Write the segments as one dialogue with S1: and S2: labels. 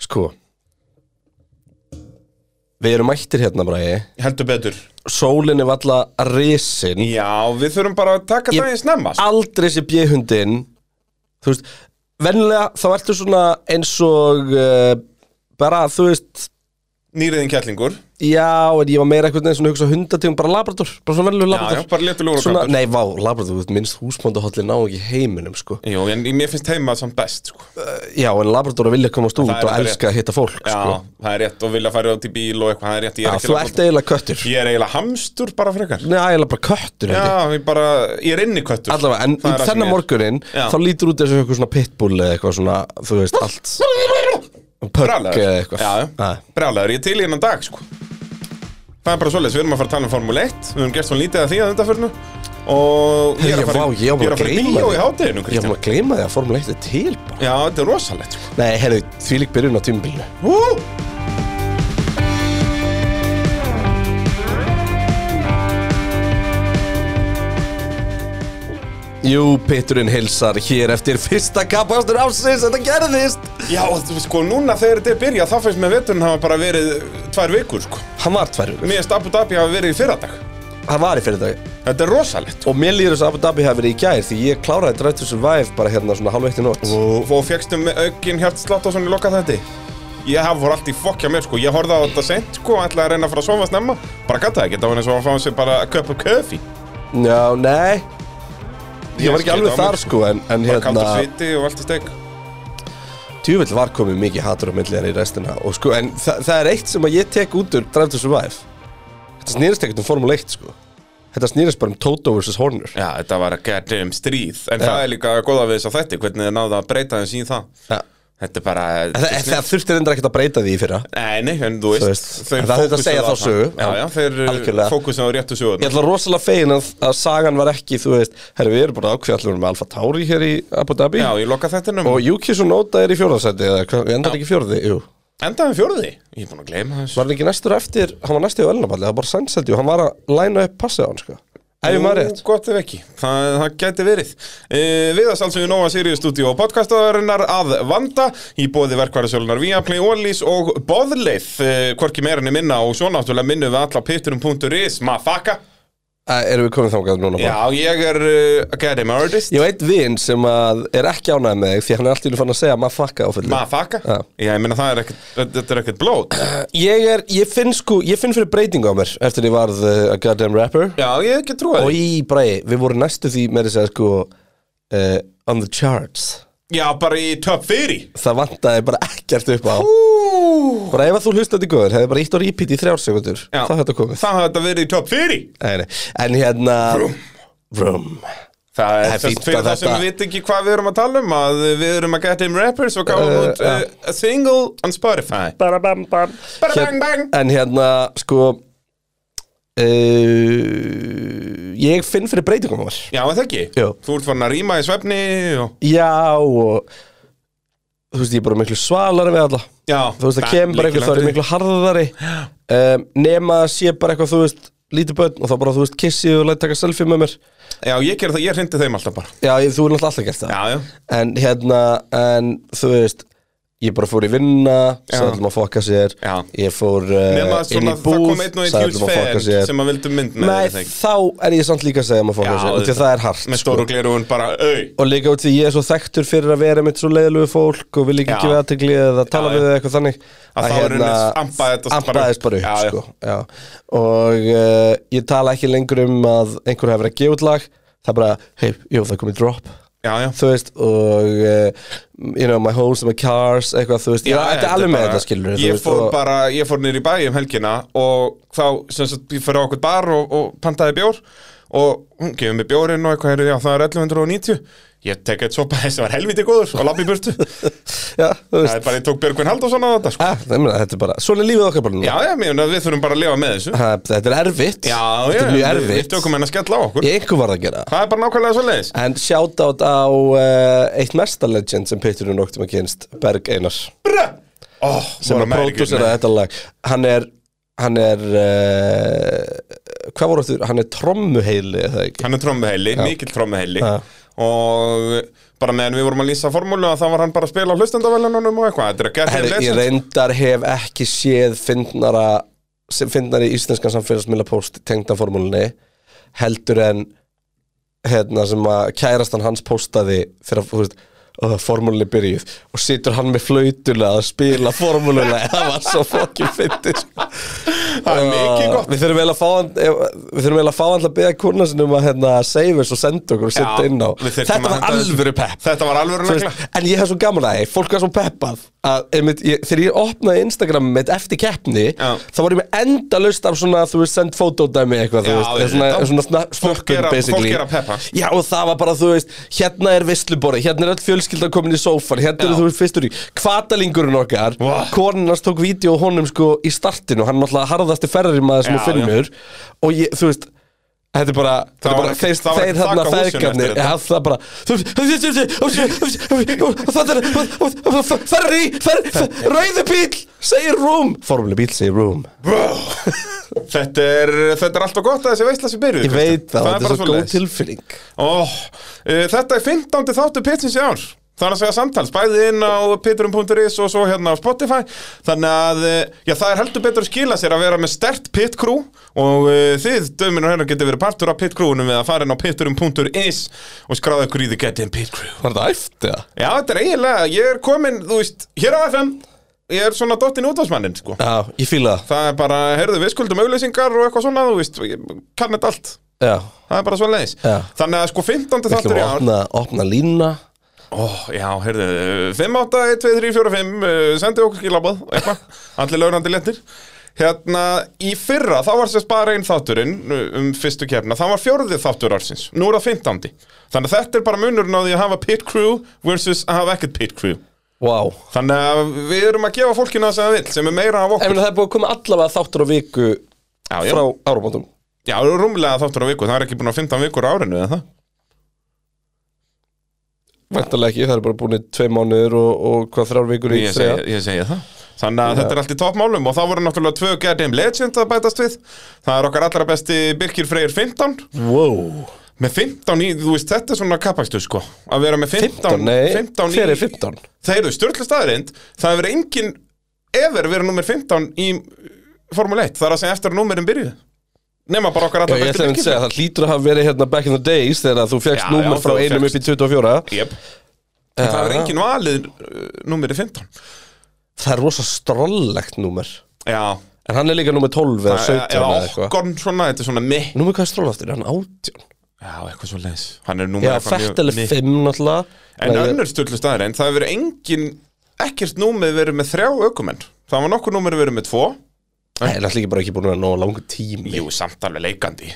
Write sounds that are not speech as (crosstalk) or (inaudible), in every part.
S1: sko Við erum mættir hérna bræði
S2: Heldur betur
S1: Sólin er valla risin
S2: Já, við þurfum bara að taka
S1: Ég- Ah.
S2: það í snemma sko.
S1: Aldrei sé bjöhundin Þú veist Venlega þá ertu svona eins og uh, Bara þú veist
S2: Nýriðin kjallingur
S1: Já, en ég var meira eitthvað neins svona hugsa hundategum Bara labrador, bara svona venlega
S2: Já, já,
S1: labrador
S2: bara léttu lúra
S1: Svona, nei, vá, labrador, þú veist, minnst húsbóndahollin á ekki í heiminum, sko
S2: Jú, en mér finnst heima samt best sko.
S1: Já, en labrador vilja komast út
S2: er
S1: og
S2: þetta
S1: elska að hitta fólk,
S2: Já,
S1: sko
S2: það er rétt og vilja fara út í bíl og eitthvað, það er rétt Ég
S1: Já,
S2: er,
S1: þú
S2: ekki
S1: ert eiginlega köttur
S2: ég er eiginlega hamstur bara frekar
S1: Nei, eiginlega bara köttur, held ég
S2: Já, ég bara, ég er inni köttur
S1: Allavega, en
S2: Það er það sem
S1: þennan
S2: ég er.
S1: morgunin
S2: Já.
S1: þá lítur út þessu eitthvað svona pitbull eða eitthvað svona, þú veist, allt pögg
S2: Brjálæður.
S1: eða eitthvað
S2: Já,
S1: Nei.
S2: já, brálaður, ég er til í hennan dag sko. Það er bara svoleiðis, við erum að fara að tala um Formule 1 Við höfum gert svona lítið að því að þetta fyrir nú Og ég er
S1: Ég,
S2: að fara,
S1: vá, ég á
S2: ég
S1: bara að
S2: er að fara í
S1: gleyma
S2: bíó
S1: því.
S2: í hátæðinu,
S1: Ég á
S2: Kristján
S1: bara að gleyma því að Formule 1 er til bara.
S2: Já, þetta er rosalegt sko.
S1: Nei, herru, því lík byrjun á tímabilinu
S2: Hú!
S1: Jú, Peturinn hilsar hér eftir fyrsta kapastur ásins, þetta gerðist
S2: Já, og þú veist, sko, núna þegar þetta er byrja þá finnst mér veturinn hafa bara verið tvær vikur sko.
S1: Hann var tvær vikur,
S2: Mér finnst Abu Dhabi hafa verið í fyrradag
S1: hann var í fyrir dag
S2: Þetta er rosalegt
S1: Og mér líður þess að Abu Dhabi hafi verið í gær því ég kláraði Drive to Survive bara hérna svona halv eitt í nótt
S2: Og, og fegstu með aukin hjartslátt og svona í lokað þetta Ég haf voru allt í fokkja mér sko Ég horfði á þetta sent sko Ætlaði að reyna að fara að sofa snemma Bara gata það ekki Það var eins og að fá sér bara að köpa köfi
S1: Já, nei, ég var ekki alveg þar sko en, en
S2: Bara kallt
S1: hérna
S2: og sviti og allt í steik
S1: Tjúvill var komið mikið hatur á milliðan í restina og sko, en þa það er eitt sem að ég tek út úr Drive to Survive Þetta snýrist ekkert um Formule 1 sko Þetta snýrist bara um Toto vs. Horner
S2: Já, þetta var að geta um stríð En það er líka góða við þess að þetta Hvernig þið náðu að breyta þeim sín það
S1: ja.
S2: Þetta er bara
S1: Það, það, það þurfti reyndar ekkert að breyta því í fyrra
S2: Nei, nei, en þú
S1: Þú
S2: veist
S1: veist,
S2: þeir
S1: en það er þetta að
S2: fókusuðu
S1: segja
S2: á
S1: þá
S2: það.
S1: sögu.
S2: Já, já, þeir
S1: Algjörlega.
S2: fókusin á réttu sögurnar
S1: Ég ætla rosalega fegin að, að sagan var ekki, þú veist Herri, við erum bara ákveðallur með Alfa Tauri hér í Abu Dhabi
S2: Já, ég loka þetta num
S1: Og Yuki Sunoda er í fjórðarsæti eða hvað, við endar ekki í fjórði, jú
S2: Endaðum fjórði Ég er búin að gleyma þessu
S1: Var hann ekki næstur eftir, hann var næstur í öllunaballi, það var bara sænsæti og hann var að læna upp passið á hann, sko Ef ég maður rétt
S2: Jú, Gott ef ekki, það, það geti verið e, Viðast alls við Nóa Sirius Studio og podcastaðarinnar að vanda í bóði verkvarðasölunar Viaplay, Ólís og Boðleið e, Hvorki meira en minna og svo náttúrulega minnum við alla pitturum.is Maður faka
S1: Æ, Erum við komin þangað núna? bara?
S2: Já, ég er uh, Academy Artist
S1: Ég veit vinn sem að er ekki ánægð með þig því hann er alltaf fann að segja maður fucka áfællið
S2: Maður faka
S1: Já.
S2: Já, ég meina það er ekkert, þetta er ekkert blóð
S1: ég, er, ég finn sko, ég finn fyrir breytingu á mér eftir ég varð uh, a goddamn rapper
S2: Já, ég hef ekki trúið
S1: og
S2: því.
S1: í bræði, við vorum næstu því með þess að segja, sko uh, on the charts
S2: Já, bara í top 4
S1: það vantaði bara ekkert upp á
S2: Ú,
S1: bara ef að þú hlustaði góður, hefði bara ítt á repeat í þrjár sekundur,
S2: Já.
S1: það þetta komið
S2: Það hafði þetta verið í top 4
S1: nei, nei. en hérna vroom,
S2: Það
S1: Það
S2: er
S1: er
S2: sérst
S1: fínt
S2: fyrir
S1: að
S2: það sem
S1: þetta-
S2: við veit ekki hvað við erum að tala um að við erum að geta um rappers og gáum
S1: Uh,
S2: út uh, a single on Spotify Bara bang bang
S1: en hérna sko uh, ég finn fyrir breytingu á mér
S2: Já, er það ekki
S1: Jú.
S2: Þú ert farin að rýma í svefni og...
S1: Já og Þú veist, ég er bara miklu svalari við alla
S2: Já,
S1: Þú veist, það kemur bara eitthvað, það er miklu harðari um, Nema að sé bara eitthvað, þú veist Lítið börn og þá bara, þú veist, kissið og lætt taka selfie með mér
S2: Já, ég gerði það, ég hrindi þeim alltaf bara
S1: Já, ég, þú er náttúrulega alltaf gert það
S2: Já, já
S1: En hérna, en þú veist Ég bara fór í vinna,
S2: Já.
S1: sagði allum að fokka sér
S2: Já.
S1: Ég fór
S2: Nefna
S1: uh, inn
S2: svona,
S1: í
S2: það
S1: búð
S2: kom einn og einn
S1: sagði
S2: huge
S1: öllum að fokka
S2: fan
S1: sér
S2: sem að vildu mynd með
S1: Nei,
S2: þér, þegar.
S1: þá er ég samt líka að segja um að fokka
S2: Já,
S1: sér Því að
S2: auðvitað.
S1: það er hart sko.
S2: Með stóru glerun bara, au
S1: Og líka út því ég er svo þekktur fyrir að vera mitt svo leiðilegu fólk og vil ekki
S2: Já.
S1: gefa aðtegli eða tala við
S2: Já, já.
S1: eða eitthvað þannig
S2: Að þá er rauninni ampaði þetta bara upp.
S1: ampaðist bara upp
S2: Já, já.
S1: Sko. Já. og uh, ég tala ekki lengur um að einhver hefur verið að gefa út lag það er bara, hei, jú, það komið drop
S2: Já, já
S1: þú veist, og uh, you know, my homes and my cars eitthvað, þú veist, já, þetta er alveg með
S2: bara-
S1: þetta skilur
S2: Ég fór bara, ég fór niður í bæ um helgina og þá, sem sagt, ég fyrir á okkur bar og, og pantaði bjór og hún gefur mér bjórinn og eitthvað, heyrðu, já, það er 1190 ég tek eitt sopa (laughs) þessi var helviti góður og labbi í
S1: (laughs)
S2: burtu það
S1: já, þú veist,
S2: er bara, ég tók Björgvin Halldórsson á þetta sko.
S1: ah, það, meina, þetta er bara, svona er lífið okkar bara
S2: já,
S1: núna
S2: já, mér, finnst að við þurfum bara að lifa með
S1: (laughs)
S2: þessu já,
S1: Ha, þetta er erfitt,
S2: já,
S1: þetta er mjög
S2: við, við
S1: erfitt
S2: tökum henni að skella á okkur
S1: ég einhver var að gera það
S2: það er bara nákvæmlega svo leiðis
S1: En shoutout á uh, eitt mesta legend sem Peturinn okkur tíma kynst, Berg Einar
S2: oh,
S1: sem er pródúsera þetta lag Hann er, hann er uh, hvað voru þú, hann er trommuheili eða ekki?
S2: hann er trommuheili, mikill trommuheili
S1: Já.
S2: og bara meðan við vorum að lýsa formúlu að það var hann bara að spila á hlustendavælunum og eitthvað, þetta er að geta
S1: Herri, ég reyndar hef ekki séð fyndnara, sem fyndnari íslenskan samfélagsmiðla post tengda formúlinni heldur en hérna sem að kærastan hans postaði fyrir að, þú veist, að formúlinni byrjuð og situr hann með flautuna að spila formúluna (laughs) það var svo fokkin fyndið sko.
S2: það er mikið gott
S1: við þurfum eiginlega að fá hann ef- við þurfum eiginlega að fá hann til að beða kúrna sinum að hérna, save us og senda okkur og
S2: Já,
S1: setja inn á
S2: við
S1: þetta
S2: þyrftum að
S1: var
S2: henda þessu.
S1: alvöru pepp
S2: Þetta var alvöru
S1: Þú
S2: negla
S1: veist, en ég hef svo gaman að því, fólk var svo peppað að, einmitt, ég, þegar ég opnaði Instagram mitt eftir keppni,
S2: Já.
S1: þá var ég með endalaust af svona, þú veist, send fotodæmi eitthvað,
S2: Já,
S1: þú veist, eða
S2: auðvitað.
S1: svona, svona snap-
S2: Fólk
S1: snöppun,
S2: er að-
S1: basically.
S2: fólk er að peppa.
S1: Já, og það var bara, þú veist, hérna er visluborði, hérna er öll fjölskyldan komin í sófan, hérna
S2: Já.
S1: eru þú veist fyrstur í, kvatalingurinn okkar,
S2: Vá.
S1: konun hans tók vídeo á honum sko í startinu, hann er náttúrulega harðasti ferri maður sem
S2: Já,
S1: þú finnur, og ég, þú veist, Þetta er bara, þetta
S2: Það
S1: er
S2: var
S1: bara
S2: ekki-
S1: þeir,
S2: það var
S1: þeir
S2: ekki
S1: þarna
S2: þak á húsinu eftir
S1: feðgarnir
S2: þetta.
S1: Já, það er bara þú veist, Það er Ferri, ferri, rauði bíl Segir rúm Formule bíl segir rúm
S2: Bro. Þetta er, þetta er alltaf gott að þessi veistla sem byrjuð
S1: Ég veit það,
S2: það
S1: þetta er svo góð
S2: svoleiðis.
S1: tilfinning
S2: Ó, uh, þetta er 15. þáttu pitsins í ár Það er að segja samtals, bæði inn á pitrum.is og svo hérna á Spotify Þannig að, uh, já það er heldur betur að skila sér að vera með stert pit crew Og uh, þið, dömin og hérna, getur verið partur af pit crewunum Við að fara inn á pitrum.is og skráða ykkur í The Get In Pit Crew
S1: Var þetta æft, eða?
S2: Já, þetta er eiginlega, ég er komin, þú veist, hér á FM Ég er svona dottinn útvarsmannin, sko
S1: Já, ég fíla
S2: Það er bara, heyrðu, við skuldum auðlýsingar og eitthvað svona, þú veist, ég kann þetta allt
S1: það Já,
S2: Það er bara svona leiðis
S1: Já.
S2: Þannig að sko 15.
S1: við ætlum
S2: þáttur í
S1: að
S2: ár
S1: opna, opna línna
S2: Ó, já, heyrðu, eh, 5, 8, 1, 2, 3, 4, 5 uh, Sendi okkur skilabóð, eitthvað Allir lögrandi léttir Hérna, í fyrra, þá var sérst bara einn þátturinn uh, um fyrstu kefna, það var fjórðið þáttur ársins, nú er það 15. Þannig að þetta er bara munurinn á því að hafa pit crew versus að hafa ekkert pit crew.
S1: Vá
S2: Þannig að við erum að gefa fólkinu það sem það vill, sem er meira af
S1: Ég
S2: okkur.
S1: meina það er búið að koma allavega þáttur á viku
S2: Já, já,
S1: frá áramótum
S2: já, rúmlega þáttur á viku, það er ekki búin að 15 vikur á árinu eða það.
S1: Væntalega ekki, það er bara búin tvei mánuður og, og hvað þrjár vikur í
S2: Ég
S1: þriðja.
S2: segi, ég segi það. Þannig að þetta er allt í toppmálum og þá voru náttúrulega tvö Goddamn Legend að bætast við. Það er okkar allra besti Birkir Freyr 15.
S1: Wow
S2: Með 15 í, þú veist, þetta er svona kapakstu sko. Að vera með 15,
S1: 15, nei,
S2: 15 í...
S1: hver er 15?
S2: Það eru störtlu staðarind, það hefur engin ever verið nummer 15 í Formule 1. Það er að segja eftir að númerin byrjuð. Nema bara okkar
S1: Já,
S2: allra
S1: ég
S2: besti
S1: ætla að
S2: Birkir
S1: segja, það hlýtur að hafa verið hérna back in the days þegar þú
S2: Já,
S1: fegst
S2: já,
S1: númer frá
S2: þú
S1: einum upp
S2: fékkst-
S1: í 24
S2: Jep. En það er enginn valið uh, númerið 15
S1: Það er rosa strollegt númer
S2: Já,
S1: En hann er líka númer 12 eða 17
S2: eða
S1: eða eitthvað
S2: okkon svona, þetta er svona mitt
S1: Númer hvað er stroll aftur, er hann 18?
S2: Já, eitthvað svo leis Hann er númer
S1: Já,
S2: eitthvað mjög
S1: fættel er
S2: mitt.
S1: 5 náttúrulega
S2: En
S1: Nei,
S2: önnur stöldu staðar en það hefur engin ekkert númer verið með þrjá aukumenn Það var nokkur númer verið með tvo
S1: Það er náttúrulega bara ekki búin að ná langu tími
S2: Jú, samt alveg leikandi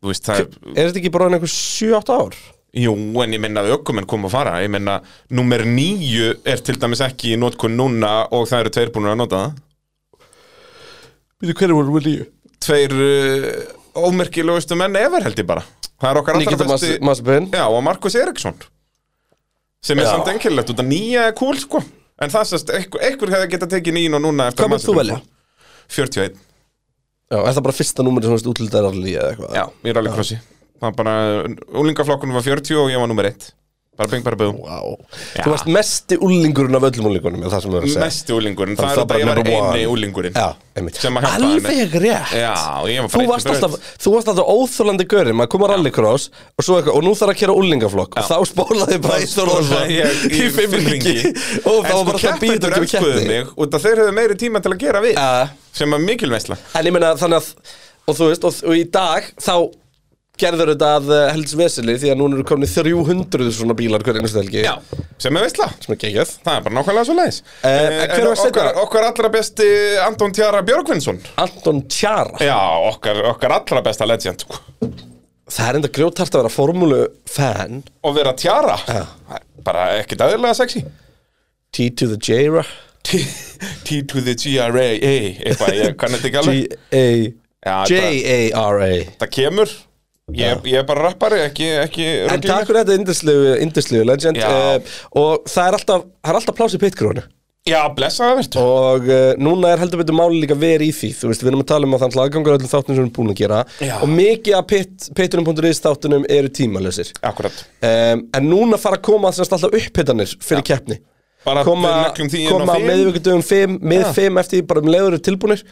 S2: Þú veist, það er,
S1: Er þetta ekki bara hann einhver 7-8 ár?
S2: Jú, en ég minna að aukumenn kom að fara Ég minna, númer níu er til dæmis ekki í notkun núna og það eru tveir búin að nota það
S1: Býtu hverju voru við líu?
S2: Tveir uh, ómerkilegustu menn ever held ég bara Það er okkar allra
S1: Nikita
S2: besti
S1: Masbin
S2: Já, og Markus Eriksson sem er
S1: Já.
S2: samt enkilegt út að nýja er cool sko en það sérst, einhver, einhver hefði getað tekið nýjun og núna eftir
S1: Hvað
S2: að
S1: myndir þú
S2: Mazepin
S1: velja?
S2: fór. 41,
S1: Já, er það bara fyrsta númeri sem útlitaðar allir eða eitthvað?
S2: já, ég er alveg krossi það var bara, úlingaflokkunum var 40 og ég var nummer 1 bara bing, bara búm
S1: Vá
S2: Já.
S1: Þú varst mesti úlingurinn af öllum úlingunum, er það sem þú er að segja
S2: mesti úlingurinn,
S1: Það er
S2: það er
S1: það bara
S2: þetta ég var
S1: number one.
S2: eini úlingurinn
S1: Já, einmitt
S2: Sem að hjálpa henni.
S1: Alveg rétt
S2: já, ég var
S1: Þú
S2: bara
S1: varst,
S2: einn
S1: alltaf, þú varst alltaf óþólandi görinn, maður kom að rallycross og, svo eitthvað, og nú þarf að kera úlingaflokk og þá spólaði bara í
S2: Þorvaldsson
S1: Þorvaldsson í fimmringi og
S2: sko,
S1: þá var bara alltaf býtur ekki við ketti
S2: mig út að þeir höfðu meiri tíma til að gera við
S1: Ja.
S2: sem að mikilvæsla
S1: En ég meina þannig að, og þú veist, og, og í dag þá gerður þetta að helds veseli því að núna eru komin 300 svona bílar hverju einhversu helgi
S2: já, sem er veisla
S1: sem er geggjað
S2: Það er bara nákvæmlega svo leiðis
S1: Eh, hver var
S2: okkar,
S1: seinna?
S2: okkar allra besti Anton Tjara Björgvinsson
S1: Anton Tjara
S2: Já, okkar, okkar allra besta legend sko.
S1: Það er enda grjótart að vera formúlu-fan
S2: Og vera Tjara Það er Bara ekkit aðeinslega sexy
S1: T to the J-ra
S2: T, T to the G-R-A Eitthvað, ég kann þetta ekki alveg Já,
S1: G-A J-A-R-A
S2: Það kemur Ég, ég er bara rappari, ekki, ekki
S1: En
S2: rugl í
S1: takk
S2: mér.
S1: fyrir þetta indislegu, indislegu legend eh,
S2: Já.
S1: uh, Og það er alltaf, það er alltaf pláss í pitkrúinu
S2: Já, blessa það verður
S1: og uh, núna er heldur betur máli líka verið í því þú veist, við erum að tala um að þannig aðgangur öllum þáttunum sem við erum búin að gera
S2: Já.
S1: og mikið af pit- patreon.is þáttunum eru tímalösir
S2: Akkurat
S1: um, en núna fara að koma semst alltaf upphittanir fyrir keppni
S2: Bara
S1: koma,
S2: við neglum því inn á
S1: koma á
S2: fimm.
S1: meðvíkudöfum 5 með
S2: Já.
S1: 5 eftir því bara um leiður eru tilbúnir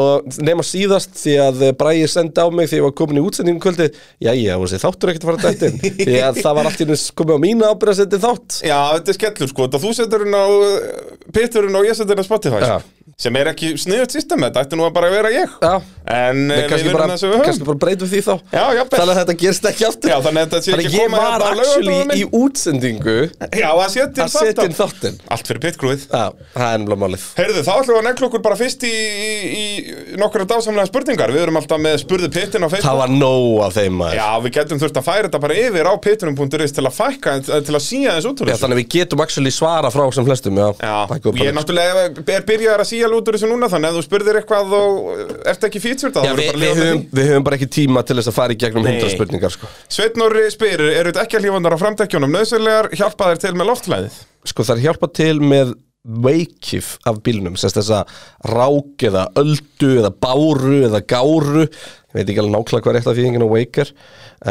S1: og nema síðast því að Bræði sendi á mig því að ég var komin í útsendingum kvöldi jæja, og þessi þáttur er ekkert að fara dætt
S2: (laughs)
S1: inn því að það var allt í henni komið á mína ábyrgð að setja þátt
S2: Já, þetta er skellur sko, það þú setur hún á Petur hún og ég setur hún á Spotify
S1: Já.
S2: sem er ekki sniðut system, þetta ætti nú að bara vera ég
S1: Já.
S2: En eh, við
S1: kannski
S2: verðum
S1: bara,
S2: þessu við
S1: kannski
S2: höfum
S1: bara breytum því þá
S2: Já, jafnvel.
S1: þannig að þetta gerst ekki aftur
S2: Já, þannig að þetta sé
S1: Þannig að
S2: ekki
S1: ég
S2: koma
S1: var
S2: hérna á laugardaginn
S1: actually í
S2: minn.
S1: útsendingu
S2: Já, að setja
S1: að setja inn
S2: inn þátt
S1: þáttinn
S2: Allt fyrir pitgrúið
S1: Já, það er ennblá málið
S2: Heyrðu, þá ætlum við að negla okkur bara fyrst í, í, í nokkra dásamlega spurningar Við erum alltaf með spurðu pittin á Facebook
S1: Það var nóg af þeim maður
S2: Já, við getum þurft að færa þetta bara yfir á pittinum.is til að fækka, til að síja þessu út úr
S1: Já,
S2: þessu
S1: þannig að við getum actually svara frá sem flestum, já.
S2: Já,
S1: Takk upp
S2: ég er
S1: alveg.
S2: náttúrulega er byrjaður að síja út úr þessu núna þannig að þú spurðir eitthvað og ert ekki featured þá
S1: já,
S2: verður
S1: við,
S2: bara að lifa
S1: við,
S2: með
S1: höfum,
S2: því.
S1: við höfum bara ekki tíma til þess að fara í gegnum
S2: Nei.
S1: hundra spurningar, sko.
S2: Sveinn Orri spyr, eru þetta ekki að hlífandar á framdekkjónum nöðsynlegar, hjálpa þær til með loftlæðið?
S1: Sko, það er hjálpa til með veikif af bílnum, sérst þess að rák eða öldu eða báru eða gáru, ég veit ekki alveg nákvæmlega hvað er rétt af þýðingin á veikar,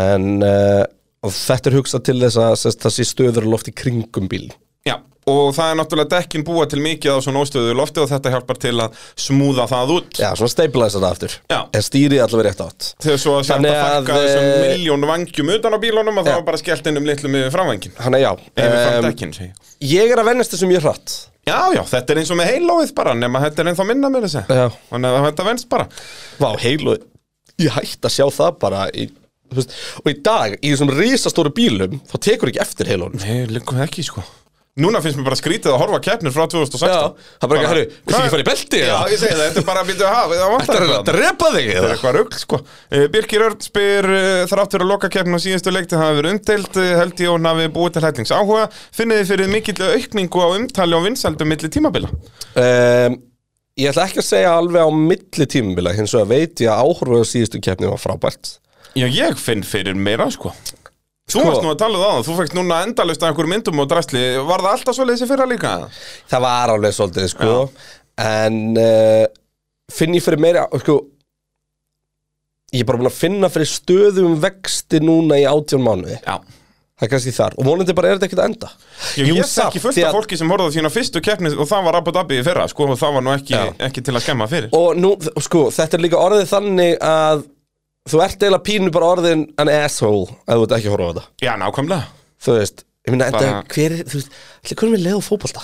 S1: en uh, og þetta er hugsað til þess að sérst, það sé stöður loft í kringum bíl.
S2: Já, og það er náttúrulega dekkin búa til mikið á svona óstöðu lofti og þetta hjálpar til að smúða það út
S1: Já, svona steiplaði þetta aftur.
S2: Já.
S1: En stýrið allavega rétt átt.
S2: þegar svo að sjá
S1: Þannig
S2: þetta fækka
S1: að,
S2: þessum
S1: eh,
S2: miljón vangjum utan á bílunum og það
S1: Já.
S2: var bara skellt inn um litlum yfir framvangin
S1: Þannig já,
S2: yfir
S1: em,
S2: framdekkin, segi ég.
S1: ég er að vennast þessu mjög hratt.
S2: Já, já, þetta er eins og með heilóið bara nema þetta er ennþá minna með þessi
S1: Já.
S2: þannig að þetta venst bara
S1: Vá, heil og ég hætti að sjá það bara í, þú veist, og í dag, í þessum risastóru bílum þá tekur ekki eftir heilunum
S2: Nei, líkum ekki sko Núna finnst mér bara skrítið að horfa á keppnir frá 2016
S1: Já, það er bara ekki, herru, viltu ekki fara í belti
S2: Já,
S1: eða?
S2: ég segi það, þetta er bara að byrja að hafa Það
S1: Þetta
S2: vantar
S1: er að
S2: eitthvað
S1: drepa þig
S2: Það er
S1: eða?
S2: eitthvað rugl sko Eh, Birgir Örn spyr eh, þrátt fyrir að loka keppnum á síðustu leikti það hafi verið umdeilt eh, held ég og hann hafi búið til hætlings áhuga finnið þið fyrir mikill aukningu á umtali og vinsældum milli tímabila
S1: Um, ég ætla ekki að segja alveg á milli tímabila hins vegar veit ég að áhorfið á síðustu keppni var frábært
S2: Já, ég finn fyrir meira sko
S1: Sko.
S2: Þú varst nú að tala um það, áðan, þú fækst núna endalaust að einhverjum myndum og drastli Var það alltaf svo leysi fyrra líka?
S1: það var alveg svolítið sko en uh, finn ég fyrir meira sko, ég er bara búin að finna fyrir stöðum vexti núna í átjón mánuði
S2: Já
S1: það er kannski þar og vonandi bara er þetta ekkert að enda
S2: Ég, ég
S1: samt,
S2: þekki fullt
S1: því
S2: af
S1: að-
S2: fólki sem horfði á sína fyrstu keppni og það var Abu Dhabi í fyrra, sko, og það var nú ekki,
S1: Já.
S2: ekki til að skemma fyrir.
S1: og nú, sko, þetta er líka orðið þannig að þú ert eiginlega pínu bara orðin an asshole ef þú ert ekki að horfa á þetta
S2: Já, nákvæmlega.
S1: þú veist, ég meina, þetta
S2: Bara-
S1: er hver er- þú veist, allir hvernig við leið á fótbolta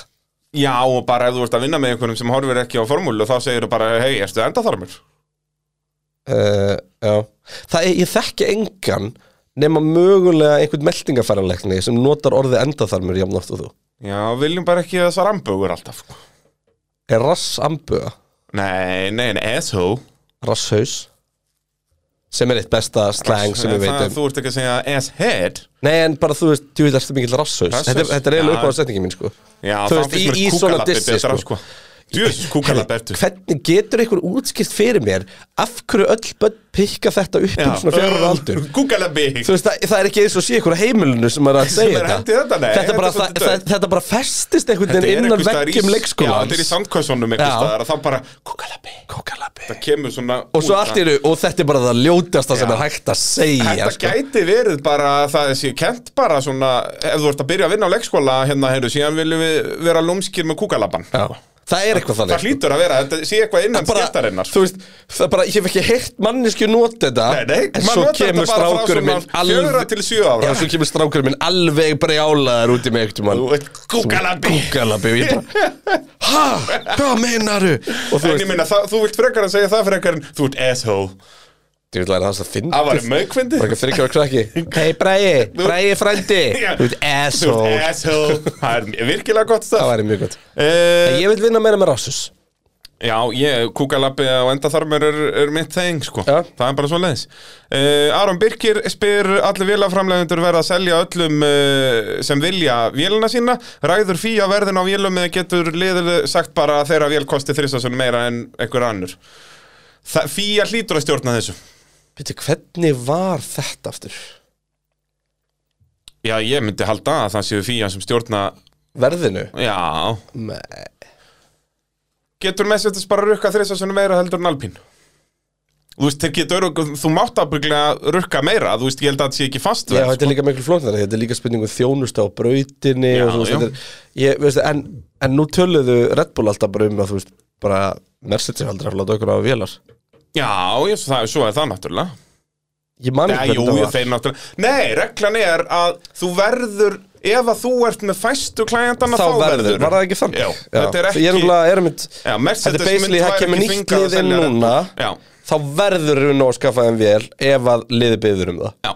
S2: Já, og bara ef þú ert að vinna með einhverjum sem horfir ekki á formúlu, þá segir þú bara, hei, erstu enda þar mér?
S1: uh, já, það er, ég þekki engan nema mögulega einhvern meldingafæranleikni sem notar orðið endaþarmur jafn oft og þú
S2: Já, viljum bara ekki þessar ambögur alltaf. sko.
S1: er rass ambuga,
S2: Nei, nei, nei, asshole.
S1: rasshaus sem er eitt besta slang sem við
S2: Það-
S1: veitum
S2: Þú ert ekki að segja asshead.
S1: nei, en bara þú veist, þú veist, þetta er mikil rasshaus
S2: Rasshaus,
S1: þetta, er- þetta er
S2: já.
S1: eiginlega upp á setningin mín, sko
S2: Já,
S1: Þú
S2: þá
S1: veist, í-
S2: finnst
S1: í
S2: mér
S1: svona
S2: kúkalabbi
S1: dissi,
S2: betra,
S1: sko.
S2: sko. Jús, kúkalabbertu.
S1: Hvernig getur einhver útskipt fyrir mér af hverju öll börn pikka þetta upp um svona fjörur
S2: (laughs)
S1: aldur?
S2: Kúkalabbi.
S1: Þú veist, það, það er ekki eins og sé einhver á heimilinu sem er að segja
S2: er hent í þetta, nei,
S1: þetta, bara,
S2: þetta er
S1: þetta,
S2: svolítið dautt.
S1: þetta, bara festist einhvern
S2: Þetta er
S1: veginn innan
S2: einhvers staðar í-
S1: veggjum
S2: Já,
S1: leikskólans
S2: þetta er í sandkvæsunum einhvers
S1: Já.
S2: staðar og þá bara kúkalabbi
S1: Kókalabbi
S2: Það kemur svona
S1: Og svo
S2: út
S1: allt
S2: að-
S1: eru, og þetta er bara það ljótasta sem
S2: Já.
S1: er hægt að segja
S2: Þetta
S1: sko.
S2: gæti verið bara að það sé kent bara svona Ef þú ert að byrja að vinna á leikskóla hérna, heyrðu, síðan viljum við vera lúmskir með kúkalabban
S1: Já. Það er eitthvað
S2: Það
S1: þannig
S2: hlýtur að vera, þetta sé eitthvað innan
S1: bara,
S2: skiptarinnar
S1: Þú veist, það er bara, ég hef ekki heyrt mannesku nota þetta
S2: Nei, nei,
S1: En
S2: maður
S1: svo
S2: notar
S1: kemur
S2: þetta bara frá
S1: strákurinn minn
S2: svona fjögurra til sjö ára.
S1: Já, svo kemur strákurinn minn alveg brjálaður út í mig ekkert
S2: Þú veit, kúkalabbi
S1: Kúkalabbi og ég bara Hæ, hvað meinaru? Og þú
S2: En ég
S1: veist,
S2: meina, það- þú vilt frekar að segja það frekar en Þú ert asshole
S1: ég vil læra það að finna
S2: Það var mögkvindi
S1: Bara ekki þryggjara
S2: (laughs)
S1: krakki Hei Bræi, Bræi frændi
S2: Já.
S1: Þú veit,
S2: Þú
S1: asshole
S2: ert
S1: (laughs)
S2: asshole Það er virkilega gott
S1: Það
S2: stað
S1: væri mjög gott
S2: Eh,
S1: Ég vil vinna meira með rassus
S2: Já, ég, kúkalabbi á endaþarmur er, er mitt þeng, sko.
S1: Já.
S2: Það er bara svo leiðis. Uh, Aron Birkir spyr allir vélaframlegendur verða að selja öllum uh, sem vilja vélina sína. Ræður fíja verðin á vélum eða getur liður sagt bara að þeirra vél kosti þristasunum meira en einhver annur. Þa, fíja hlýtur að stjórna þessu.
S1: Veitu, hvernig var þetta aftur?
S2: Já, ég myndi halda að það séu fíja sem stjórna,
S1: Verðinu?
S2: já,
S1: Nei
S2: getur Mercedes bara rukka þrissa svona meira heldur en Alpín þú veist, þeir getur örugg- þú mátt að bygglega rukka meira þú veist, ég held að þetta sé ekki fast
S1: Já, þetta er líka miklu flóknar, þetta er líka spurningu þjónusta á brautinni
S2: sko. Já,
S1: og svo,
S2: já.
S1: þetta er, ég, veist, en, en nú töluðu Red Bull alltaf bara um að þú veist, bara Mercedes er aldrei að láta okkur á vélar
S2: já, ég, svo, það, svo er það náttúrulega
S1: Ég man
S2: Nei,
S1: ekki
S2: jú,
S1: hvernig það var
S2: þeir náttúrulega Nei, reglan er að þú verður ef að þú ert með fæstu klæjandana
S1: Þá verður, var það ekki þannig?
S2: Já, þetta er
S1: Ég er
S2: ekki
S1: nefnilega, er mitt,
S2: Já, Mercedes
S1: þetta er basically,
S2: myndi
S1: það
S2: væri
S1: kemur
S2: ekki
S1: nýtt
S2: þvingað að
S1: lið inn
S2: selja Red Bull.
S1: núna
S2: Já,
S1: Þá verður við nú að skaffa þeim vél ef að liði byður um það
S2: já,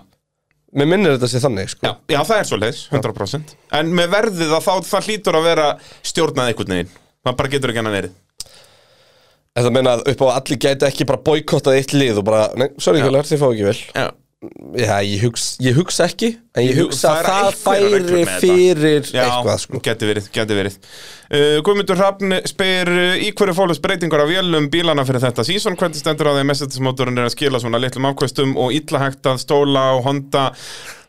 S1: Mér minnir þetta sé þannig,
S2: já,
S1: sko
S2: já, það er svo leiðis, 100% En með verðið að þá, það hlýtur að vera stjórnað einhvern veginn Það bara getur ekki hann að verið
S1: Þetta meina að upp á að allir gæti ekki bara boykottað eitt lið og bara, nei, sorry, hjólar, þið fá ekki vel
S2: Já,
S1: Já, ég hugsa, ég hugsa ekki En ég
S2: Ég
S1: hugsa
S2: hugsa
S1: að
S2: það
S1: það
S2: eru
S1: færi
S2: einhverjar reglur með
S1: fyrir
S2: já,
S1: eitthvað sko.
S2: geti verið, geti verið uh, Guðmundur Hrafn spyr uh, í hverju fólust breytingar á vélum bílana fyrir þetta sísón, hvernig stendur á því að Mercedes-mótorinn er að skila svona litlum afkvæstum og illa hægt að stóla á Honda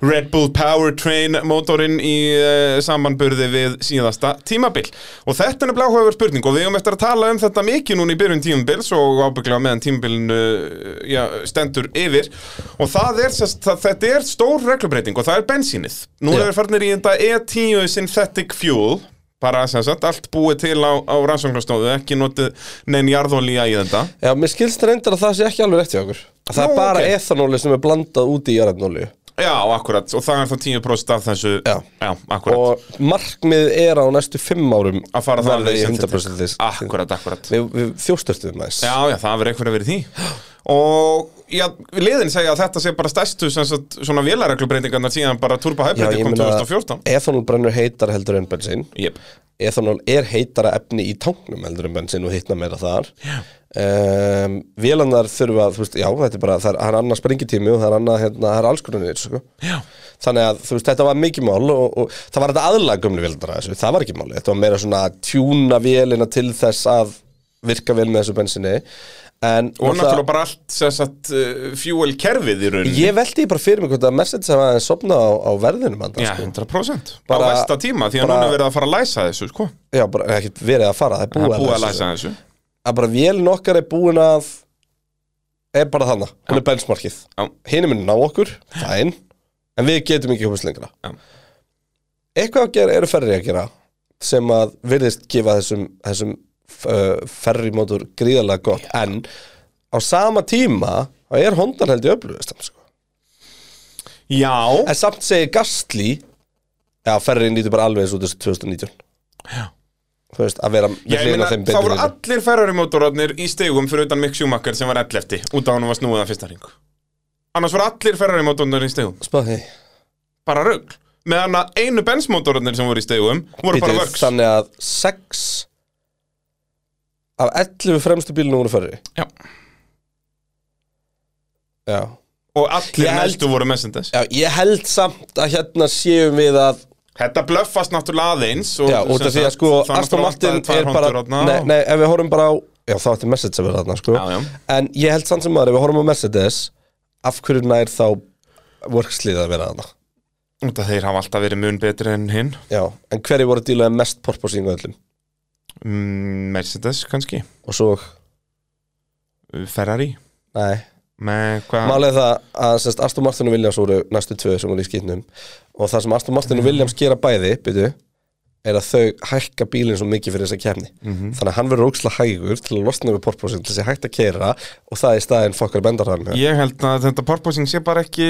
S2: Red Bull Powertrain mótorinn í uh, samanburði við síðasta tímabil og þetta er nefnilega áhugaverð spurning og við eigum eftir að tala um þetta mikið núna í byrjun tímabils og ábygglega meðan tímabilin uh, já, stendur yfir og það er, sest, það, þetta er stór reglubreiting og það er bensínið nú
S1: Já.
S2: erum við farnir í E þetta E10 Synthetic Fuel bara sem sagt, allt búið til á, á rannsóknarstóðu, ekki notið neinn jarðolía í þetta
S1: Já, mér skilst reyndar að það sé ekki alveg rétt hjá okkur Að Það
S2: Nú,
S1: er bara
S2: ok.
S1: okay. ethanóli sem er blandað úti í jarðnóli
S2: Já, akkurat, og það er þá 10% af þessu
S1: Já.
S2: akkurat
S1: Og markmið er á næstu fimm árum
S2: að fara það
S1: verði í
S2: leið sem
S1: 100% þess
S2: þetta er. Akkurat, akkurat
S1: Við, við þjóstöftum aðeins
S2: Já, já, það verður eitthvað að verið því Og já, liðin segja að þetta sé bara stærstu sem sagt, svona vélareglubreitingarnar síðan bara Turbo
S1: Já,
S2: Hybrid
S1: ég
S2: kom
S1: meina
S2: 2014
S1: Ethanól brennur heitar heldur en bensin
S2: Jep
S1: Ethanól er heitara efni í tanknum heldur en bensin og hitna meira þar um, Vélannar þurfa, þú veist, já, þetta er bara það er, það er annað sprengitími og það er annað, hérna, það er alls konar sko.
S2: Já,
S1: Þannig að þú veist, þetta var mikið mál og, og það var þetta aðlaga gömlu vélindara þessu, það var ekki máli. Þetta var meira svona að tjúna vélina til þess að virka vel með þessu bensinni. En
S2: og náttúrulega bara allt sem sagt uh, fuel kerfið í rauninni
S1: ég veldi bara fyrir mig hvort að Mercedes hafa aðeins sopnað á, á verðinum andan,
S2: Já,
S1: sko.
S2: 100% Á
S1: Bara-
S2: besta tíma, því að
S1: bara-
S2: núna er verið að fara að læsa þessu, sko
S1: Já, bara ekkert verið að fara, það er
S2: Það
S1: búið
S2: er búið að læsa þessu
S1: Að bara vélin okkar er búin að, er bara þannig, hún er benchmarkið.
S2: Já.
S1: Hinn er minna á okkur, fæn, en við getum ekki komast lengra.
S2: Já.
S1: eitthvað að gera, eru ferri að gera sem að virðist gefa þessum, þessum uh, ferri mótur gríðarlega gott en á sama tíma þá er Hondan held í öflugast sko.
S2: Já,
S1: en samt segir Gastli já, ferri nýtur bara alveg eins út þessu 2019 þú veist, að vera
S2: Já,
S1: við
S2: ég
S1: hliðin
S2: meina,
S1: á þeim
S2: þá voru
S1: betri all...
S2: allir ferrarimótorarnir í stegum fyrir utan Mick Schumacher sem var 11. út af hann var snúið að fyrsta ring annars voru allir ferrarimótorarnir í stegum
S1: spáði
S2: bara rugg meðan að einu bensmótorarnir sem voru í stegum voru bara
S1: Bíddu,
S2: vöks
S1: þannig að 6 af 11 fremstu bílunum voru ferri
S2: Já.
S1: já
S2: og allir
S1: Ég held-
S2: næstu voru Mercedes
S1: Já, ég held samt að hérna séum við að
S2: þetta blöffast náttúrulega aðeins og,
S1: Já, út af því að sko Aston Martin er bara nei,
S2: nei,
S1: nei, ef við horfum bara á Já, þá ætti Mercedes að vera þarna, sko
S2: Já, já.
S1: En ég held samt sem maður, ef við horfum á Mercedes Af hverju nær þá Workslið að vera þarna
S2: út af þeir hafa alltaf verið mun betri en hinn
S1: Já, en hverju voru dílaði mest porposínu öllum
S2: Mm, Mercedes kannski
S1: Og svo,
S2: Ferrari
S1: nei
S2: með hvað
S1: Málið er það að semst, Aston Martin og Williams voru næstu tvö sem voru í skýtnum Og það sem Aston Martin og
S2: Mm.
S1: Williams gera bæði byrju, Er að þau hækka bílinn svo mikið fyrir þess að kemni
S2: Mhm. Mm.
S1: Þannig að hann verður óksla hægur til að losna við porposínu Til þess að hægt að keira Og það er í staðinn fokkar bendar hann
S2: ég held að þetta porpoising sé bara ekki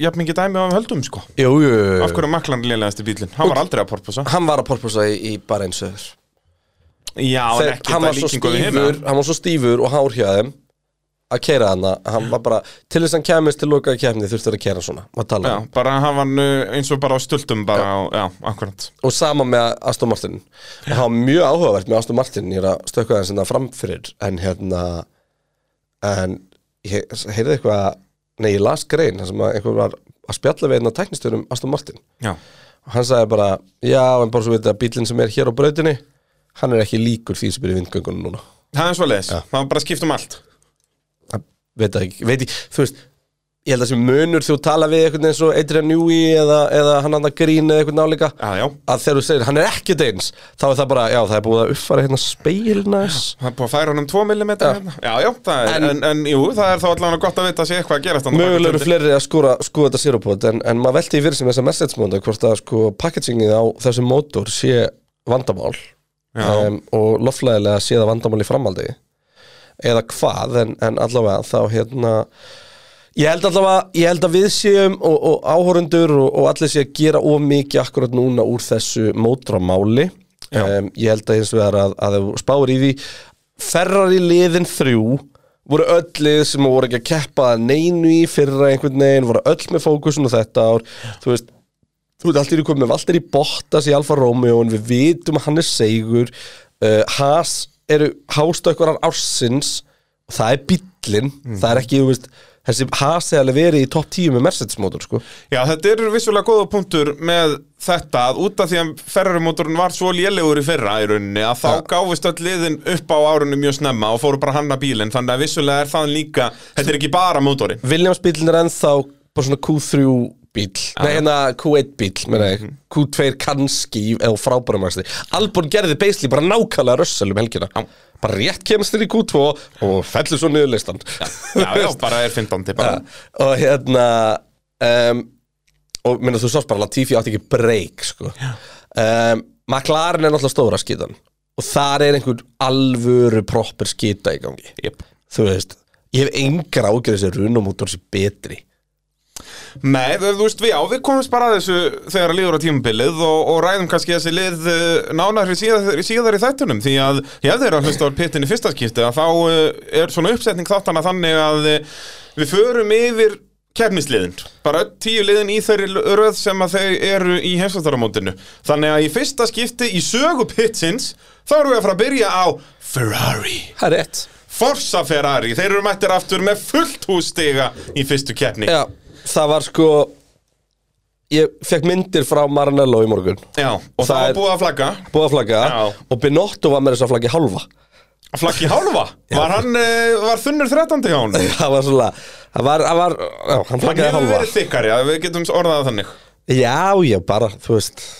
S2: jafn mikið dæmi á við höldum sko
S1: Jú, jú, jú, jú.
S2: Af hverju er maklan lélegasti bílinn? Hann var aldrei að porposa
S1: hann var að porposa í, í bara eins öður
S2: Já, en ekki
S1: hann,
S2: þetta
S1: var svo
S2: líkingu við hérna
S1: stífur, hann var svo stífur og hár hjá þeim að keira hann hann var bara, til þess að hann kemist til lokaði kemni þurfti hann að keira svona var
S2: Já,
S1: talað um.
S2: bara hafa hann uh, eins og bara á stultum bara Já, á, já akkurat
S1: og sama með Aston Martin og hann var mjög áhugavert með Aston Martin ég er að stökka hann sinna framfyrir en hérna en ég heyrði eitthvað nei, ég las grein þar sem að einhver var að spjalla við einn á tæknistörum Aston Martin
S2: Já,
S1: og hann sagði bara, já, en bara svo veit að bílinn sem er hér á brautinni hann er ekki líkur því sem er í vindgöngunum núna
S2: það er svo leiðis Það var bara skipt um allt
S1: Það veit það ekki, veit ég, þú veist ég held að sem munur þú tala við einhvern eins og Adrian Newey eða, eða hann hann að grín eða einhvern álíka
S2: Já, já.
S1: að þegar þú segir hann er ekkert eins þá er það bara, já það er búið að uppfara hérna speilnæs
S2: Það er búið að færa hann um 2 mm hérna. Já, já, það er, en,
S1: En-
S2: en, jú, það er þá allavega gott að vita að sé eitthvað að gerast þarna bak við
S1: mögulegur
S2: tjöldin.
S1: fleiri að skora, skoða þetta sérupot en, en maður velti í fyrir sem þessa message móta hvort að sko packagingið á þessum mótor sé vandamál
S2: Já.
S1: um, og loflæðilega sé það vandamál í framaldi eða hvað en, en allavega þá hérna ég held allavega, ég held að við séum og, og áhorundur og, og allir sé að gera of mikið akkurat núna úr þessu mótramáli
S2: Já.
S1: um, ég held að eins vegar að, að ef þú spáir í því ferrar í liðin þrjú voru öll lið sem voru ekki að keppa að neinu í fyrra einhvern veginn, voru öll með fókusun og þetta ár, þú veist þú veit, allt í einu komið með Valtteri Bottas í Alfa Romeo en við vitum að hann er seigur uh, Haas eru hástökkvarar ársins og það er bíllinn, það er ekki, þú veist þessi Haas er alveg verið í topp 10 með Mercedes mótor, sko
S2: Já, þetta eru vissulega góða punktur með þetta að út af því að ferrarumótorun var svo lélegur í fyrra í rauninni að þá
S1: Já.
S2: gáfist öll liðin upp á árunni mjög snemma og fóru bara að hanna bílinn þannig að vissulega er það líka, þetta er ekki bara mótorinn
S1: Williams bíllinn er ennþá bara svona Q3 bíll Nei, hérna Q1 bíll, meina ég Q2 kannski, eða frábærum maksti Albon gerði basically bara nákvæmlega rössal um helgina Bara rétt kemst þér í Q2 og fellur svo niður listan (laughs)
S2: Já, já, bara er 15 til bara
S1: og hérna um, og minna þú sást bara Latifi átti ekki break sko. um, McLaren er náttúrulega stóra skítan og þar er einhver alvöru proper skita í gangi
S2: yep.
S1: þú veist, ég hef engar ágjörð þessi runumótor sem betri
S2: Nei, þú þú veist, við, já, við komumst bara að þessu þegar að líður á tímabilið og, og ræðum kannski þessi lið eh, nánar í síðar, síðar í þættunum því að ég hefði að hlusta á pittin í fyrsta skipti að þá eh, er svona uppsetning þáttana þannig að eh, við förum yfir kefnisliðin, bara öll tíu liðin í þeirri l- röð sem að þau eru í heimsvættaramótinu. Þannig að í fyrsta skipti í sögu pitsins þá erum við að fara að byrja á Ferrari.
S1: Það er rétt
S2: Forza Ferrari, þeir eru mættir aftur með fullt hússtiga í fyrstu keppni.
S1: Já, það var sko ég fekk myndir frá Maranello í morgun
S2: Já, og það,
S1: Það
S2: var
S1: er-
S2: búið að flagga.
S1: búið að flagga
S2: Já.
S1: og Binotto var með þess að flaggi halva
S2: Flakki hálfa? Var hann, uh, var þunnur 13. hjá hann?
S1: (laughs) það var svona, það var, það var já, hann
S2: Hann
S1: flaggaði
S2: hefur
S1: halva
S2: verið þykkari, að við getum orðað það þannig
S1: Já, já, bara, þú veist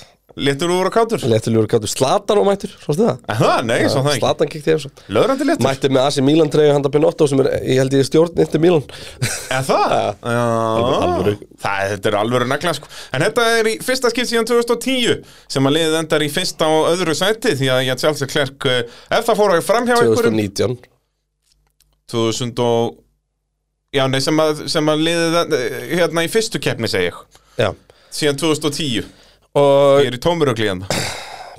S2: Léttur úr og kátur?
S1: Léttulegur gáttur Slatan og mættur, svo stuða
S2: Það, nei, svo það ekki
S1: Slatan kikti eins og
S2: Löðrandi léttur?
S1: Mættur með Asi Milan treyju handa Pinotto sem er, ég held ég stjórn Inter Milan
S2: Er það? Já
S1: alvöru.
S2: Það, þetta er alvöru negla sko En þetta er í fyrsta skipt síðan 2010 sem að liðið endar í fyrsta og öðru sæti því að ég tjáls að klerk eh, ef það fór að framhjá einhverjum
S1: 2019
S2: 2000 og Já, nei, sem að, sem að liðið eh, hérna í fyrstu keppni segi ég
S1: Já
S2: síðan 2010
S1: Og
S2: Ég er í hérna. tómurugliðan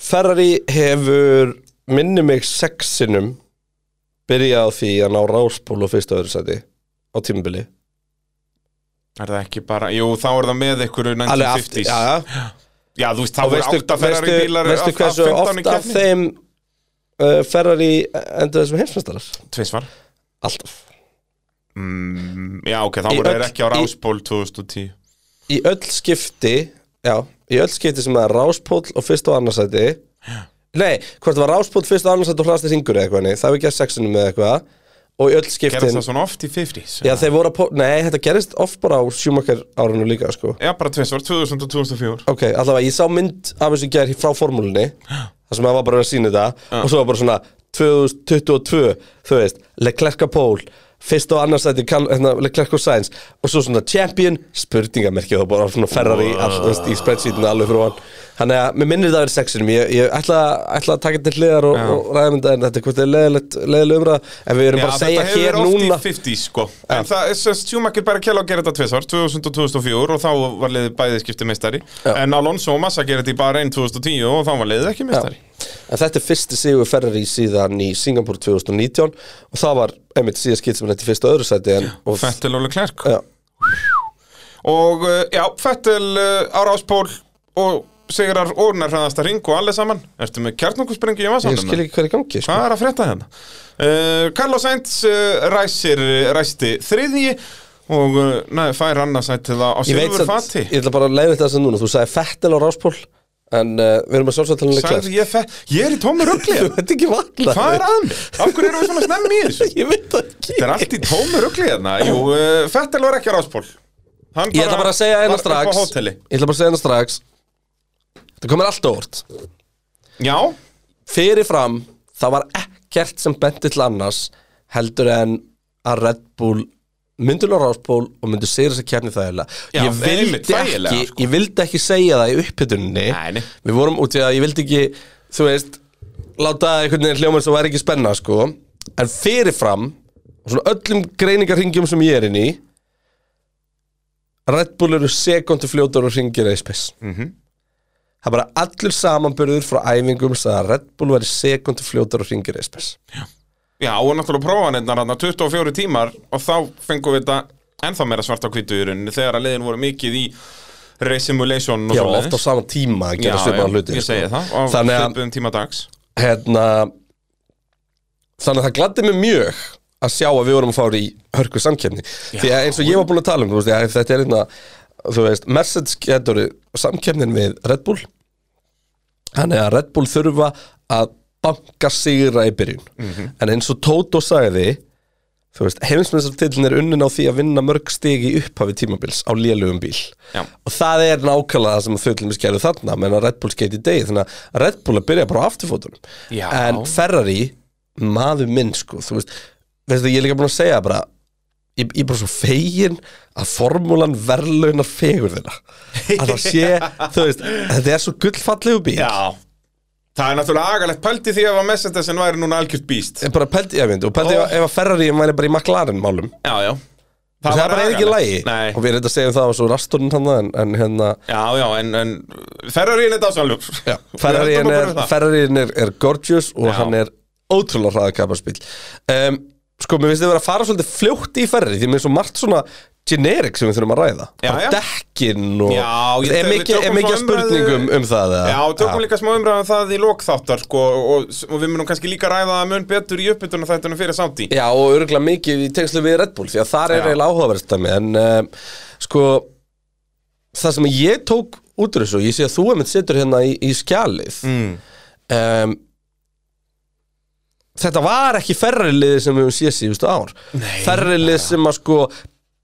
S1: Ferrari hefur minni mig sexinum byrjað á því að ná ráspól og fyrsta öðru sæti á tímabili
S2: Er það ekki bara, jú þá er það með einhverju
S1: Alveg aft,
S2: 1950s
S1: já,
S2: Já, þú veist, þá
S1: og
S2: voru
S1: veistu,
S2: átta ferrar í
S1: veistu,
S2: bílar
S1: veistu
S2: af-
S1: hversu
S2: af 15 í
S1: oft af
S2: keppni.
S1: þeim uh, Ferrari endur þessum heimsmestarar
S2: Tvisvar
S1: Alltaf
S2: mm, Já, ok, þá
S1: Í
S2: voru þeir
S1: öll-
S2: ekki á
S1: í-
S2: Rásból 2010
S1: í öll skipti já, í öll skipti sem það er ráspóll og fyrst og annarsæti nei, hvort það var ráspóll fyrst og annarsæti og hlaðast í syngur eða eitthvað, nei, það var ekki að sexunum eða eitthvað og í öll
S2: Gerðist
S1: skiptin
S2: það svona oft í 50s
S1: já, þeir voru að, pó- nei, þetta gerist oft bara á sjúmakar árinu líka, sko
S2: Já, bara tvisvar, 2000 og 2004
S1: ok, allavega, ég sá mynd af þessu gær frá formúlunni þar sem það var bara að sína þetta og svo var bara svona 2022 þú veist, Leclerc að Pól fyrst og annarsæti hérna, Leclerc og Sainz og svo svona champion spurningamerki og bara svona Ferrari all, þú veist, í spreadsheetinu alveg fyrir hann þannig að mér minnir þetta að vera sexinum ég, ég ætla, ætla að taka þetta til hliðar og, og ræðum þetta en þetta er hvort þetta er leðilegt leðileg umræð en við erum bara að segja
S2: þetta hefur
S1: hér
S2: verið
S1: núna
S2: oft í 50s, sko En það er sem Sjúmakir bara kjæla að gera þetta tvisvar 2000 og 2004 og þá var liðið bæðið skipti meistari
S1: Já.
S2: En Alonso og Massa gerði þetta í bara 1 2010 og þá var liðið ekki meistari
S1: En þetta er fyrsti sigur Ferrari síðan í Singapur 2019 og það var einmitt síðan skipt sem þetta í fyrsta og öðru sæti en, og,
S2: Fettel og Leclerc
S1: já,
S2: Og uh, já, Fettel uh, á Ráspól og Sigrar og nærhraðasta ring og allir saman Ertu með kjarnokusprengi í
S1: ég skil
S2: vasanum?
S1: ekki hver í gangi sko.
S2: Hvað er að frétta hérna? Uh, Carlos Sainz uh, ræsir ræsti þriðji og uh, neð, fær annarsætið á, á
S1: Ég veit
S2: silfur
S1: samt,
S2: fati
S1: ég ætla bara að leiða þetta sem núna þú sagði Fettel á Ráspól En uh, við erum að sjálfsagt tala um Leclerc
S2: Sagði ég það? Ég er í tómi ruggli
S1: (laughs) Þú veit ekki vakna
S2: Hvað er að mig? Af hverju erum við svona snemmi í þessu?
S1: (laughs) Ég veit það ekki
S2: Þetta er allt í tómi ruggli hérna Jú, uh, Fettel var ekki á ráspól Hann
S1: Ég ætla bara að segja eina
S2: var upp á
S1: strax
S2: hóteli.
S1: Ég ætla bara að segja eina strax Það komir allt á orð
S2: Já,
S1: Fyrirfram, það var ekkert sem benti til annars heldur en að Red Bull myndu lóra áspól og myndu sigur þess að kefni þægilega
S2: Já,
S1: ég vildi,
S2: einmitt, þægilega,
S1: ekki,
S2: sko.
S1: ég vildi ekki segja það í upphitunni
S2: Nei, nei.
S1: Við vorum út í að ég vildi ekki þú veist, láta einhvern veginn hljóma sem var ekki spenna sko en fyrirfram, og svona öllum greiningarringjum sem ég er inn í Red Bull eru sekundu fljótar og ringir eða í spes
S2: Mhm.
S1: Það er bara allur samanbyrður frá æfingum sagði að Red Bull væri sekundu fljótar og ringir eða í spes
S2: já, og náttúrulega prófanirnar hann 24 tímar og þá fengum við þetta ennþá meira svart á hvítu í rauninni þegar að leiðin voru mikið í race simulation og
S1: Já,
S2: svoleiðis.
S1: oft á sama tíma að gera svipaðan hluti sko.
S2: ég segi það, á
S1: Þannig að,
S2: svipuðum tíma dags
S1: hérna Þannig að það gladdi mig mjög að sjá að við vorum að fara í hörku samkeppni Því að eins og ég var búin að tala um, þú veist, ég, þetta er einna Þú veist, Mercedes getur samkeppnin við Red Bull Þannig að Red Bull þurfa að banka sigra í byrjun En eins og Tóto sagði Þú veist, heimsmyndsartillin er unnin á því að vinna mörg stig í upphafi tímabils á lélugum bíl
S2: Já.
S1: og það er nákvæmlega það sem þau til mér skerðu þarna menn að Red Bull skeiti í degi þannig að Red Bull er að byrja bara á afturfótunum
S2: Já.
S1: en Ferrari, maður minn sko, þú veist, veist ég er líka búin að segja bara ég, ég er bara svo fegin að formúlan verðlaunar fegur þeirra að það sé,
S2: (laughs)
S1: þú veist, þetta er svo gullfallegu bíl
S2: Já Það er náttúrulega agalegt pælti því ef að Mercedesin væri núna algjört býst
S1: En bara pældi, ég veit, og pældi
S2: Ó.
S1: ef, ef að Ferrari væri bara í McLaren málum
S2: Já, já
S1: það, það
S2: væri
S1: bara er ekki í
S2: agalegt.
S1: lagi
S2: Nei
S1: og við erum þetta að segja um það og svo rasturinn hann en, en hérna
S2: Já, já, en, en Ferrarín er dásanlug
S1: Ferrarin er, Ferrarin er, er gorgeous og
S2: Já.
S1: hann er ótrúlega hraða kapparspíl um, sko, mér finnst þið vera að fara svolítið fljótt í Ferrari því mér er svo margt svona generic sem við þurfum að ræða
S2: Já,
S1: bara
S2: já.
S1: dekkin og
S2: Já, ég-
S1: er
S2: við
S1: mikið, er
S2: tökum
S1: mikið
S2: svo
S1: spurningum um það eða?
S2: Já, tökum líka smá umræðan það í lokþáttar sko, og, og við munum kannski líka ræða það mun betur í uppbytuna þættunum fyrir samtí
S1: Já, og örgulega mikið í tengslu við Red Bull því að þar er
S2: Já.
S1: eiginlega áhugaverðst dæmi en uh, sko það sem ég tók út úr þessu og ég sé að þú emitt situr hérna í, í skjalið
S2: mm.
S1: um, þetta var ekki ferrilið sem við höfum séð síðustu ár ferrilið sem að sko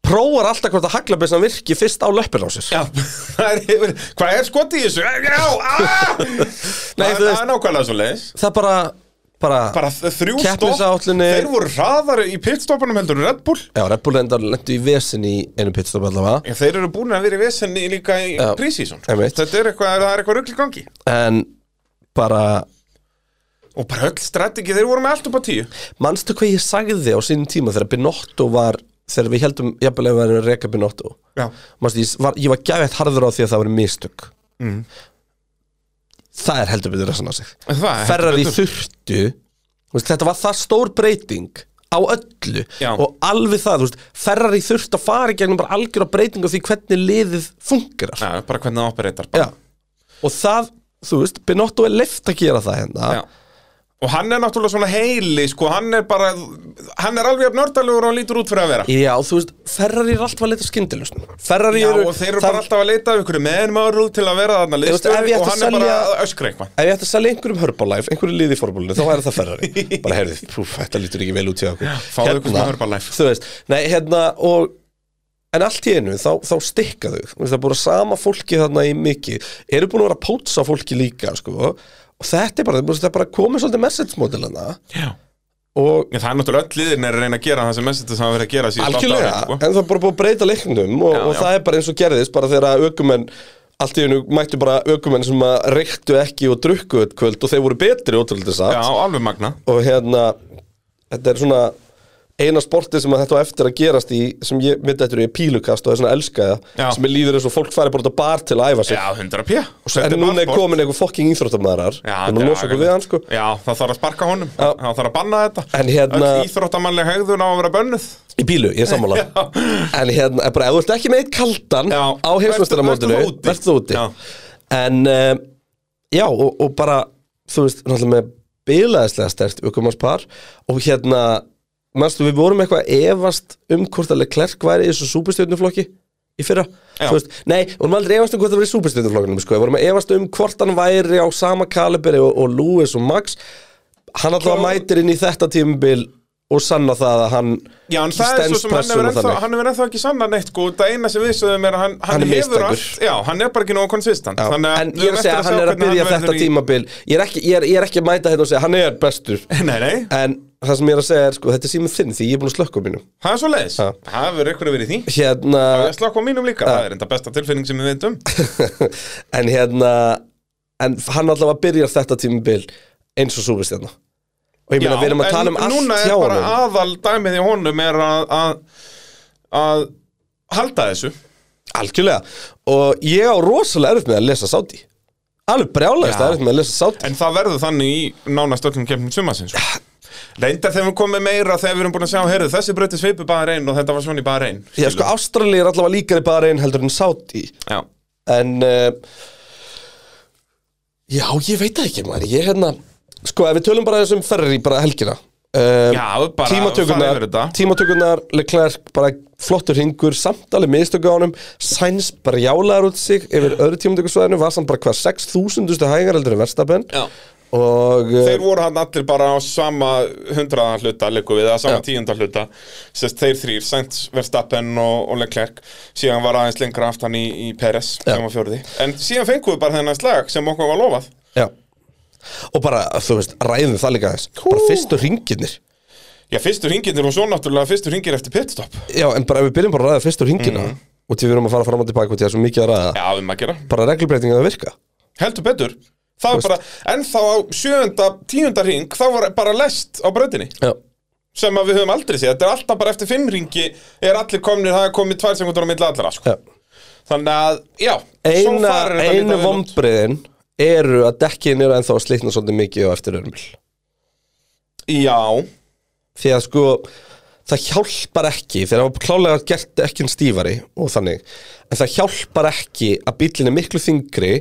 S1: prófar alltaf hvort að hagla byrsan virki fyrst á löppin á sér
S2: Já, (laughs) það er yfir Hvað er skoti í þessu? Já,
S1: (laughs)
S2: aaaah
S1: Nei,
S2: Það
S1: þú
S2: það
S1: veist-
S2: er nákvæmlega svo leiðis
S1: það bara, bara,
S2: Bara þ- þrjú stopp
S1: Keppnisáætlunin-
S2: Þeir voru hraðar í pitstoppunum heldur en Red Bull
S1: já, Red Bull reyndar lendu í vesen í einu pitstop allavega
S2: Já, þeir eru búin að vera í vesenni líka í
S1: Já,
S2: prísísón
S1: einmitt.
S2: Þetta er eitthvað, það er eitthvað rugl í gangi
S1: en bara
S2: Og bara öll strategi, þeir voru með allt upp á tíu
S1: Manstu hvað ég sagði á sínum tíma þegar Binotto var, þegar við heldum jafnvel að við erum að reka Binotto
S2: Já,
S1: Manstu, ég var, ég var gæfett harður á því að það var mistök
S2: Mm.
S1: Það er heldur betur að sanna sig
S2: það er heldur
S1: Ferrar í
S2: betur.
S1: þurftu þú veist, Þetta var það stór breyting á öllu
S2: Já.
S1: og alveg það, þú veist, ferrar í þurft að fara í gegnum bara algjör á breyting á því hvernig liðið fungerar
S2: Já bara hvernig það operétar
S1: Já. og það, þú veist, Binotto er leift að gera það hérna
S2: Já. Og hann er náttúrulega svona heili, sko, hann er bara Hann er alveg jafn nördalegur og hann lítur út fyrir að vera
S1: Já, þú veist, Ferrari er alltaf að leita skyndilusn Ferrari
S2: Já,
S1: eru
S2: og þeir eru
S1: það-
S2: bara alltaf að leita af ykkur meðinmáruð til að vera þarna
S1: veist, ef
S2: liðstjóri
S1: ég ætti
S2: og hann
S1: að
S2: er bara
S1: selja-
S2: að öskra eitthvað
S1: Ef ég ætti að selja einhverjum Herbalife, einhverju liði í formúlinu, þá væri það
S2: (laughs)
S1: Ferrari Bara heyrðu, púf, þetta lítur ekki vel út hjá okkur Hérna,
S2: fáðu ykkur smá Herbalife.
S1: Þú veist, nei, hérna, og En allt í einu, þá, þá stikka þau Þú veist, Það er búin að sama fólki þarna í mikið Eru búin að vera að pótsa fólki líka, sko Og þetta er bara, þú veist, það er bara komið svolítið message modelina
S2: Já
S1: Og
S2: Það er náttúrulega öll liðin er að reyna að gera það sem message hafa verið að gera síðan
S1: Algjörlega, en það er bara búið að breyta leiknum og,
S2: sko. Já,
S1: og
S2: já.
S1: það er bara eins og gerðist bara þegar aukumenn, allt í hennu mættu bara aukumenn sem að reyktu ekki og drukku eitt kvöld og þeir voru betri ótrúlega satt
S2: Já, alveg magna
S1: og hérna, þetta er svona eina sportið sem að þetta á eftir að gerast í sem ég mitt eftir er pílukast og það er svona elskaða
S2: Já.
S1: sem ég líður eins og fólk fari bara út á bar til að æfa sig
S2: Já, 100 p
S1: en núna er komin einhver fokking íþróttamæðarar
S2: Já,
S1: þannig að losa okkur við hann sko
S2: Já, það þarf að sparka honum, það þarf að banna þetta
S1: En hérna-
S2: Öll íþróttamannleg hegðun á að vera bönnuð
S1: Í bílu, ég er
S2: (laughs)
S1: sammála En hérna, er bara, ef þú ert ekki með eitt kaldan
S2: Já.
S1: á heimsmeistaramótinu,
S2: Vertu- vertu þá
S1: verður þú úti
S2: úti. Já.
S1: En, um, já, og, og bara, þú veist, náttúrulega með bilaðislega stert aukumannspar og hérna, manstu, við vorum eitthvað að efast um hvort að Leclerc væri í þessu súpustjörnuflokki í fyrra
S2: Já.
S1: Þú veist, Nei, við vorum aldrei efast um hvort það var í superstunduflokkunum sko. Við vorum að efast um hvort hann væri á sama kaliberi og, og Lewis og Max Hann alltaf
S2: Kjó-
S1: mætir inn í þetta tímabil og sanna það að hann
S2: Já, en það er
S1: stenst
S2: svo sem hann hefur
S1: pressuna
S2: ennþá,
S1: þannig.
S2: hann hefur ennþá ekki sannað neitt sko, það eina sem við sögum er að hann, hann,
S1: Hann er
S2: hefur
S1: mistækur.
S2: allt Já, hann er bara ekki nógu konsistent
S1: Já,
S2: Þannig
S1: en
S2: við
S1: ég er að
S2: höfum eftir
S1: segja að hann er
S2: sjá
S1: að
S2: hvernig
S1: byrja þetta
S2: verður í-
S1: tímabil ég er, ekki, ég, er, ég er ekki að mæta hérna og segja hann er bestur
S2: (laughs) Nei, nei,
S1: En það sem ég er að segja er sko, þetta er símur þinn því ég er búin að slökka á mínum
S2: það er svo leiðis
S1: Já.
S2: Það hefur ykkur verið í því
S1: Hérna
S2: Það er slakk á mínum líka, það er enda besta tilfinning sem við veitum
S1: En hérna En hann allavega byrjar þetta tímabil eins og súbistjarna Og ég meina við erum að tala um allt
S2: Núna
S1: hjá
S2: er bara
S1: honum
S2: aðal dæmið í honum er að, að, að halda þessu
S1: Algjörlega Og ég á rosalega erfitt með að lesa sáti Alveg brjálægist
S2: Já.
S1: erfitt með að lesa sáti
S2: En það verður þannig í nánast öllum kemnum sumasins Reyndar þegar við komum með meira þegar við erum búin að sjá, heyrðu, þessi breytið svipu bara einn og þetta var svona í bara einn
S1: Já sko Ástralía er allavega líkari bara einn heldur en sáti
S2: Já,
S1: En uh, Já, ég veit það ekki maður Ég hérna Sko, ef við tölum bara þessum ferri bara helgina um,
S2: Já, bara fara yfir
S1: Tímatökunar,
S2: þetta.
S1: tímatökunar Leclerc bara flottur hringur Samt alveg miðstöku á honum Sainz bara jálaðar út sig Yfir öðru tímatökusvæðinu var samt bara hver 6000 hægar heldur en verstabenn
S2: Já.
S1: Og eh,
S2: þeir voru hann allir bara á sama hundraðan hluta leikum við, að sama tíunda hluta sérst þeir þrýr, Sainz, Verstappen og, og Leclerc, síðan var aðeins lengra aftan í, í Peres, sem var fjórði en síðan fengum við bara þennan slag sem okkur var lofað
S1: Já Og bara, þú veist, ræðum það líka aðeins Bara fyrstu hringinir
S2: Já, fyrstur hringinir og svo náttúrulega fyrstur hringir eftir pitstop
S1: Já, en bara ef við byrjum bara að ræða fyrstu hringina
S2: Mhm.
S1: mm. Og til við erum að fara fram og tilbaka Og til það er svo mikið að ræða
S2: Já, við maður að gera,
S1: Bara reglubreitingin að virka
S2: heldur betur Það var bara, en þá á sjöunda, tíunda hring, þá var bara lest á brautinni
S1: Já
S2: sem að við höfum aldrei séð, þetta er alltaf bara eftir fimm ringi er allir komnir, það er komið tvær sekundur á milli allra, sko
S1: Já.
S2: Þannig að, já, svo
S1: Eina,
S2: far er þetta
S1: einu
S2: lítið vel út.
S1: vombriðin eru að dekkin eru ennþá að slitna svolítið mikið á eftir örmul
S2: Já,
S1: því að sko það hjálpar ekki þegar það var klálega gert ekki stífari og þannig en það hjálpar ekki að bíllinn er miklu þingri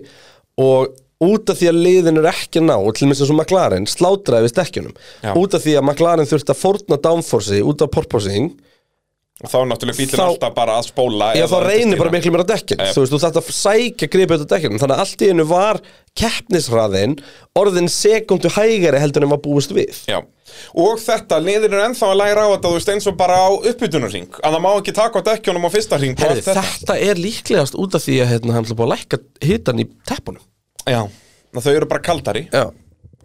S1: og út af því að liðin eru ekki að ná til minnst eins og McLaren slátraði við stekkjunum
S2: Já.
S1: út af því að McLaren þurfti að fórna downforce út af porpoising
S2: og þá er náttúrulega bílinn
S1: Þá-
S2: alltaf bara að spóla
S1: Já,
S2: eða
S1: þá reynir
S2: undirstýra.
S1: bara miklu mér á dekkin Þú veist, þú þarft að sækja gripið út á dekkinu Þannig að allt í einu var keppnisraðin Orðin sekundu hægari heldur en var búist við
S2: Já, og þetta, liðin er ennþá að læra á þetta, þú veist, eins og bara á uppbytunarring að það má ekki taka á dekkjónum á fyrsta ring
S1: Herri, þetta. er líklegast út af því að hérna, hann ætla búið að lækka hitan í teppunum
S2: Já, Ná, þau eru bara kaldari
S1: Já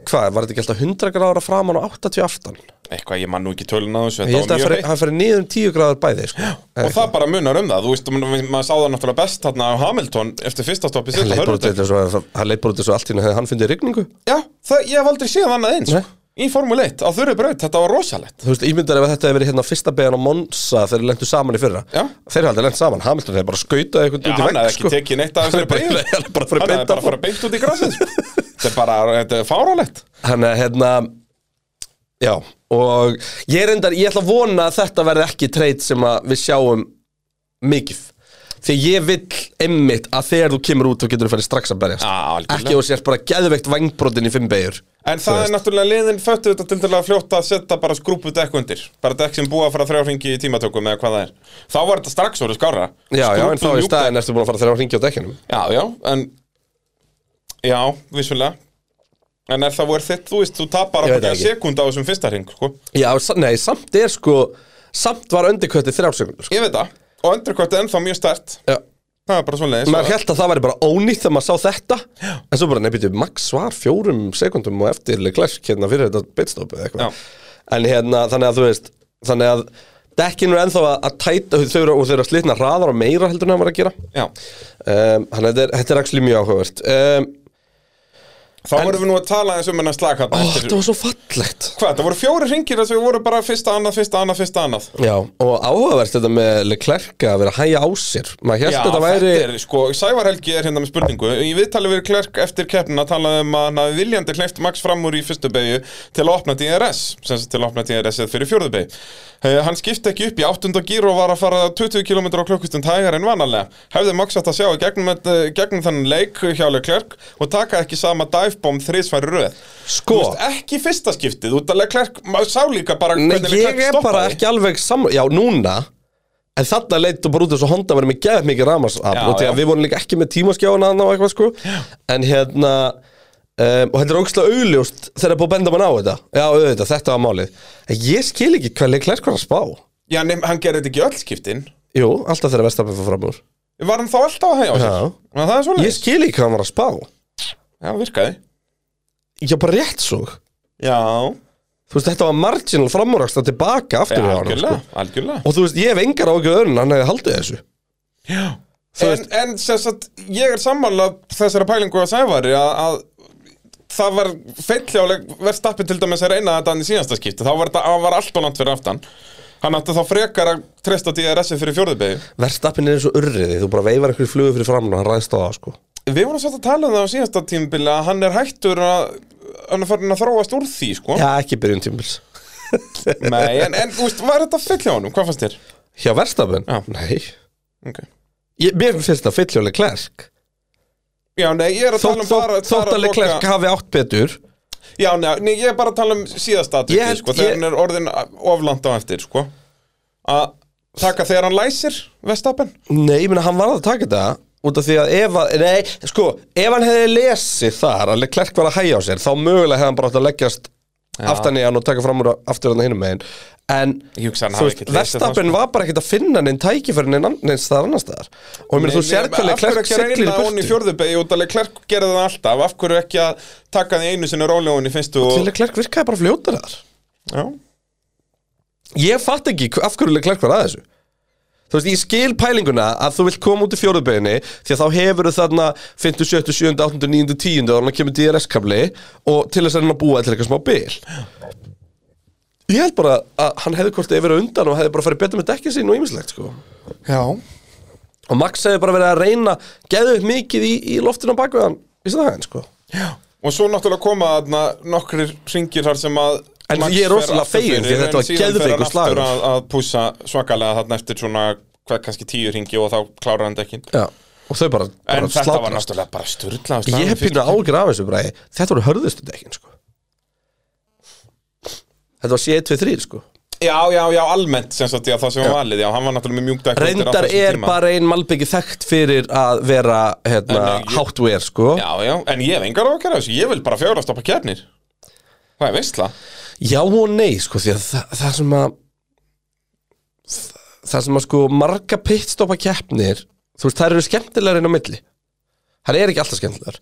S1: Hvað, var þetta ekki alltaf 100 gráður að framan og 80 aftan?
S2: eitthvað, ég man nú ekki tölun á þessu
S1: Ég
S2: þetta
S1: held að
S2: var mjög
S1: hann fer-
S2: hreitt
S1: hann fyrir niður um 10 gráður bæði sko.
S2: og það bara munar um það, þú veist, ma- maður sá það náttúrulega best þarna á Hamilton eftir fyrsta stoppi
S1: Hann
S2: seinna
S1: leit bara út
S2: hörfudeild.
S1: eins og- hann leit bara út eins og allt í einu hefði hann fundið rigningu
S2: Já, það, ég hef aldrei séð annað eins
S1: Nei.
S2: í Formule 1, á þurri braut, þetta var rosalegt
S1: Þú veist, ímyndar ef þetta hefði verið hérna á fyrsta beðan á Monza þegar þeir lentu saman í fyrra
S2: Já.
S1: Þeir hafði lent saman, Hamilton hefði bara skautað eitthvað út
S2: Já,
S1: í
S2: hann
S1: vegg
S2: hefði ekki tekið neitt af
S1: (laughs) Hann sko. er
S2: þessari
S1: bara-
S2: beygju.
S1: hann er bara að fara
S2: Hann hefði
S1: beint
S2: bara að fara beint út í grasið sko. Þetta er bara, þetta er fárálegt
S1: Þannig að hérna Já, og ég er endar Ég ætla að vona að þetta verði ekki treyt sem að við sjáum mikið Því ég vill einmitt að þegar þú kemur út þá getur þú farið strax að berjast
S2: Já, algjörlega.
S1: Ekki og sérst bara geðveikt vangbrotin í fimm beigur
S2: En það er náttúrulega liðin föttu þetta til til að fljóta að setja bara skrúpu dekk undir Bara dekk sem búa að fara þrjáfingi í tímatökum eða hvað það er Þá var þetta strax orðið skárra
S1: Já, já, en þá í
S2: Skrúpuð mjúk dekk.
S1: staðin ertu búin að fara þegar að ringja á dekkinum
S2: Já, já, en Já, vissulega En er það voru þitt, þú veist, þú tapar
S1: Ég veit
S2: að
S1: það
S2: byrja
S1: ekki.
S2: sekund á þessum fyrsta hring sko.
S1: Já, sa- nei, samt er sko Samt var undirköttið þrjár sekundur sko.
S2: Ég veit það, og endurkvæmt ennþá mjög stert
S1: Já
S2: Það er bara svoleiðis
S1: Maður held að það væri bara ónýtt þegar maður sá þetta En svo bara nefnir Max var fjórum sekundum og eftir Leclerc hérna fyrir þetta bitstop eða
S2: Já.
S1: eitthvað En hérna þannig að þú veist Þannig að dekkinu er ennþá að, að tæta þau eru, og þau eru að slitna hraðar og meira heldur en hann var að gera
S2: Já,
S1: um, Þannig að þetta er, þetta er actually mjög áhugavert um,
S2: þá vorum við nú að tala eins um hennar slaka
S1: Ó, þetta var svo fallegt
S2: Hvað, það voru fjóri hringir þess að við voru bara fyrsta annað, fyrsta annað, fyrsta annað
S1: Já, og áhugavert þetta með Leclerc að vera að hæja á sér Maður held þetta væri
S2: er, sko, Sævar Helgi er hérna með spurningu Í viðtali við Klerk eftir keppnina talaði um að hann hafi viljandi kleift Max fram úr í fyrstu beigju til að opna DRS sem sagt til að opna DRS eða fyrir fjórðu beigju uh, Hann skipti ekki upp í áttunda gír og var að fara 20 km á klukkustund hægar en vanalega Hefði Max átt að sjá í gegnum, uh, gegnum þannig leik hjá Klerk og taka ekki sama divebomb þrísværi röð
S1: Sko.
S2: Þú veist, Ekki í fyrsta skiptið, út að Klerk sá líka bara
S1: Nei,
S2: hvernig
S1: ég
S2: Leclerc
S1: er bara
S2: stoppaði.
S1: ekki alveg samla Já, núna En þarna leitt og bara út þess að Honda verið með geðið mikið ramarsap
S2: Já,
S1: og því
S2: já.
S1: að við vorum líka ekki með tímaskjána annað og eitthvað sko En hérna, um, og þetta er ógstlega augljóst þegar búið að benda mann á þetta Já, auðvitað, þetta var málið En ég skil ekki hvað leik lærkvar að spá
S2: Já, nefn, hann gerði þetta ekki í öll skiptin
S1: Jú, alltaf þegar verðstafið fór fram úr
S2: Var hann þá alltaf að hægja á sér?
S1: Já.
S2: Já Það er svolítið
S1: Ég skil ekki hvað hann var að spá
S2: Já, virkaði
S1: Ég bara rétt svo Þú
S2: Já,
S1: veist, þetta var marginal framúraksta tilbaka aftur
S2: Já,
S1: hjá honum, sko.
S2: algjörlega, algjörlega.
S1: Og þú veist, ég hef engar ágjörð önn, hann hefði haldið þessu Þú
S2: En, en sem sagt, ég er sammála þessara pælingu að sævari að, að það var feilljáleg verðstappi til dæmis að reyna þetta hann í síðasta skipti þá var þetta hann var allt og langt fyrir aftan hann átti þá frekar að treysta DRS-ið fyrir fjórðubegi
S1: Verðstafin er eins og urriði, þú bara veifar einhverju flugu fyrir framann og hann ræðst á það sko
S2: Við vorum svolítið að tala um það á síðasta tímabili að hann er hættur að hann er farin að þróast úr því sko
S1: Já, ekki í byrjun tímils
S2: Nei, en, en úst, var þetta fyll hjá honum? Hvað fannst þér?
S1: Hjá Verstappen?
S2: Já.
S1: Nei
S2: Okay.
S1: ég, Mér finnst það fylljóleg klerk
S2: Já, nei, ég er að
S1: Þótt
S2: tala um bara bara
S1: þótt alveg
S2: loka-
S1: klerk hafi átt betur
S2: Já, nei, nei, ég er bara að tala um
S1: Ég
S2: síðasta atviki,
S1: held-
S2: sko, þegar
S1: ég-
S2: hann er orðin oflant á eftir, sko að taka þegar hann læsir Vestapen
S1: Nei, ég meina hann var að taka þetta Út af því að ef að, nei, sko, ef hann hefði lesið þar að Leclerc var að hæja á sér Þá mögulega hefði hann bara átt að leggjast aftan í hann og taka fram úr aftur hann hinum megin En,
S2: Ég hugsa hann
S1: þú
S2: hafi
S1: veist,
S2: ekkert lesið sko. það,
S1: Verstappen var bara ekkert að finna neinn tækifæri neinn ann- neins þar annars staðar Og ég meina þú sér hvað Leclerc siglir í
S2: Hún í
S1: burtu
S2: fjórðubegi út að Leclerc gerði það alltaf af hverju ekki að taka því einu sinni rólega hún í fyrstu
S1: Til
S2: og...
S1: Leclerc virkaði bara fljótar þar
S2: Já,
S1: Ég fatt ekki hv- af hverju Leclerc var að þessu Þú veist, ég skil pælinguna að þú vilt koma út í fjóruðbeginni því að þá hefur þú þarna 50, 70, 70, 80, 90, 10 og þannig kemur DRS-kabli og til þess að hann að búa til eitthvað smá bil Ég held bara að hann hefði hvort eða verið á undan og hefði bara farið betur með dekkið sín og ýmislegt sko
S2: já
S1: og Max hefði bara verið að reyna geðu upp mikið í, í loftinu á bakveðan í staðan sko
S2: Og svo náttúrulega koma þarna nokkrir ringir þar sem að
S1: En
S2: Max
S1: ég er
S2: fer
S1: rosalega
S2: aftur
S1: feginn
S2: fyrir,
S1: því þetta
S2: en
S1: var
S2: síðan fer
S1: geðveikur
S2: hann aftur
S1: slagur.
S2: að, að púsa svakalega þarna eftir svona hvað kannski tíu ringi og þá klárar hann dekkin
S1: Já, og þau bara, bara
S2: En þetta var
S1: slátrast.
S2: náttúrulega bara styrla
S1: Ég hef pínu ágjur af þessu bræði Þetta voru hörðustu dekkin sko Þetta var C123 sko
S2: Já, já, já, almennt sem sagt, já, það sem var valið, já, hann var náttúrulega með mjúkdæk
S1: Reyndar er bara ein malbyggi þekkt fyrir að vera hérna,
S2: En, ég-
S1: hátver sko já.
S2: Já, já, en ég hef engar á að gera þessu, ég vil bara fjárastoppa kjarnir Það er veistla
S1: og nei sko því að það, það sem að það sem að sko marga pitstoppa keppnir þú veist þær eru skemmtilegar inn á milli Það er ekki alltaf skemmtilegar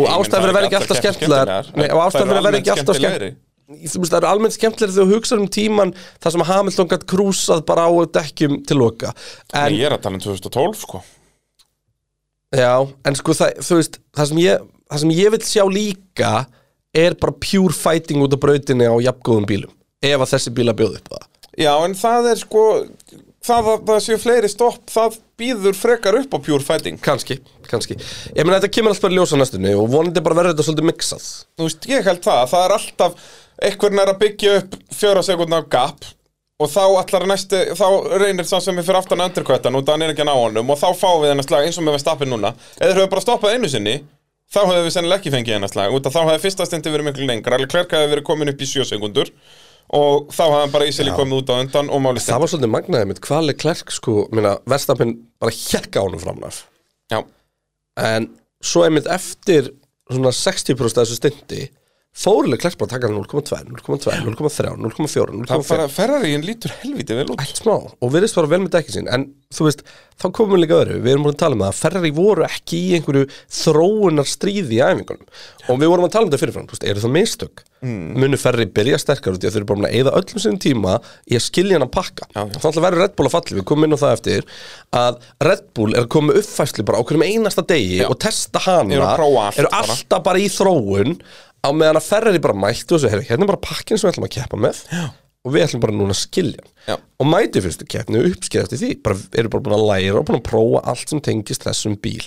S1: og ástæður að vera ekki alltaf skemmtilegar Nei, og ástæður að vera ekki alltaf skemmtilegar þú veist, það eru almennt skemmtilegri þegar þú hugsa um tíman þar sem Hamilton gætt krúsað bara á dekkjum til loka en,
S2: Ég er að tala um 2012, sko
S1: já, en sko það, þú veist, það sem ég það sem ég vil sjá líka er bara pure fighting út af brautinni á jafngóðum bílum, ef að þessi bíla bjóðu upp á það
S2: Já, en það er sko, það að það séu fleiri stopp, það býður frekar upp á pure fighting
S1: kannski, kannski ég meina þetta kemur alltaf bara í ljós á næstunni og vonandi bara verður þetta svolítið mixað
S2: Þú veist, ég held það, það er alltaf, einhvern er að byggja upp fjóra sekundna gap Og þá allar næstu, þá reynir sá sem er fyrir aftan underkvættan og hann er ekki að ná honum og þá fáum við hennar slag eins og með Verstappen núna. Ef þeir höfðu bara stoppað einu sinni, þá höfðu við sennilega ekki fengið hennar slag út að þá hefði fyrsta stundi verið miklu lengra. Alveg klærk hefði verið komin upp í sjö sekundur og þá hefði hann bara ísili komið út á undan og máli
S1: það
S2: stundi.
S1: var svolítið magnaðið mitt, hvalið klerk sko, minna, verstafinn bara hjekka honum framnaf
S2: Já,
S1: en svo einmitt eftir svona 60% af þessu stundi fóruleg klart bara að taka hann 0,2, 0,2, 0,3, 0,4,
S2: það
S1: 0,5
S2: bara Ferraríin lítur helviti vel út.
S1: allt smá og virðist bara vel með dekkin sín en þú veist, þá komum við líka öðru við erum búin að tala um það að Ferrari voru ekki í einhverju þróunar stríði í æfingunum og við vorum að tala um þetta fyrirfram, þú veist, eru það mistök mm. munu Ferrari byrja sterkar út í að þau eru bara búin að eyða öllum sinni tíma í að skilja hann að pakka
S2: Já, já.
S1: þá ætla að vera Red Bull að falli, við komum inn á það eftir að Red Bull er að koma með uppfæslu bara á hverjum einasta degi
S2: Já.
S1: og testa hana
S2: Eru að prófa allt
S1: eru
S2: bara.
S1: alltaf bara í þróun á meðan að Ferrari bara mættu þessu, heyrðu, hérna er bara pakkin sem við ætlum að keppa með Já. og við ætlum bara núna að skilja hann
S2: Já.
S1: og mæti fyrstu keppni og uppskeið eftir því bara, eru bara búin að læra og búin að prófa allt sem tengist þessum bíl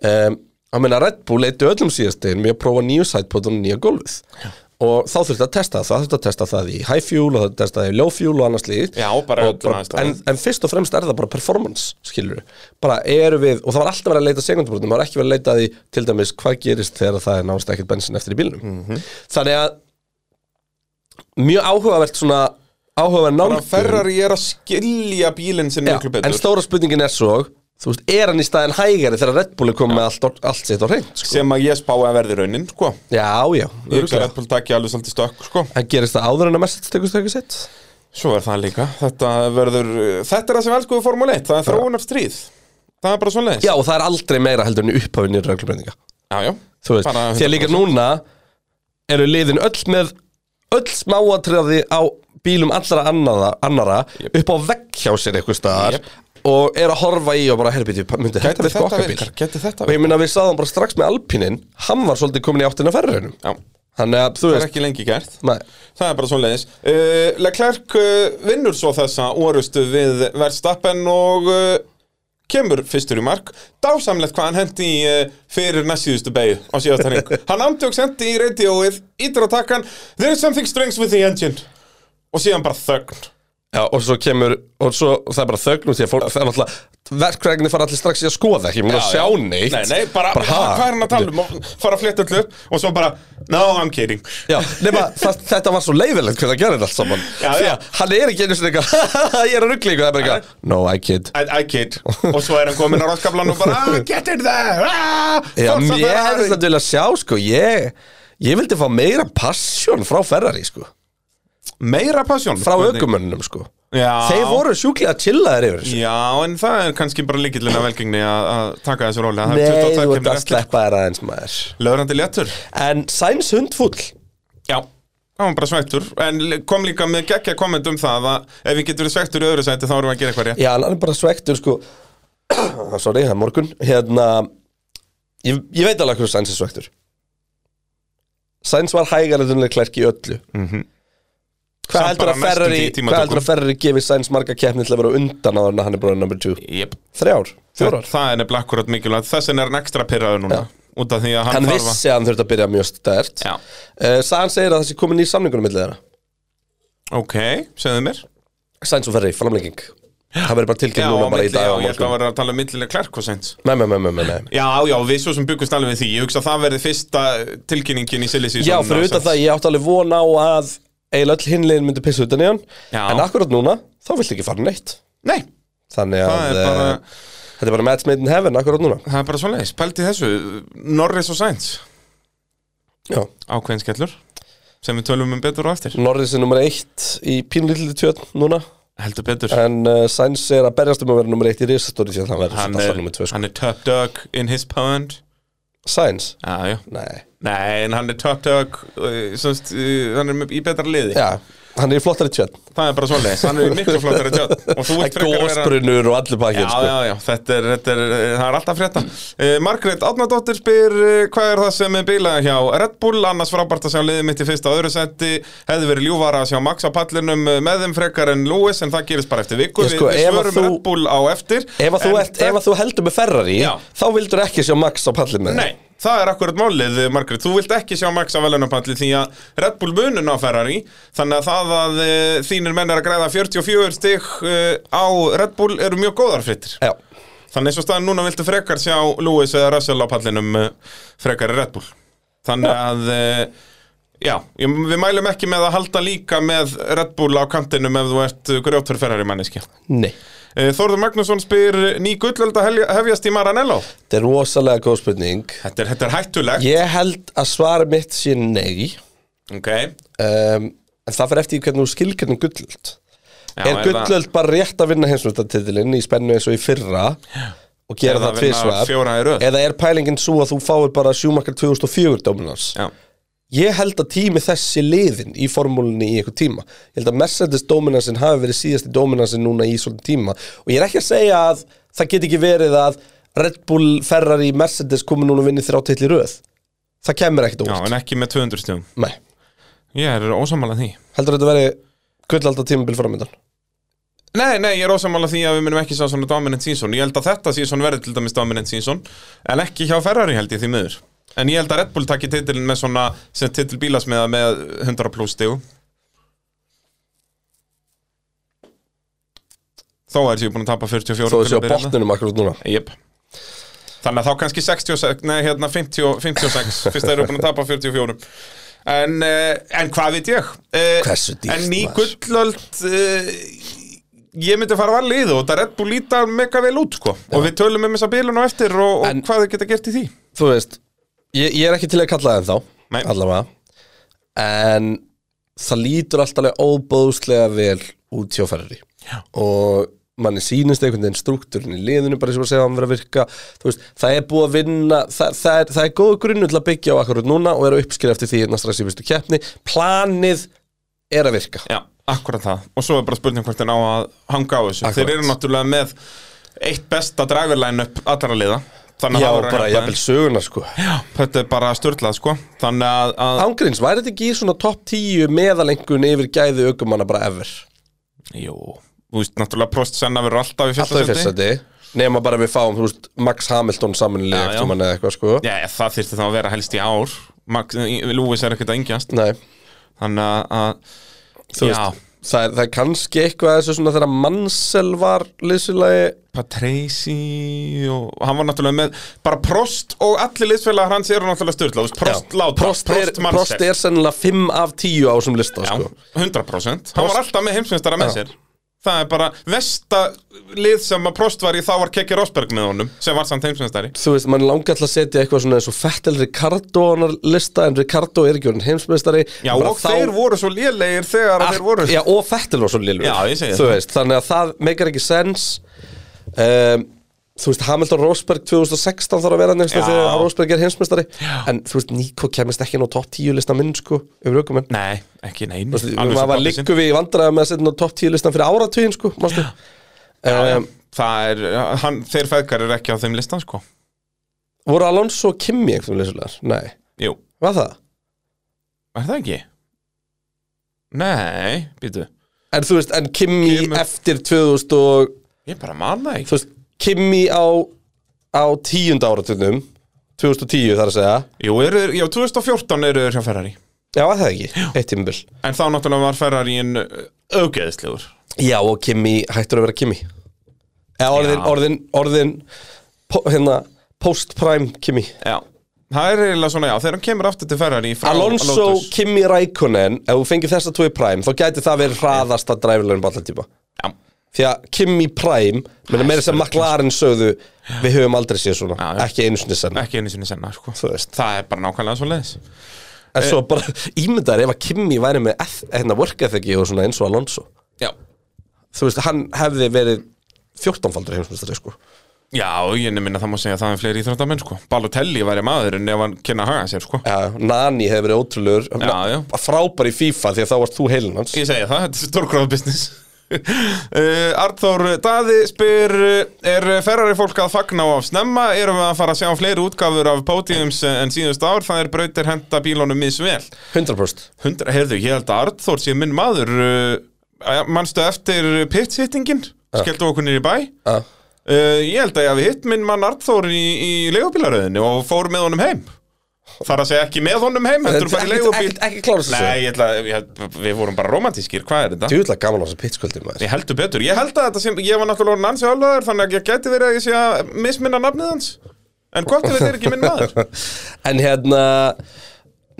S1: um, að meina Red Bull leiti öllum síðastegin með að prófa nýju sætpót og nýja gólfið og þá þurfti að testa það, þurfti að testa það í high fuel og það testa það í low fuel og annars líkt
S2: Já, bara öllum aðeins það.
S1: en, en fyrst og fremst er það bara performance skilur bara eru við, og það var alltaf verið að leita segundabrotum, það var ekki verið að leita að því til dæmis hvað gerist þegar það er nánast
S2: Mhm.
S1: ekkert bensin eftir í bílnum þannig að mjög áhugavert svona áhugaverð
S2: Bara
S1: nálgun
S2: Ferrari er að skilja bílinn sinni
S1: Já,
S2: miklu betur
S1: en stóra spurningin er svo þú veist, er hann í staðin hægari þegar Red Bull er komið með allt, allt sitt á reynd sko.
S2: sem að ég spái að verði raunin sko.
S1: já, já,
S2: ég hugsa að
S1: örugglega.
S2: Red Bull takja alveg svolítið stökk sko.
S1: hann gerist það áður en að mest tekur stöku sitt
S2: svo er það líka þetta, verður, þetta er það sem elskuðu Formule 1 það er þróunar stríð það er bara svona leis
S1: já, og það er aldrei meira heldur en upphafin í reglumbreyninga
S2: já, já.
S1: þú veist,
S2: Bara
S1: því að líka núna eru liðin öll með öll smáatriði á bílum allra annara, annara
S2: Jep.
S1: upp á vegg hjá sér eitthvað staðar
S2: Jep.
S1: og er að horfa í og bara herbyrti, myndi
S2: gæti
S1: þetta virka
S2: þetta
S1: okkar bíl
S2: virkar gæti þetta
S1: og
S2: virkar
S1: ég minna að við sáðum bara strax með Alpinin hann var svolítið komin í áttina ferðurinn
S2: já,
S1: þannig að þú
S2: það er
S1: veist
S2: ekki lengi gert
S1: maður-
S2: Það er bara svona leiðis uh, Leclerc uh, vinnur svo þessa orustu við Verstappen og uh, kemur fyrstur í mark Dásamlegt hvað hann hendi í uh, fyrir næstsíðustu beigju á
S1: (laughs)
S2: síðasta ring Hann andjóks hendi í radioið, ítir á takkan There is something strange with the engine Og síðan bara þögn
S1: Já, og svo kemur, og svo það er bara þögnum því að fólk, það er náttúrulega verkrægni fara allir strax í að skoða ekki, ég mun að sjá neitt
S2: Nei, nei, bara,
S1: Bara, ha?
S2: hvað er hann að tala um og fara að flétta allu upp og svo bara, no, I'm kidding
S1: Já, nema það, þetta var svo leiðilegt hvernig að gera þetta allt saman
S2: Já,
S1: Því
S2: já.
S1: að hann er ekki einu sinni eitthvað (laughs) Ég er að ruggla ykkur, það er bara eitthvað No, I kid
S2: I, I kid Og svo er hann komin á ráttkablan og bara, ah, get in there ah,
S1: Já,
S2: Forza
S1: mér
S2: Ferrari."
S1: hefði þetta vilja sjá, sko Ég, ég vildi fá meira passion frá Ferrari, sko
S2: Meira passjón
S1: Frá ökumönnum, sko
S2: Já.
S1: Þeir voru sjúklega chillaðir yfir þessu
S2: Já, en það er kannski bara líkillin að velgengni að að taka þessu róli Það er
S1: Nei,
S2: 22
S1: þú ert
S2: keppnir
S1: að
S2: eftir.
S1: sleppa þér aðeins, maður
S2: Löðrandi léttur
S1: En Sainz hundfúll
S2: Já Það var bara svektur, en kom líka með geggja komment um það að ef við getum verið svektur í öðru sæti þá erum við að gera eitthvað rétt
S1: Já, hann er bara svektur, sko (clears throat) Sorry, það er morgun Hérna, ég, ég veit alveg hversu Sainz er svektur Sainz var hægarleðunlega klærk í öllu Hvað
S2: Samt
S1: heldur
S2: Mhm. bara
S1: að
S2: næstum
S1: Ferrari,
S2: því í
S1: hvað heldur
S2: tímatökum.
S1: að Ferrari gefi Sainz marga keppni til að vera undan á hann að hann er bara number two?
S2: Jep.
S1: Þrjár,
S2: það,
S1: fjórar
S2: það er nefnilega akkurat mikilvægt, þess vegna er hann ekstra pyrraður núna Út af því að hann,
S1: Hann
S2: þarf
S1: vissi að hann þurfti að byrja mjög stert
S2: Já.
S1: uh, Sainz segir að það sé komin í samningunum milli þeirra
S2: að Ok, segðu mér
S1: Sainz og Ferrari, framlenging Það verður bara tilkynnt núna bara í
S2: milli-
S1: dag
S2: já,
S1: og á
S2: ég held að
S1: morgun.
S2: vera að tala um millilega klærkosens
S1: Nei, nei, nei, nei, nei, nei
S2: Já, já, við svo sem byggust alveg við því, ég hugsa að það verði fyrsta tilkynningin í Silly Season
S1: Já, fyrir utan
S2: ársins.
S1: það, ég átti alveg von á að eiginlega öll hinlegin myndi pissa utan í hann
S2: Já.
S1: En akkurat núna, þá viltu ekki fara neitt
S2: Nei,
S1: Þannig
S2: það
S1: að eh,
S2: er
S1: bara...
S2: bara
S1: þetta er bara match made in heaven akkurat núna
S2: Það er bara svoleiðis, pældi þessu Norris og Sainz,
S1: Já,
S2: ákveðin skellur sem við tölum um betur og eftir
S1: Norris er nummer eitt í pínlítið tjötn núna
S2: heldur betur,
S1: En uh, Sainz er að berjast um að vera nummer eitt í risastóri Því að hann verður
S2: hann
S1: alltaf
S2: er,
S1: nummer tvö sko.
S2: hann er top dog in his pound
S1: Sainz?
S2: já, já.
S1: Nei
S2: Nei, en hann er top dog uh, semst, uh, hann er með- í betra liði
S1: Já, hann er í flottari tjötn
S2: það er bara svoleiðis, hann er í miklu flottara tjótt og þú ert frekar að vera
S1: Gósbrunur og allir
S2: Já,
S1: pakkinn sko.
S2: já, já, þetta er, þetta er, eh, það er alltaf frétta uh, Margrét Átnadóttir spyr uh, hvað er það sem er bílaði hjá Red Bull annars frábært að sjá liðið mitt í fyrsta og öðru seti hefði verið ljúfara að sjá Max á pallinum eh, með þeim frekar en Lewis en það gerist bara eftir viku
S1: Ég sko,
S2: við,
S1: ef
S2: við
S1: að
S2: svörum
S1: þú-
S2: Red Bull á eftir
S1: Ef að þú,
S2: en
S1: ert, ef að þú heldur með Ferrari
S2: Já.
S1: Þá vildur ekki sjá Max á pallin með
S2: Nei, það er akkurat málið, eh, Margrét. Þú vilt ekki sjá Max á velunapalli því að Red Bull munun á Ferrari, þannig að það að eh, þínir menn er að græða 44 stig eh, á Red Bull eru mjög góðar frittir.
S1: Já,
S2: Þannig eins og staðan núna viltu frekar sjá Lewis eða Russell á pallinum eh, frekar í Red Bull. Þannig að, eh, já, ég, við mælum ekki með að halda líka með Red Bull á kantinum ef þú ert grjóttur Ferrari manneski.
S1: nei
S2: Þorður Magnússon spyr ný gullöld að helja- hefjast í Maranello.
S1: Þetta er rosalega góð spurning
S2: Þetta er, þetta er hættulegt.
S1: Ég held að svara mitt sé nei
S2: Ok.
S1: um, En það fyrir eftir í hvernig þú skilgjörnum gullöld
S2: Já,
S1: Er gullöld bara rétt að vinna hinsmyndatitilinn Í spennu eins og í fyrra Og gera
S2: Eða
S1: það
S2: vinna fjóra í
S1: tvisvar
S2: röð.
S1: Eða er pælingin svo að þú fáir bara sjúmakar 2004 dominans
S2: Já,
S1: Ég held að tími þessi liðin í formúlinni í einhver tíma Ég held að Mercedes dominansin hafi verið síðasti dominansin núna í svona tíma Og ég er ekki að segja að það get ekki verið að Red Bull, Ferrari, Mercedes komi núna og vinni þrjá til í röð Það kemur ekkert
S2: já,
S1: óvart
S2: en ekki með 200 stjum
S1: Nei,
S2: Ég er ósamála því
S1: heldur þetta veri gullaldar tímabil framöndan
S2: Nei, nei, ég er ósamála því að við munum ekki sá svona dominant season Ég held að þetta season verði til dæmis dominant season En ekki hjá Ferrari held ég því miður En ég held að Red Bull takki titilin með svona sem titil bílasmiða með 100 pluss stíu Þó er sér búin að tapa 44
S1: Þó þessi á
S2: tímabilið hérna.
S1: botninum akkurat núna
S2: Jep
S1: (laughs)
S2: Þannig að þá kannski 66, nei hérna 50, 56 Fyrst erum við búin að tapa 44 En, eh, en hvað veit ég? Eh,
S1: Hversu dýrt,
S2: En ný
S1: maður?
S2: gullöld eh, Ég myndi fara valið og þetta Red Bull lítar mega vel út sko. og við tölum um þessa bílun og eftir og,
S1: En-
S2: og hvað þau geta gert í því
S1: þú veist ég, ég er ekki til að kalla það
S2: Nei.
S1: ennþá allavega en það lítur alltaf alveg óbóðslega vel út hjá Ferrari Já. og manni sýnist einhvern veginn struktúrin í liðinu bara sem að segja að hann verið að virka þú veist, það er búið að vinna það, það, er, það er góð grunnu til að byggja á akkurat núna og er að uppskýra eftir því hérna strax í fyrstu keppni planið er að virka
S2: Já, akkurat það og svo er bara spurning hvort þeir ná að hanga á þessu
S1: Akkúrat.
S2: Þeir eru náttúrulega með eitt besta driverline upp allra liða Þannig
S1: Já,
S2: að það verður að
S1: bara
S2: hjálpa
S1: jafnvel söguna sko
S2: þeim. Já, þetta er bara störtlað sko Þannig að, að
S1: Ángríns, væri þetta ekki í svona topp 10 meðalengun yfir gæði aukumanna bara ever?
S2: Jú, þú veist, náttúrulega Prost senna verður alltaf í fyrsta
S1: alltaf í fyrsta seti nema bara við fáum, þú veist, Max Hamilton samanlega
S2: Já, já.
S1: eftir mann eða eitthvað, sko
S2: Já, það þyrfti þá að vera helst í ár Max, Lewis er ekkert að engjast
S1: Nei,
S2: Þannig að- að,
S1: þú
S2: já,
S1: veist það er, það er kannski eitthvað að þessu svona þegar Mansell var liðsulagi
S2: Patresi og hann var náttúrulega með bara Prost og allir liðsfélagar hans eru náttúrulega störtlað Prost láta,
S1: Prost, er,
S2: Mansell.
S1: Prost er sennilega 5 af 10 á þessum lista,
S2: Já,
S1: sko
S2: 100% Hann var alltaf með heimsmeistara með sér Það er bara vesta lið sem að Prost var í þá var Kekki Rosberg með honum sem var samt heimsmeistari
S1: Þú veist, mann langar alltaf að setja eitthvað svona eins og Fettel Ricardo á hann lista en Ricardo er ekki orðin heimsmeistari
S2: Já,
S1: Bara
S2: og þeir voru svo lélegir þegar að þeir voru
S1: Já, og Fettel var svo lillur
S2: Já, ég segi
S1: Þú
S2: það.
S1: veist, þannig að það meikar ekki sens um, Þú veist, Hamilton Rosberg 2016 þarf að vera nefnst
S2: Já.
S1: þegar Rosberg er hinsmestari En þú veist, Nico kemist ekki inn á topp 10 lista minn, sko, yfir aukumenn
S2: Nei, ekki nein
S1: Maður var liggu við í vandræðum með að setja inn á topp 10 listan fyrir áratugin, sko, mástu um,
S2: Það er, hann, þeir feðgar eru ekki á þeim listan sko
S1: Voru Alonso og Kimi einhvern leysulegar? Nei,
S2: Jú,
S1: var það?
S2: er það ekki? Nei, býtu
S1: En þú veist, en Kimi
S2: Kimi.
S1: eftir 2000 og,
S2: Ég bara man það ekki
S1: þú veist, Kimi á, á tíunda áratugnum 2010 þar að segja
S2: Jú, eru, þeir- já, 2014 eru þeir hjá Ferrari
S1: Já, var það ekki, eitt tímabil
S2: En þá náttúrulega var Ferrari en augeðislegur
S1: Já, og Kimi hættur að vera Kimi Eða orðin,
S2: Já.
S1: orðin, orðin po, hérna, post-prime Kimi
S2: Já, það er eiginlega svona, já, þegar hann kemur aftur til Ferrari frá
S1: Alonso,
S2: Lotus.
S1: Kimi Raikkonen ef þú fengir þess að tói prime, þá gæti það verið hraðasta dræfilegum ballatíma
S2: Já,
S1: því að Kimi prime, menna meira sem McLaren sögðu, við höfum aldrei séð svona
S2: Já, já.
S1: ekki einu sinni senn,
S2: ekki einu sinni senna, sko
S1: þú veist
S2: Það er bara nákvæmlega svo leiðis
S1: en svo bara (laughs) ímyndar ef að Kimi væri með eth- hérna work ethic og svona eins og Alonso
S2: Já,
S1: þú veist, hann hefði verið 14-faldur heimsmyndstari, sko
S2: já og ég nefnir að það má segja að það er fleiri íþróttamenn, sko Balotelli væri maðurinn ef hann kynna að haga sér, sko
S1: Já, Nani hefur verið ótrúlegur
S2: Já, já.
S1: Frábær í FIFA því að þá varst þú heilin hans
S2: Ég segja það, þetta er stórgráða business (laughs) uh, Arþór Daði spyr uh, Er ferrari fólk að fagna á af snemma? Erum við að fara að sjá fleiri útgáfur af pódiums en síðust ár? Það er brautir henda bílónum misvel
S1: 100%
S2: Hundra, heyrðu, ég held að Arnþór sé minn maður uh, Manstu eftir pitsittingin? Skeldu okkur niður í bæ?
S1: Já.
S2: Uh, ég held að ég hafi hitt minn mann Arnþór í, í leigubílaröðinu og fór með honum heim Þar að segja ekki með honum heim Þetta er bara í
S1: Ekkert-
S2: leigubíl
S1: ekkert- Ekki klára þessu
S2: Nei, ég ætla, ég, held- við vorum bara romantískir, hvað er þetta?
S1: Djúðlega gaman á þessu pitskvöldi maður (laughs)
S2: Ég heldur betur, ég held að þetta sem, ég var náttúrulega orðin ansi álöður Þannig að ég gæti verið að ég sé að misminna nafnið hans En gott ef þetta er ekki minn maður
S1: En hérna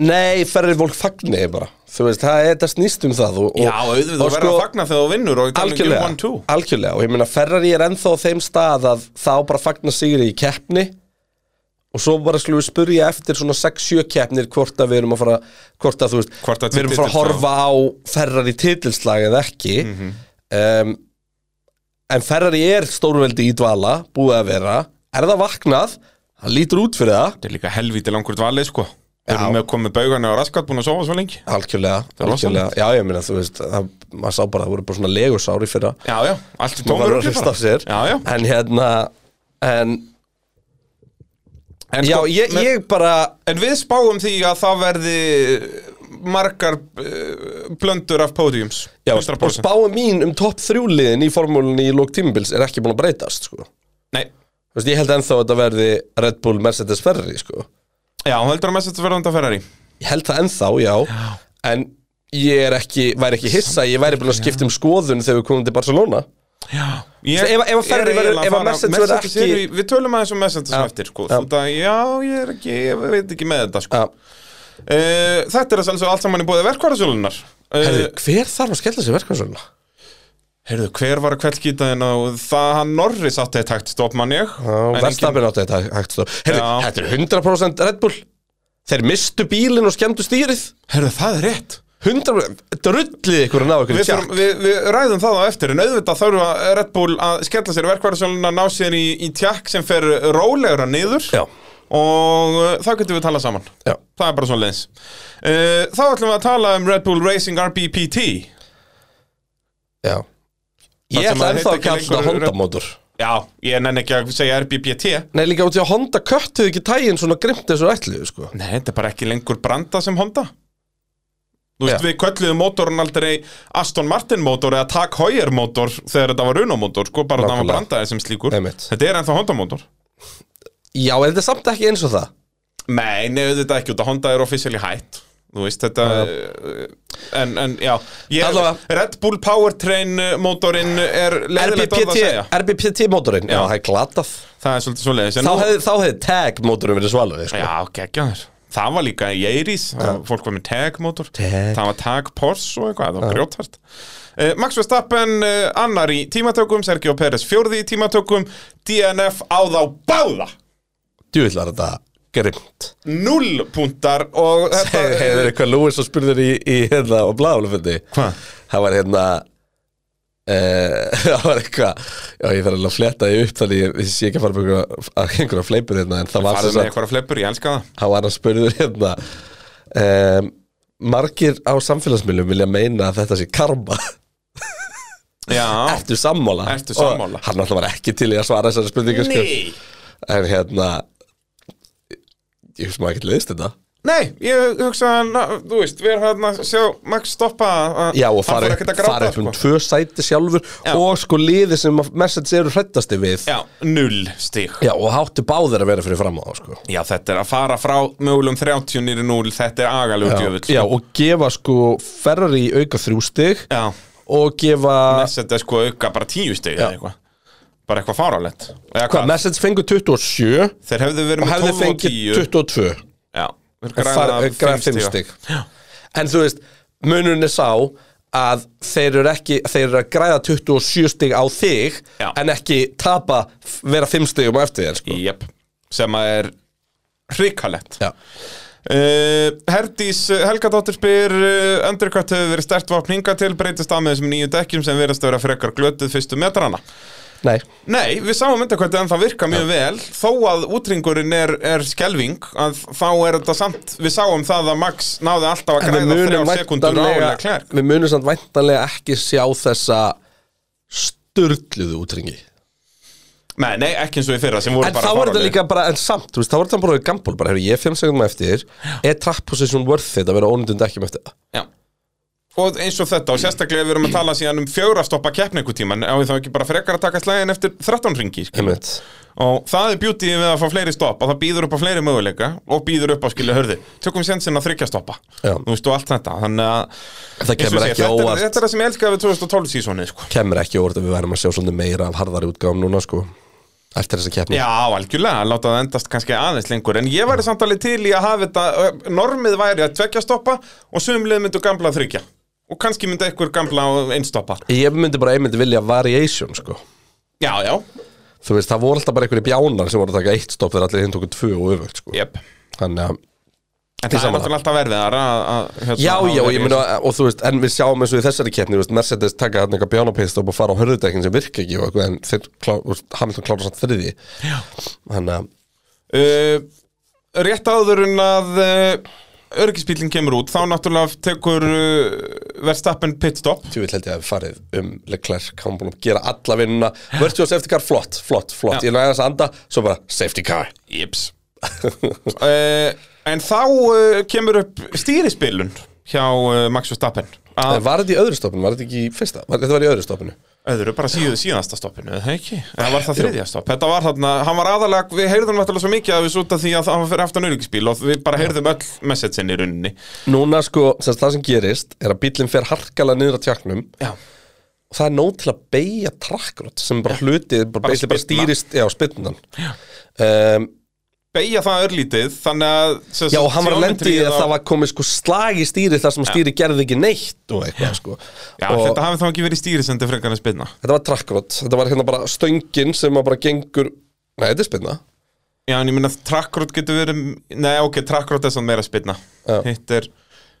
S1: Nei, ferri fólk fagni bara Þú veist, það, þetta snýst um það (laughs) og, og-
S2: Já, auðvitað, þú
S1: og sko,
S2: verður að fagna þegar þú vinnur og ég tala ekki um
S1: Algjörlega,
S2: 1-2
S1: algjörlega og ég meina Ferrari er ennþá á þeim stað að þá bara fagna sigri í keppni og svo bara skulum við spurja eftir svona 6-7 keppnir hvort að við erum að fara hvort að þú veist,
S2: Hvort að
S1: við erum að fara að
S2: titilslag.
S1: horfa á Ferrari titilslag eða ekki
S2: Mhm.
S1: um, en Ferrari er stórveldi í dvala búið að vera, er það vaknað það lítur út fyrir það
S2: Þetta er líka helvíti langur dvalið sko Þeir
S1: Já.
S2: eru með að koma með baugana og raskat búin að sofa svo lengi
S1: algjörlega,
S2: er
S1: algjörlega. já ég meina þú veist, það, maður sá bara það voru bara svona legusári fyrir það
S2: Já, já, allt í
S1: maður
S2: tómur
S1: var að hlusta af sér
S2: Já, já
S1: en hérna en,
S2: En,
S1: já,
S2: sko,
S1: ég,
S2: men-
S1: ég bara
S2: en við spáum því að það verði eh, margar uh, blöndur af pódiums
S1: já, og spáa mín um topp þrjúliðin í formúlinni í lók tímubils er ekki búin að breytast sko. Þú
S2: Nei,
S1: veist, ég held ennþá að þetta verði Red Bull Mercedes Ferrari sko.
S2: já, hún heldur að mest þetta verða undan Ferrari
S1: ég held það ennþá, já, en ég er ekki, væri ekki hissa, ég væri búin að skipta um skoðun þegar við komum til Barcelona
S2: Já
S1: Þú veist, ef- ef að Ferrari verður- ef að Mercedes verður ekki-
S2: Við tölum aðeins um Mercedes á eftir sko
S1: Já. Ah.
S2: Þú veit að, já, ég er ekki, ég veit ekki með þetta sko
S1: ja.
S2: Uh, þetta er að sjálfsög allt saman í bóði verkvarðasölunar
S1: Herðu,
S2: uh,
S1: hver þarf að skella sér verkvæmsvöluna?
S2: Heyrðu, hver var að kveldgýtaðin og það hann Norris átti þetta hægt stopp mann ég En enginn-
S1: Verstafinn átti þetta hægt stóð Herðu,
S2: Já.
S1: þetta er 100% Red Bull Þeir mistu bílinn og skemmtu stýrið
S2: Heyrðu, það er rétt
S1: 100% Drullið ykkur að ná ykkur
S2: Við, þurfum, við, við ræðum það á eftir en auðvitað þarf að Red Bull að skella sér verkvarðasöluna ná sér í, í tjakk sem fer rólegra niður
S1: Já,
S2: og uh, það getum við að tala saman
S1: já
S2: Það er bara svona leins uh, Þá ætlum við að tala um Red Bull Racing RBPT
S1: Já Ég
S2: sem
S1: ætla ennþá
S2: að heita
S1: að
S2: ekki
S1: kalla þetta
S2: lengur
S1: Honda
S2: Red-
S1: mótor
S2: Já, ég nenni ekki að segja RBPT
S1: Nei, líka út í að Honda köttuð ekki tægin svona grimt þessu ætliðu, sko
S2: Nei, þetta er bara ekki lengur branda sem Honda Þú veist,
S1: Já.
S2: við kölluðum mótorun aldrei Aston Martin mótor eða Tag Heuer mótor þegar þetta var Renault mótor, sko, bara það var
S1: Nákvæmlega.
S2: brandaði sem slíkur
S1: Einmitt.
S2: Þetta er ennþá Honda mótor
S1: Já, en þetta er samt ekki eins og það
S2: Nei, nefðu þetta ekki út að Honda er officially hætt Þú veist, þetta eh, en, en, já
S1: Allavega.
S2: ég, Red Bull Powertrain eh, mótorinn er leiðilegt orð að
S1: RBPT,
S2: segja
S1: RBPT mótorinn, já,
S2: Já.
S1: það er glatað
S2: Það er svolítið svoleiðis en
S1: Þá
S2: nú-
S1: hefði, þá hefði tag mótorinn verið svalur, sko
S2: Já, geggjaður Það var líka í Eiris, fólk var með tag-mótor
S1: Tag.
S2: Það var tag-porsche og eitthvað, það var grjótart uh, Max Verstappen uh, annar í tímatökum Sergio Pérez fjórði í tímatökum DNF á þá báða
S1: Djúvillar þetta
S2: (laughs)
S1: grimt
S2: Null puntar
S1: (laughs)
S2: og þetta
S1: Hefur eitthvað Lewis og spurður í, í hérna og bláðulefundi
S2: Hvað?
S1: Það var hérna eh, (laughs) Það var eitthvað Já, ég fer alveg að fletta því upp þannig ég, ég sé ekki að fara með einhverja- að einhverja fleipur hérna en það var
S2: Farðu
S1: sem
S2: með
S1: sagt,
S2: eitthvað fleppur, ég elska það
S1: það var að spurður hérna um, Margir á samfélagsmiðlum vilja meina að þetta sé karma
S2: Já,
S1: Ertu sammála?
S2: Ertu sammála?
S1: Og hann alltaf var ekki til í að svara þessari spurningu sko.
S2: nei
S1: En hérna Ég hef smá ekkert leiðist þetta
S2: Nei, ég hugsa að, na- þú veist, við erum hérna að sjá Max stoppa að-
S1: Já og
S2: hann
S1: fara
S2: fór
S1: upp,
S2: ekkert að gráta,
S1: fara upp um
S2: sko.
S1: tvö sæti sjálfur
S2: Já.
S1: og sko liði sem að message eru hrættasti við
S2: Já, null stig
S1: Já, og háttu báðir að vera fyrir fram á það sko
S2: Já, þetta er að fara frá mögulegum 30 nýri 0, þetta er agalegur djöfull
S1: Já og gefa sko Ferrari auka þrjú stig
S2: sko. Já.
S1: og gefa
S2: Message er sko auka bara 10 stig eða eitthvað Bara eitthvað fáralegt Eða
S1: Hvað, message fengu 27
S2: Þeir hefðu verið
S1: og
S2: með
S1: hefði
S2: 12 og
S1: fengið
S2: 10
S1: 22
S2: Já,
S1: En
S2: þeir
S1: far-
S2: græða
S1: græða
S2: 5
S1: 5
S2: stig
S1: stig En þú veist, munurinn er sá að þeir eru ekki, þeir eru að græða 27 stig á þig
S2: Já.
S1: en ekki tapa, vera 5 stigum á eftir þér sko
S2: Jep, sem að er hrikalegt
S1: Já.
S2: Uh, Herdís uh, Helgadóttir spyr uh, Undercut hefur verið stert vopn hinga til breytist að með þessum nýju dekkjum sem verðast að vera frekar glötuð fyrstu metrana
S1: Nei,
S2: Nei, við sáum mynda hvernig en það virka mjög vel þó að útringurinn er, er skelving að þá er þetta samt við sáum það að Max náði alltaf að
S1: En við
S2: græða
S1: munum
S2: þrjá sekundur á
S1: væntanlega
S2: Leclerc
S1: Við munum samt væntanlega ekki sjá þessa störluðu útringi
S2: Nei, nei, ekki eins og í fyrra sem voru
S1: En þá
S2: bara
S1: er þetta
S2: fáránlegir.
S1: líka bara, en samt, þú veist, þá er þetta bara gamból bara, hefur ég fimm sekundum eftir er trapp position worth it að vera ónundund ekki með þetta
S2: Já. Og eins og þetta, og sérstaklega við erum að tala síðan um fjóra stoppa keppni einhver tíma, en á við þá ekki bara frekar að taka slægin eftir 13 ringi skilur.
S1: Einmitt.
S2: og það er bjútið við að fá fleiri stopp að það býður upp á fleiri möguleika og býður upp á skilja hörði, tökum sensin að þryggja stoppa
S1: Já.
S2: þú veist og allt þetta þannig að
S1: Það
S2: eins og
S1: kemur
S2: ég segi,
S1: ekki
S2: þetta, er-
S1: óvart
S2: þetta er það sem ég elskaði við 2012 sísoni sko.
S1: Kemur ekki óvart að við værum að sjá svolítið meira af harðari útgáfum núna, sko Eftir þessa keppni
S2: Já, algjörlega, láta það endast kannski aðeins lengur En ég væri samtalið til í að hafa þetta ö, Normið væri að tvekja stoppa Og sömlið myndu gamla að þryggja Og kannski myndi einhver gamla að einstoppa
S1: Ég myndi bara einmyndi vilja variation, sko
S2: Já, já,
S1: Þú veist, það voru alltaf bara einhverju bjánar sem voru að taka eitt stopp þegar allir hinn tóku tvö og öfugt, sko
S2: jöp
S1: Þannig að
S2: En það er
S1: saman.
S2: náttúrulega alltaf verðiðar að, að, hérna,
S1: Já,
S2: að
S1: já,
S2: vera
S1: ég
S2: í
S1: meina,
S2: þessu.
S1: og þú veist, en við sjáum eins og í þessari keppni, þú veist, Mercedes taka hann eitthvað bjánapist og fara á hörðudekkin sem virka ekki og eitthvað, en þeir, klá, þú veist, Hamilton klára samt þriði. Já. Þannig að,
S2: uh, Rétt áður en að uh, Örgisbílinn kemur út Þá náttúrulega tekur uh, Verstappen pitstop
S1: tjú, held ég að við farið um Leclerc, hann búin að gera alla vinnuna, virtual safety car, flott, flott, flott,
S2: Já.
S1: ég næði þess að anda, svo bara safety (laughs) car.
S2: Jips uh, En þá uh, kemur upp stýrispilun Hjá uh, Max Verstappen Að
S1: En var þetta í öðru stoppinu, var þetta ekki í fyrsta, var, þetta var í öðru stoppinu?
S2: Öðru bara síðu, síðasta stoppinu, eða ekki? Eða var það þriðja stopp? Þetta var þarna, hann var aðalega, við heyrðum náttúrulega svo mikið að við súta því að hann var fyrir aftan auðvíkisbíl og við bara heyrðum öll messagein í rauninni.
S1: Núna, sko, sem sagt, það sem gerist er að bílinn fer harkalega niður á tjáknum
S2: Já.
S1: og það er nóg til að beigja trakkrott sem bara hluti, bara, bara, bara
S2: spyrna.
S1: stýrist já, spynnan um,
S2: beigja það örlítið þannig að sem
S1: Já,
S2: sagt,
S1: og hann var að lendi í
S2: geometríið
S1: að
S2: á-
S1: það var komið sko slag í stýri þar sem stýri gerði ekki neitt og eitthvað sko
S2: Já,
S1: og
S2: þetta hafi þá ekki verið stýrisendi frekar en spilna
S1: þetta var trakkrott, þetta var hérna bara stöngin sem að bara gengur Nei, þetta er spilna
S2: Já, en ég minna að trackrót getur verið Nei, ok, trackrót er svona meira spilna
S1: Já.
S2: Hitt er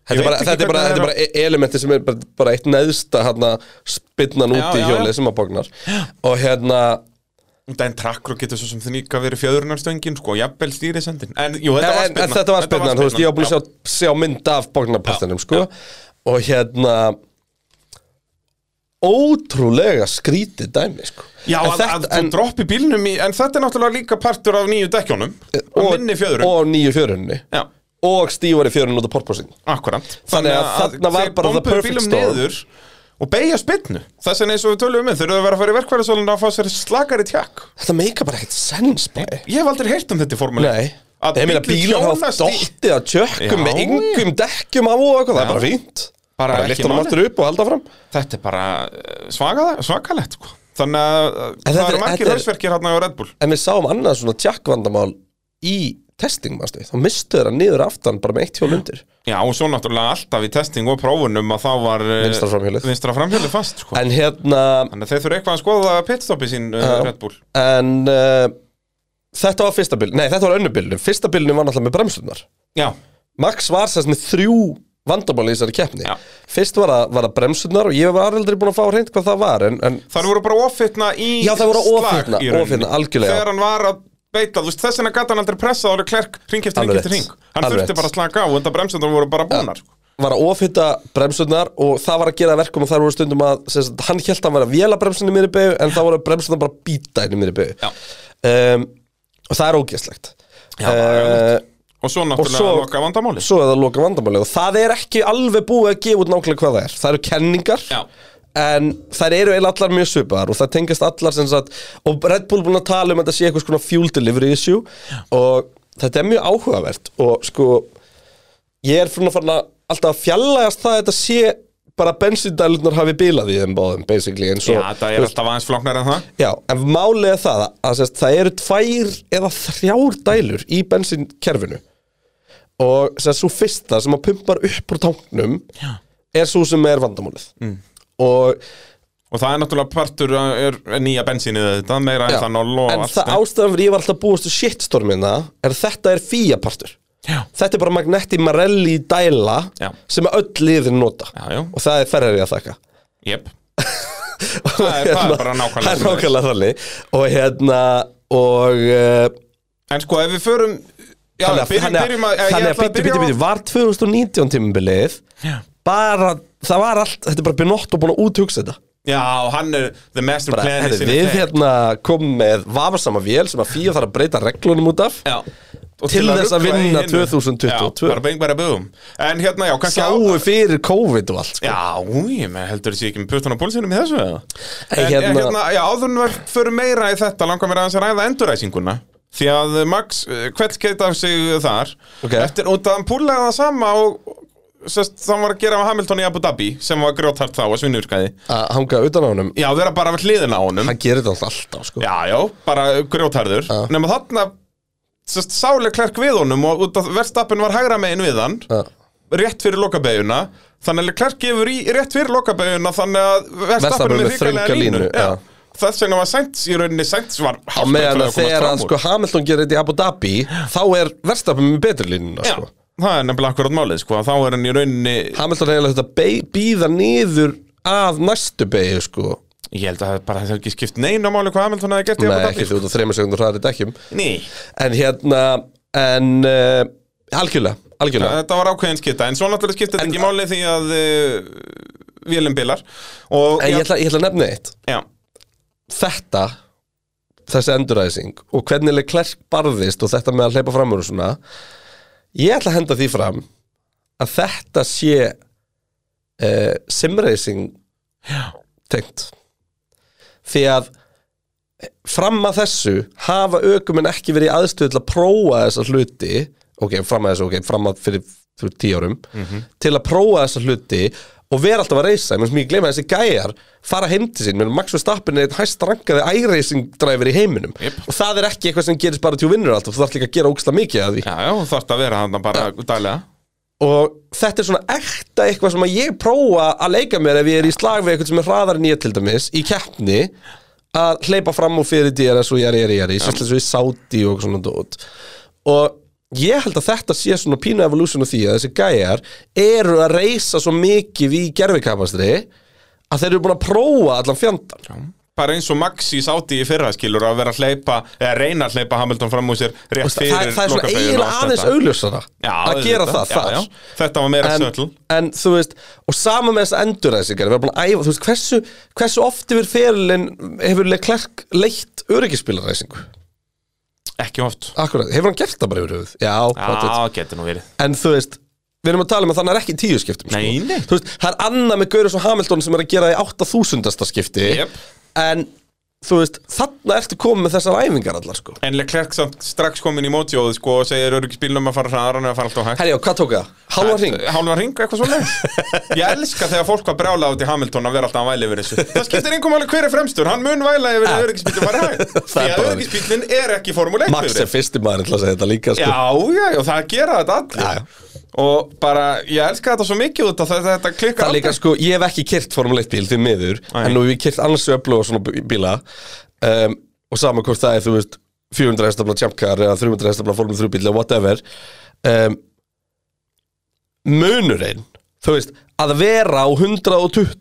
S1: Þetta er bara, þetta er bara, þetta er bara e- elementi sem er bara, bara eitt neðsta hérna, spinnan
S2: Já,
S1: úti í
S2: já,
S1: hjólið sem að bóknar og hérna,
S2: bara En trackrót getur svo sem það líka verið fjöðrunarstöngin Sko, jafnvel stýrisendin En, jú, þetta var
S1: en,
S2: spilna
S1: en þetta var spinnan þú veist, ég var búin að sjá, sjá mynd af bóknarpastanum sko, og hérna ótrúlega skrítið dæmi sko.
S2: Já,
S1: En
S2: að, að þú
S1: en-
S2: droppi bílnum í En þetta er náttúrulega líka partur af nýju dekkjónum Og minni fjöðrun
S1: og nýju fjörunni
S2: Já,
S1: og stífari fjörun út af porpoising
S2: akkurat
S1: Þannig að þarna var
S2: þeir
S1: bara the
S2: bombuðu
S1: perfect
S2: bílum
S1: storm.
S2: niður Og beigja spilnu Þess vegna eins og við tölum um Þurfum að vera að fara í verkvæðarsólinu að fá sér slakari tjakk
S1: þetta meika bara ekkert sens bæ.
S2: Ég hef aldrei heyrt um þetta í formule
S1: Nei,
S2: Að
S1: ég meina
S2: bíllinn
S1: bílar hafa
S2: hjónast í-
S1: dottið að tjökkum
S2: Já.
S1: með yngum dekkjum af og eitthvað, það er bara fínt
S2: Bara
S1: Bara, bara
S2: ekki
S1: lyfta hann
S2: málið.
S1: aftur upp og halda fram
S2: Þetta er bara svagað, svakalett sko. Þannig að það
S1: þetta
S2: eru
S1: er-
S2: margir
S1: þetta er-
S2: hausverkir hérna á Red Bull
S1: En við sáum annað svona tjökkvandamál í testing, mannstu, þá mistu þeirra niður aftan bara með eitt hjól undir
S2: Já, og svo náttúrulega alltaf í testing og prófunum að þá var eh,
S1: Vinstra framhjólið.
S2: vinstra framhjólið fast sko.
S1: En hérna,
S2: Þannig að þeir þurfa eitthvað að skoða pitstopi sín uh, Red Bull
S1: en uh, þetta var fyrsta bíl, nei þetta var önnubílnum Fyrsta bílnum var náttúrulega með bremsunar
S2: Já,
S1: Max var sérst með þrjú vandamál í þessari keppni
S2: Já.
S1: Fyrst var að, var að bremsunar og ég var aldrei búin að fá hreint hvað það var En, en
S2: þar voru bara ofitna í
S1: Já, þær voru
S2: slag
S1: offitna,
S2: í rauninni.
S1: offitna, algjörlega.
S2: Þegar hann var að beita, þú veist, þess vegna gæti hann aldrei pressað ára klerk ring eftir ring
S1: Alveg
S2: eftir
S1: rétt.
S2: ring Hann
S1: Alveg
S2: þurfti
S1: rétt.
S2: bara að slaka á, en það bremsundar voru bara búnar sko.
S1: var að ofhitta bremsunar og það var að gera verkum og þær voru stundum að sem sagt, hann held að hann var að vela bremsunni mér í begu en það voru bremsunar bara að býta inn í mér í begu
S2: Já.
S1: um, og það er ógeðslegt
S2: Já, það er ömurlegt. Og svo náttúrulega
S1: svo-
S2: loka vandamáli
S1: svo er það loka vandamáli og það er ekki alveg búið að gefa út nákvæmlega hvað það er það eru kenningar
S2: Já.
S1: en þær eru eiginlega allar mjög svipaðar og það tengast allar sem sagt og Red Bull er búin að tala um að þetta sé eitthvað svona fuel delivery issue og þetta er mjög áhugavert og sko ég er svona farin að alltaf að fjallægast það að þetta sé bara bensindælunar hafi bilað í þeim báðum basically eins og
S2: Já, það er alltaf aðeins flóknar en það
S1: Já, en málið er það að sérst, það eru tvær eða þrjár dælur í bensinkerfinu og sérst, svo fyrsta sem að pumpar upp úr tanknum Já. er svo sem er vandamálið mm. og
S2: Og það er náttúrulega partur að- er, er nýja bensínið þetta, meira
S1: já,
S2: etanól og sko.
S1: en
S2: allt
S1: það ástæðan fyrir ég var alltaf búist til shitstormina hérna er að þetta er fíapartur
S2: Já.
S1: Þetta er bara Magnetti Marelli dæla
S2: Já.
S1: sem að öll liðin nota
S2: Já, já.
S1: og það er ferrari að þakka Hérna,
S2: Jep. það er- það er bara nákvæmlega
S1: Það er
S2: svoleiðis.
S1: nákvæmlega þannig og hérna og uh,
S2: En sko, ef við förum Já,
S1: þannig að,
S2: byrjum,
S1: þannig
S2: byrjum að
S1: að, þannig að bíti, bíti, bíti, var 2019 tímubilið
S2: Já.
S1: bara, það var allt, þetta er bara Benotto búin að úthugsa þetta
S2: Já, hann er the master
S1: bara,
S2: plan
S1: herri,
S2: sinni
S1: við
S2: þegar.
S1: hérna komum með vafasama vél sem að fíja þarf að breyta reglunum út af
S2: Já. Og
S1: til þess að
S2: rugla í
S1: vinna
S2: hinu.
S1: 2022.
S2: Já, bara bing bara búum En hérna, já, kannski á-
S1: sáu fyrir COVID og allt sko.
S2: Já, ég með heldur þessi ekki með puttan á pólsinum í þessu eða
S1: Ei,
S2: En
S1: hérna-
S2: hérna, hérna já, áður en við förum meira í þetta langar mér aðeins að ræða enduræsinguna Því að eh, Max, hvert geta af sig þar
S1: Ok.
S2: Eftir, og það hann púlaði það sama og sest, það var að gera af Hamilton í Abu Dhabi sem var grjóthart þá að svinnurkaði
S1: að hanga utan á honum
S2: Já, vera bara við hliðina á honum
S1: hann gerir þetta alltaf sko.
S2: Já, já, bara grjótharður
S1: Já.
S2: Nefna þarna sest, sálega klerk við honum og út að verðstappin var hægra megin við hann
S1: Já.
S2: rétt fyrir lokabeguna þannig að Leclerc gefur í rétt fyrir lokabeguna þannig að
S1: Verstappen
S2: Verstappen er
S1: með
S2: með þrönga
S1: þrönga
S2: línu,
S1: línu, já.
S2: já. þess vegna var Sainz í rauninni Sainz var
S1: á
S2: hálfpartur
S1: meðan að
S2: að komast
S1: þegar
S2: fram
S1: að
S2: úr.
S1: sko, Hamilton gerir þetta í Abu Dhabi þá er verstafum með betri línuna
S2: já,
S1: sko.
S2: það er nefnilega akkurat málið sko, að þá er hann í rauninni
S1: Hamilton er eiginlega þetta be- býða niður að næstu beigju sko.
S2: ég held að það bara það ekki skipt neina máli hvað Hamilton hefði gert í
S1: Nei,
S2: Abu
S1: ekki
S2: Dhabi sko.
S1: því út á þreymur sekundur hraðar í dekkjum
S2: Nei,
S1: En hérna, en uh, algjörlega, algjörlega
S2: þetta var ákveðin skipta en svo náttúrulega skipti þetta
S1: En-
S2: ekki máli því að uh, vélum bilar og
S1: En ég
S2: já,
S1: ætla, ég ætla að nefna eitt
S2: já,
S1: Þetta, þessi enduræsing og hvernig leik klerk barðist og þetta með að hleypa fram úr og svona Ég ætla að henda því fram að þetta sé uh, simracing tengt Því að eh, fram að þessu hafa ökumenn ekki verið í aðstöðu til að prófa þessa hluti ok, fram að þessu, ok, fram að fyrir, fyrir tíu árum til að prófa þessa hluti og vera alltaf að reysa, ég mér gleyma að þessi gæjar fara heim til sín, menn Max Verstappen er einn hæst rankaði iRacing driver í heiminum
S2: Jep.
S1: og það er ekki eitthvað sem gerist bara til þú vinnur alltaf, þú þarf líka að gera ógsta mikið að því
S2: Já, já, þú þarft að vera hann bara daglega
S1: og þetta er svona ekta eitthvað sem að ég prófa að leika mér ef ég er í slag við eitthvað sem er hraðar en ég til dæmis í keppni að hleypa fram úr fyrir DRS og jari, jari, jari, sérslega svo í Saudi og svona dót og ég held að þetta sé svona pínu evolution á því að þessi gæjar eru að reysa svo mikið í gerfikapastri að þeir eru búin að prófa allan fjandan
S2: bara eins og Maxi sátti í fyrra skilur að vera að hleypa, eða reyna að hleypa Hamilton fram úr sér rétt
S1: það,
S2: fyrir
S1: það, það er svona
S2: lokabeygju og
S1: eiginlega
S2: allt
S1: aðeins
S2: þetta.
S1: augljósara
S2: Já,
S1: að gera
S2: auðvitað.
S1: það þar
S2: já, já. þetta var meira
S1: en,
S2: sötl
S1: en þú veist og sama með þess enduræsingar við erum búin að æfa, þú veist, hversu, hversu oft yfir ferilinn hefur Leclerc leitt öryggispilaræsingu,
S2: ekki oft
S1: akkurat, hefur hann gert það bara yfir höfuð, já, pottet.
S2: Já, getur nú verið
S1: en þú veist við erum að tala um að þannig er ekki í tíu skiptum
S2: Nei, nei.
S1: Þú veist, það er annað með Gaurus og Hamilton sem er að gera það í 8000. skipti
S2: Jep.
S1: en þú veist, þannig ertu komið með þessar æfingar allar sko
S2: En Leclerc samt strax komin í mótjóð sko, og segir öryggisbílnum að fara hraðar en að fara alltaf hægt
S1: Herjá, hvað tók það? Hálfa hring?
S2: Hálfa ring, eitthvað svolítið Ég elska þegar fólk var brjálað út í Hamilton að vera alltaf að væla yfir þessu Það skiptir engum alveg hver er fremstur, hann mun væla yfir að öryggisbílnum var hægt
S1: Ah. (laughs) Það
S2: Því
S1: er
S2: að
S1: bara-
S2: öryggisbílnum er ekki formule 1
S1: Max er fyrsti maður til að segja þetta líka sko.
S2: Já, já, já, það gera þetta allir
S1: Já, já.
S2: Og bara, ég elska þetta svo mikið út að þetta, þetta klikkar
S1: Það er líka
S2: aldrei.
S1: sko, ég hef ekki kyrt Formule 1 bíl því miður,
S2: Nei.
S1: en nú hef ég kyrt annars öflug og svona bí- bíla um, og saman hvort það er, þú veist 400 hestafla tjampkar eða 300 hestafla Formule 3 bíl eða whatever um, munurinn þú veist, að vera á 120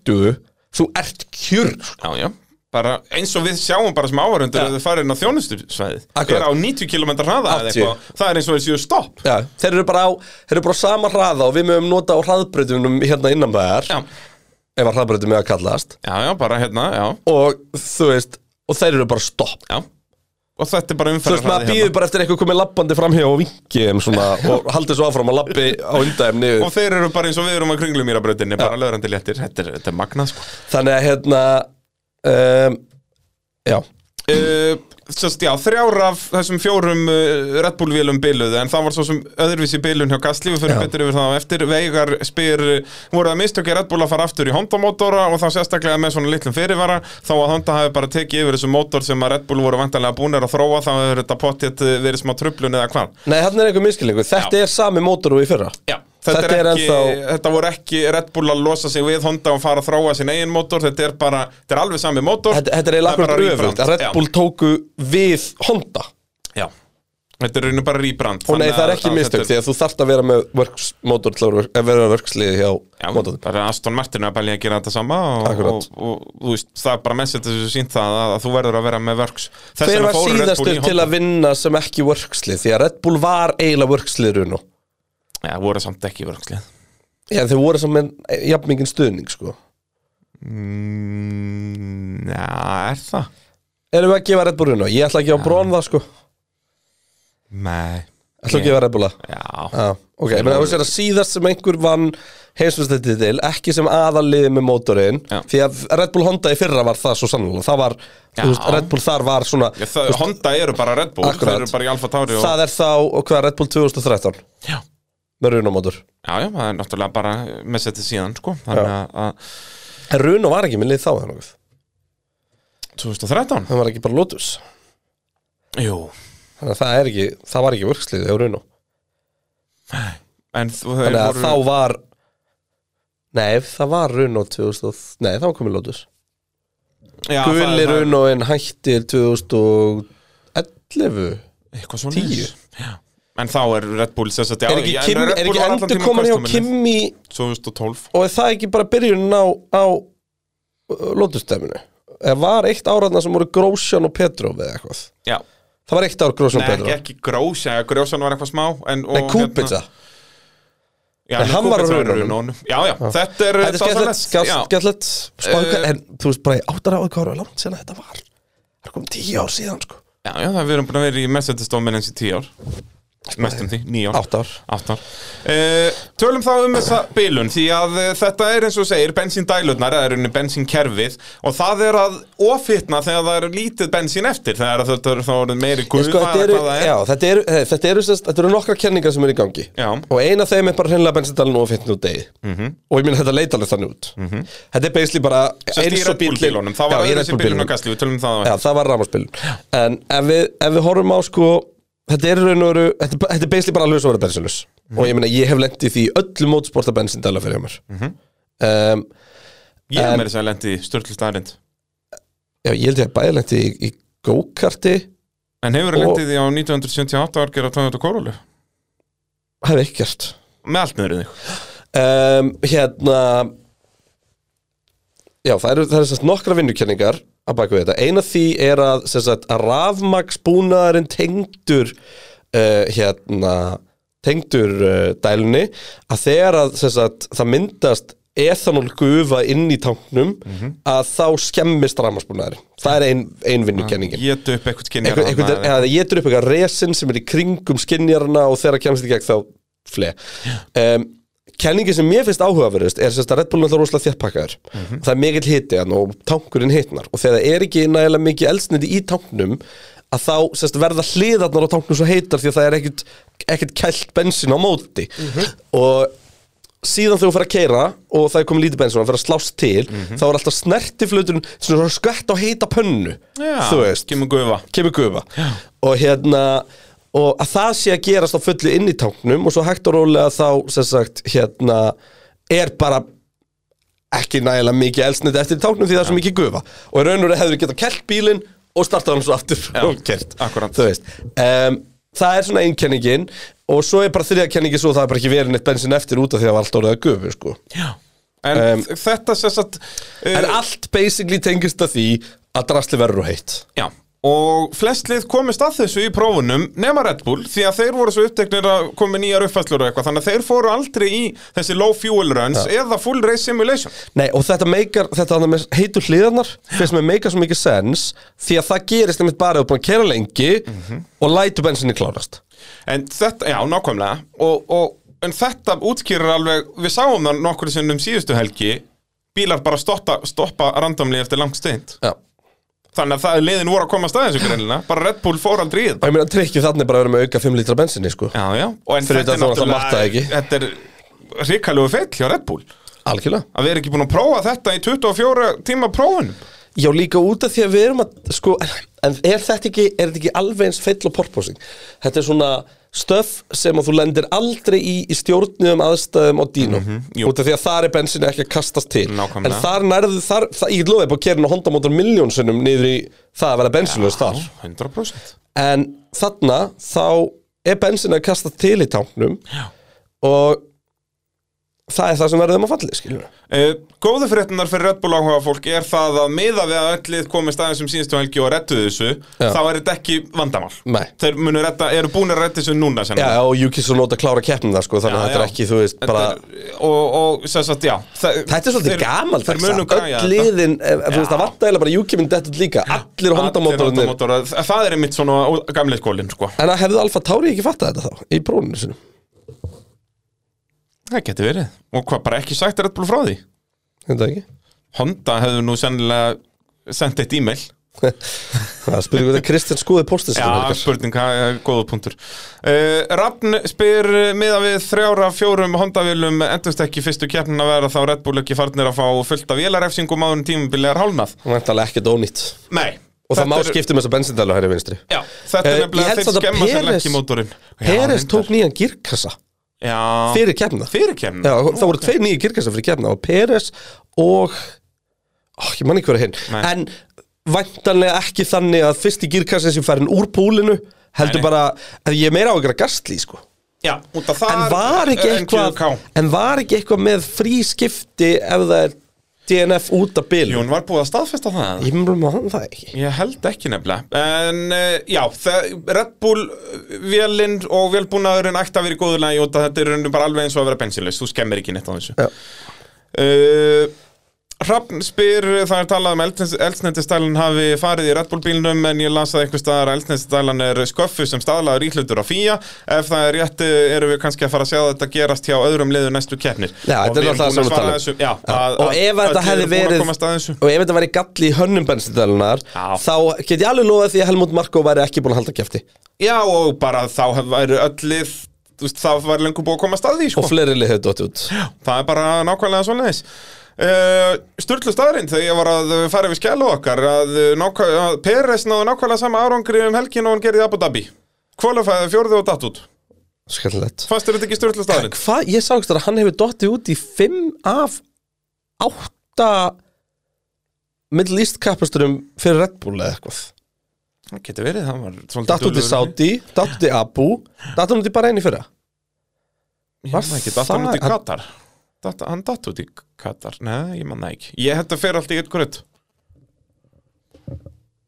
S1: þú ert kjur
S2: Já, já Bara eins og við sjáum bara sem áhverjundur
S1: Já.
S2: að þau farin á þjónustusvæðið
S1: Akkurat.
S2: Er á 90 km hraða eða
S1: 80.
S2: eitthvað Það er eins og við séu stopp
S1: Já, þeir eru bara á, þeir eru bara á sama hraða og við mögum nota á hraðbreytunum hérna innan bæjar,
S2: Já,
S1: ef að hraðbreytum er að kallast
S2: já, já bara hérna, já,
S1: og þú veist, og þeir eru bara stopp
S2: já Og þetta er bara
S1: Þú veist, maður
S2: umferðarhraði hérna.
S1: býður bara eftir eitthvað komið lappandi framhjá og vingi þeim
S2: (laughs)
S1: svona og haldið svo áfram að lappi á undan þeim
S2: Og
S1: niður.
S2: þeir eru bara eins og við erum að kringlum íra brautinni Bara löðrandi léttir, þetta er, þetta er magnað sko
S1: Þannig að hérna, um, já,
S2: Uh, Sjást, já, þrjár af þessum fjórum uh, Red Bull vélum biluðu en það var svo sem öðruvísi bilun hjá Gastli við fyrir
S1: Já.
S2: betur yfir það á eftir Veigar spyr, uh, voru það mistökja Red Bull að fara aftur í Honda-mótora og þá sérstaklega með svona litlum fyrirvara þá að Honda hafi bara tekið yfir þessum mótor sem að Red Bull voru vantanlega búnir að þróa þá hefur þetta pottet uh, verið smá trublun eða hvað
S1: nei hérna er einhver miskilingu, þetta er sami mótor og í fyrra.
S2: Já, þetta,
S1: Þetta
S2: er
S1: er
S2: ekki,
S1: ennþá-
S2: þetta voru ekki Red Bull að losa sig við Honda og fara að þróa sin eigin mótor, þetta er bara, þetta er alveg sami mótor
S1: Þetta, þetta er
S2: Það
S1: eiginlega akkurat
S2: bara rebrand.
S1: öfugt, að Red
S2: Já.
S1: Bull tóku við Honda.
S2: Já Þetta er rauninu bara rebrand
S1: Og nei,
S2: þannig
S1: það er
S2: að-
S1: ekki
S2: að
S1: mistök
S2: þetta
S1: því að þú þarft að vera með works, mótor til að vera- að vera verksliði hjá
S2: Já,
S1: mótorn.
S2: bara Aston Martin er að bælja að gera þetta sama og, og,
S1: Akkurat.
S2: og, þú veist, það er bara message þessu sínt það að, að þú verður að vera með verks Þess
S1: Hver
S2: vegna
S1: var
S2: fóru Red Bull
S1: síðastur
S2: í
S1: til
S2: Honda.
S1: að vinna sem ekki workslið? Því að Red Bull var eiginlega workslið runu.
S2: Já, það voru samt ekki verkslið
S1: Já, þeir voru saman með jafnmikinn stuðning, sko.
S2: mm, Já, er það?
S1: Erum við að gefa Red Bull runa? Ég ætla að gefa Brón það sko
S2: Nei
S1: ætla að gefa Red Bulla
S2: Já,
S1: Já, ok, menn það var sér að síðast sem einhver vann heimsmyndstættið ekki sem aðalliði með mótorinn
S2: Já.
S1: því að Red Bull Honda í fyrra var það svo sannlega það var,
S2: Já.
S1: þú veist, Red Bull þar var svona
S2: Já, það, Honda eru bara Red Bull
S1: Akkurat.
S2: Þeir eru bara í Alfa Tauri og...
S1: það er þá, og hvað, Red Bull 2013
S2: Já.
S1: með runamótor
S2: Já, já, það er náttúrulega bara message síðan sko. Þannig að- að
S1: en runo var ekki minn lið þá eða nokkuð.
S2: 2013
S1: hann var ekki bara Lotus
S2: Jú
S1: þannig að það er ekki, það var ekki vörksliðið á runo
S2: En þú- þeir
S1: þannig að
S2: voru-
S1: þá var nei, það var runo 2000, nei, þá var komið Lotus
S2: Já, það er-
S1: Gulli
S2: það er-
S1: Runóin hættir 2011
S2: Eitthvað svona Já. En þá er Red Bull sem sagt, já,
S1: Er ekki,
S2: já, en
S1: Kim,
S2: Red
S1: er
S2: Bull
S1: ekki
S2: var allan
S1: endur
S2: tímann
S1: komin hjá
S2: customer-ið.
S1: Kimi
S2: 2012
S1: og er það ekki bara byrjunin á, á lótustæminu? Það var eitt áraðna sem voru Grósjan og Petrov eða eitthvað
S2: Já,
S1: Það var eitt ár Grósjan
S2: nei,
S1: og
S2: ekki,
S1: Petrov
S2: ekki Grósa ja, Grósan var eitthvað smá en, og, hérna-
S1: Nei, Kúpitsa
S2: já,
S1: Nei, hann var á
S2: Kubica
S1: raununum.
S2: raununum. Já, já, þetta er
S1: Þetta er skemmtilegt,
S2: dásamlegt. Já.
S1: skemmt- skemmtilegt Spáðu
S2: Eh,
S1: hvað- En þú veist bara, ég áttar á hvað ára langt sena þetta var Það er komið tíu ár síðan sko
S2: Já, já, það við erum búin að vera í messendistómin eins í tíu ár Mestum því, nýja ár
S1: átt ár
S2: Aftar. Uh, tölum þá um þessa bilun því að uh, þetta er eins og segir bensíndælurnar eða er unni bensínkerfið og það er að ofitna þegar það er lítið bensín eftir þegar þetta er þá orðið meiri
S1: Ég
S2: guða
S1: sko, þetta, eru,
S2: hvað það er
S1: já, þetta, eru, eh, þetta, eru, sest, þetta eru nokkra kenningar sem eru í gangi
S2: Já.
S1: og eina af þeim er bara hreinlega bensindalinn og fittin út degi
S2: Mhm.
S1: -hmm. og ég minn þetta leit alveg þannig út -hmm. þetta er basically bara
S2: Sest Mhm. í Red Bull bílunum, það var
S1: Já, í
S2: öðru
S1: Red
S2: sem
S1: Bull
S2: bilun
S1: bílunum.
S2: og gasli, við tölum um það
S1: Já,
S2: á
S1: það var rámaspil En ef við, ef við horfum á sko Þetta er raun og veru Þetta, er ba- þetta er basically bara laus og vera bensinlaus
S2: Mhm.
S1: Og ég meina, ég hef lent í því í öllu mótsporta bensindæla fyrir hjá mér
S2: Mhm.
S1: um,
S2: ég er
S1: En-
S2: meira þess að lendi störtlu staðarind
S1: Já, ég held ég að bæði lent í, í go-karti
S2: en hefur
S1: Og-
S2: lendið því á 1978 árger á Toyota Corolla
S1: Hef ekki gert
S2: með allt niður í þig
S1: um, Hérna Já, það eru, það eru sérst nokkra vinnukenningar að baka við þetta. Eina því er að, sem sagt, að rafmagsbúnaðarinn tengdur uh, hérna, tengdur uh, dælunni að þegar að, sem sagt, það myndast ethanol gufa inn í tanknum að þá skemmist rafmagsbúnaðarinn. Það er ein, ein vinnukenningin
S2: ég döp eitthvað kynjar
S1: einhvern, einhvern,
S2: þarna,
S1: eða það getur upp eitthvað resin sem er í kringum skinjarna og þegar það kemst í gegn þá fle um, kenningi sem mér finnst áhugaverðist er sérst að Red Bull er alltaf rosalega þéttpakkaður
S2: Mhm.
S1: það er mikill hiti hann og tankurinn hitnar og þegar það er ekki nægilega mikið elsniti í tanknum að þá sérst, verða hliðarnar á tanknum svo heitar því að það er ekkit, ekkit kælt bensín á móti
S2: Mhm.
S1: og síðan þegar þú fyrir að keira og það er komið lítið bensin og hann fyrir að slást til
S2: Mhm.
S1: þá er alltaf snertifluturinn svona skvætt á heita pönnu þú
S2: já,
S1: veist
S2: kemur gufa
S1: kemur gufa og hérna og að það sé að gerast á fullu inn í tanknum og svo hægt og rólega þá sem sagt hérna er bara ekki nægilega mikið elsniti eftir í tanknum því það er svo mikið gufa og í raun og raunur hefur getað kelt bílinn og startað hann svo aftur og kert
S2: akkúrat.
S1: þú veist um, það er svona einkenningin og svo er bara þriða kenningin svo að það er bara ekki verið neitt bensin eftir út af því að það var allt orðið að gufu sko
S2: en þetta sess að eh,
S1: en allt basically tengist að því að drasli verður og heitt
S2: Já, og flest lið komist að þessu í prófunum nema Red Bull því að þeir voru svo uppteknir að koma með nýjar uppfæslur og eitthvað þannig að þeir fóru aldrei í þessi low fuel runs eða full race simulation
S1: Nei, og þetta meikar, þetta hann með heitur hliðarnar finnst mér meikar svo mikið sens því að það gerist nefnitt bara að þú búin að kera lengi og lætur bensinni klárast
S2: En þetta, já, nákvæmlega og, og, En þetta útskýrir alveg Við sáum það nokkur sinnum síðustu helgi Bílar bara stoppa, stoppa randomli eftir langt steint
S1: Já Og
S2: Þannig að það er liðin voru að koma að staðins greinlega Bara Red Bull fór aldrei í þetta
S1: ég meina, trikkið þannig bara að vera með auka 5 lítra bensinni, sko
S2: Já, já, og en
S1: Fyrir
S2: þetta
S1: utan
S2: er
S1: þó að það mattaði
S2: náttúrulega
S1: ekki.
S2: Þetta er ríkalegu feill hjá Red Bull
S1: Algjörlega
S2: að við erum ekki búin að prófa þetta í 24 tíma prófunum
S1: Já, líka út af því að við erum að, sko En er þetta ekki, er þetta ekki alveg eins feill og porposing? Þetta er svona stöf sem að þú lendir aldrei í, í stjórnum aðstæðum og dínum
S2: Mhm, jú.
S1: Út af því að þar er bensinni ekki að kastast til
S2: Nákvæmlega.
S1: En þar nærðu, þar, það, ég get lofaði bara að kera henni hóndamótur miljónsunum niður í það að vera bensinlaus þar
S2: 100%
S1: En þarna þá er bensin að kasta til í tanknum Já. og það er það sem verður um að falli, skiljum við.
S2: Uh, góðu fréttunar fyrir Red Bull áhuga fólk er það að miða við að öll lið komist aðeins um síðustu helgi og rettu þessu þá er þetta ekki vandamál
S1: Nei.
S2: þeir munu retta, eru búin að retta þessu núna
S1: Já,
S2: sennilega.
S1: og Júkis og Nóta klára keppnum það, sko, þannig
S2: Já,
S1: að þetta er
S2: já.
S1: ekki, þú veist,
S2: Þetta
S1: bara...
S2: er, og, og sem sagt, já þe-
S1: Þetta er svolítið
S2: þeir-
S1: gamalt
S2: þeir munu
S1: þess
S2: græja
S1: öll
S2: þetta.
S1: liðin, eh, þú veist, það vantar eiginlega bara Júki minn dettur líka, allir
S2: Allir
S1: hóndamótorunir.
S2: Honda-mótorar. Þa- það er einmitt svona gamlega skólin sko.
S1: En að hefðu Alfa Tauri ekki fattað þetta þá, í bróninu sinum?
S2: það geti verið og hvað, bara ekki sagt Red Bull frá því
S1: Þetta ekki?
S2: Honda hefðu nú sennilega sendt eitt e-mail
S1: Það spurði hvað það Kristján skoði póstins.
S2: Já, spurning, það er góða punktur uh, Rafn spyr miða við þrjára fjórum Honda-vélum endurst ekki fyrstu keppnin að vera þá Red Bull ekki farnir að fá fullta vélarefsingum um áður en tímabilið er hálnað
S1: Væntanlega ekkert ónýtt.
S2: Nei
S1: Og það má
S2: þetta er-
S1: skipta um þessa bensindælu hæri vinstri.
S2: Já,
S1: Eh,
S2: þetta er
S1: ég
S2: nefnilega
S1: held
S2: að
S1: samt
S2: þeir
S1: að
S2: skemma sér
S1: Peres-
S2: ekki mótorinn Já,
S1: Peres
S2: reyndar.
S1: tók nýjan girkassa
S2: Já,
S1: fyrir keppna.
S2: fyrir keppnin
S1: Já, það voru tveir nýjir kirkastar fyrir kefna og Peres og ó, ég man ekki hverja hinn
S2: Nei.
S1: en væntanlega ekki þannig að fyrsti girkastin sem færin úr púlinu heldur
S2: Nei, nei.
S1: bara að ég er meira á ykkur að gastli sko.
S2: Já, út af það
S1: en var ekki eitthvað en var ekki eitthvað með frí skipti ef það er DNF út af bil
S2: Jón var búið að staðfesta það
S1: ég mjög maður það ekki
S2: Ég held ekki nefnilega En uh, já, það- Red Bull uh, vélinn og vélbúnaðurinn ætti að vera í góðu lagi og þetta er í rauninni bara alveg eins og að vera bensinlaus þú skemmir ekki neitt á þessu
S1: Já.
S2: uh, Hrafn spyr, það er talað um eldsnendistælan hafi farið í Red Bull bílnum en ég lasaði einhvers staðar að eldsnendistælan er sköffu sem staðlaður íhlutur á fíja ef það er rétt eh, erum við kannski að fara að sjá þetta gerast hjá öðrum liðu næstu keppnir
S1: Já, þetta er náttúrulega sem við tala um.
S2: þessu, já, að,
S1: og ef
S2: að-
S1: þetta
S2: að
S1: hefði
S2: þið eru búin að
S1: verið
S2: komast að þessu.
S1: og ef þetta væri galli í hönnum bensindalunar
S2: Já.
S1: þá get ég alveg lofað því að Helmut Marko væri ekki búin að halda kæfti
S2: já og bara þá hef- væri öll lið þú veist, þá var lengur búið að komast að því sko.
S1: og fleiri lið hefur dótt út
S2: Það er bara nákvæmlega svoleiðis Uh, Sturlu staðarind þegar ég var að uh, fara yfir skælu okkar að, uh, nákvæ- að Peres náðu nákvæmlega sama árangri um helgin og hann gerði í Abu Dhabi Kvalifæði fjórði og datt út
S1: skemmtilegt
S2: Fast er þetta ekki Sturlu staðarind
S1: hvað, ég sá ekki að hann hefur dottið út í 5 af 8 Middle East kapasturum fyrir Red Bull eða eitthvað
S2: Það getur verið, hann var svolítið
S1: datt út í
S2: duglegur.
S1: Saudi, datt út í Abu datt hann út í bara einu fyrra
S2: Ég man það ekki, datt hann
S1: Það-
S2: út í Katar datt, Hann datt út í Katar, neða, ég man það ekki Ég hætti að fer allt í eitt grönt,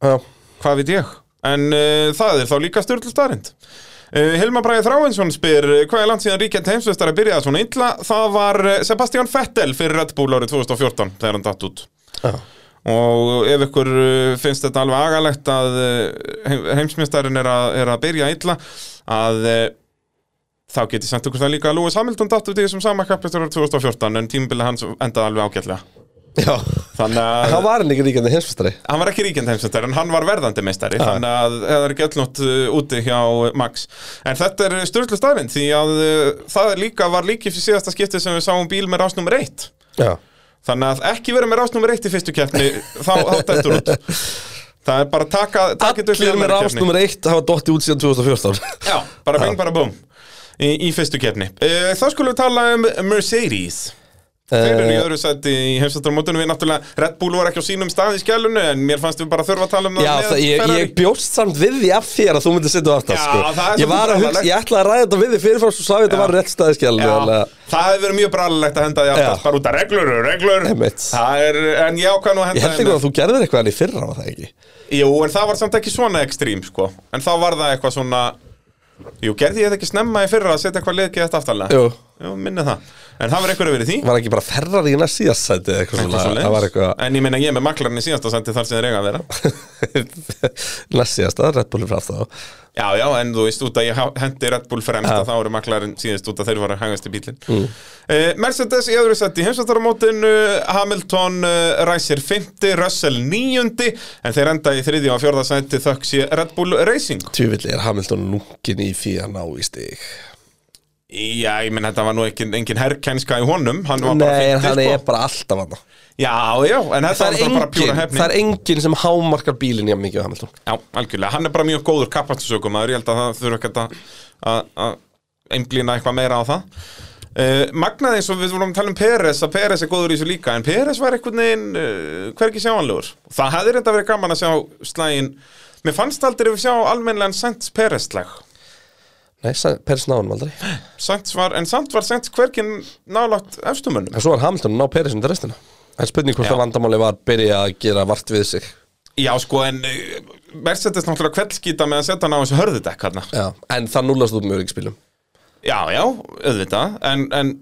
S1: já,
S2: hvað veit ég En uh, það er þá líka Sturlu staðarind Uh, Hilmar Bræði Þráinsson spyr uh, hvað er langt síðan ríkjent heimsveistari byrjaði svona illa það var uh, Sebastian Vettel fyrir Red Bull árið 2014 þegar hann datt út
S1: já.
S2: og ef ykkur uh, finnst þetta alveg agalegt að heimsmeistarin er, að- er að byrja illa að uh, þá geti sendt ykkur það líka að Lewis Hamilton datt út í þessum sama kappistur árið 2014 en tímabilið hans endaði alveg ágætlega
S1: já.
S2: þannig að
S1: hann var hann ekki ríkjandi hinsfestari
S2: hann var ekki ríkjandi heimsmeistari en hann var verðandi meistari þannig að það er gætnótt úti hjá uh, Max en þetta er styrlu staðrind því að uh, það er líka var líki fyrir síðasta skipti sem við sáum bíl með rás nummer 1
S1: já,
S2: þannig að ekki vera með rás nummer 1 í fyrstu keppni þá þetta er út það er bara að taka taka þetta upp í
S1: allir með
S2: annarri
S1: rást
S2: keppni.
S1: nummer 1 hafa dottið út síðan 2014
S2: já, bara bing bara búm í, í fyrstu keppni uh, þá skulum við tala um Mercedes Þeir
S1: Eh,
S2: eru í öðru sæti í heimsættarmótunum við náttúrulega Red Bull var ekki á sínum stað í skjælunu en mér fannst við bara þurfa að tala um það
S1: Já,
S2: með
S1: það, ég,
S2: Ferrari.
S1: ég bjóst samt við því af þér að þú myndir setja á aftar,
S2: Já, það
S1: sko.
S2: er
S1: Ég var
S2: svolítið
S1: að hugsa,
S2: alvarlegt.
S1: ég ætlaði að ræða þetta við því fyrirfrá svo sá ég þetta var rétt staðiskjálni,
S2: Já,
S1: alveg,
S2: það hefur verið mjög brallegt að henda því
S1: Já.
S2: aftast bara út af reglur, reglur
S1: Einmitt.
S2: Það er, en ég ákvað nú að
S1: ég
S2: henda
S1: held ekki að þú gerðir eitthvað hann í fyrra, var það ekki?
S2: Jú, en það var samt ekki svona ekstrím, sko En þá var það eitthvað svona Jú, gerði ég þetta ekki snemma í fyrra að setja eitthvað leikið þetta aftalega
S1: Jú,
S2: Jú, minni það En það var eitthvað verið í því
S1: var ekki bara ferrar í næst síðastæti eða eitthvað
S2: Eitthvað
S1: svona,
S2: svoleiðis.
S1: það var eitthvað, (laughs)
S2: En ég meina ég er með maklarinn í síðasta sendi þar sem þeir eiga að vera
S1: næst síðasta, Red Bull er frá þá.
S2: Já, já, en þú veist út að ég ha- hendi Red Bull fremst að þá eru maklarinn síðast út að þeir voru að hangast í bílinn mm. Mercedes í öðru sett í heimsvættaramótinu Hamilton uh, ræsir 50, Russell 9 en þeir enda í þriðja og fjórða seti þökk sé Red Bull Racing
S1: Tjúvillig er Hamilton lungin í því að ná í stig.
S2: Já, ég menn þetta var nú engin, engin herrkenska í honum Hann var bara
S1: Nei, en
S2: 50,
S1: hann
S2: sko.
S1: er bara alltaf hann.
S2: Já, já, en þetta
S1: Það
S2: var
S1: er
S2: bara pjúra
S1: enginn,
S2: hefni
S1: það er enginn sem hámarkar bílinn hjá mikið á Hamilton.
S2: Já, algjörlega, hann er bara mjög góður kapastusökum ég held að það þurfa ekki að- að að einblýna eitthvað meira á það uh, Magnað eins og við vorum að tala um Peres að Peres er góður í þessu líka en Peres var einhvern veginn uh, hvergi sjáanlegur það hefði reynda verið gaman að sjá slægin mér fannst aldrei við sjá almennlegan Sainz Peres slag
S1: Nei, Sa- Peres náðum aldrei.
S2: Sainz var, en samt var Sainz hvergi nálagt efstumönnum
S1: En svo var Hamilton að ná Peris undir restina En spurning hvort
S2: Já.
S1: að vandamáli var að byrja að gera vart við sig
S2: Já sko, en uh, Mercedes náttúrulega kveldskýta með að setja hann á þessu hörðudekk hérna
S1: Já. En það núlast út með öryggspilum
S2: Já, já, auðvitað en, en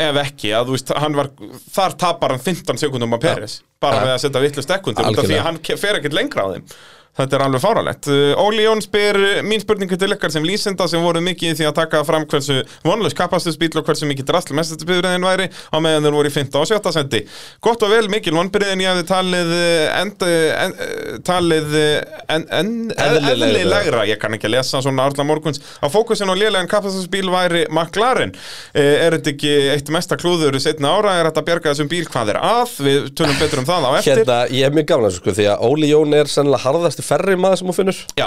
S2: ef ekki, að þú veist hann var, þar tapar hann 15 sekundum á Peres, bara
S1: Já.
S2: með að setja vittlust ekkundir, út af því
S1: Algjörlega.
S2: að hann ke- fer ekkert lengra á þeim Þetta er alveg fáralegt Uh, Óli Jón spyr, uh, mín spurningu til ykkar sem lýsenda sem voru mikið í því að taka fram hversu vonlaus kapastusbíl og hversu mikið drastl mestastbyrðin væri á meðan þeir voru í 15 og 17 sendi Gott og vel mikil vonbyrðin ég hefði talið uh, end, uh, en, uh, talið uh, en, en,
S1: Eðlilegra.
S2: eðlilegra lægra, ég kann ekki að lesa svona Arla Morguns að fókusin á lélegan kapastusbíl væri McLaren, eh, er þetta ekki eitt mesta klúður setna ára, er þetta að bjarga þessum bíl hvað er að, við tölum betur um það á eftir
S1: Hérna, ég hef mjög gaman að þessu sko Því að Óli Jón er sennilega harðasti ferri maður sem hún finnur
S2: Já,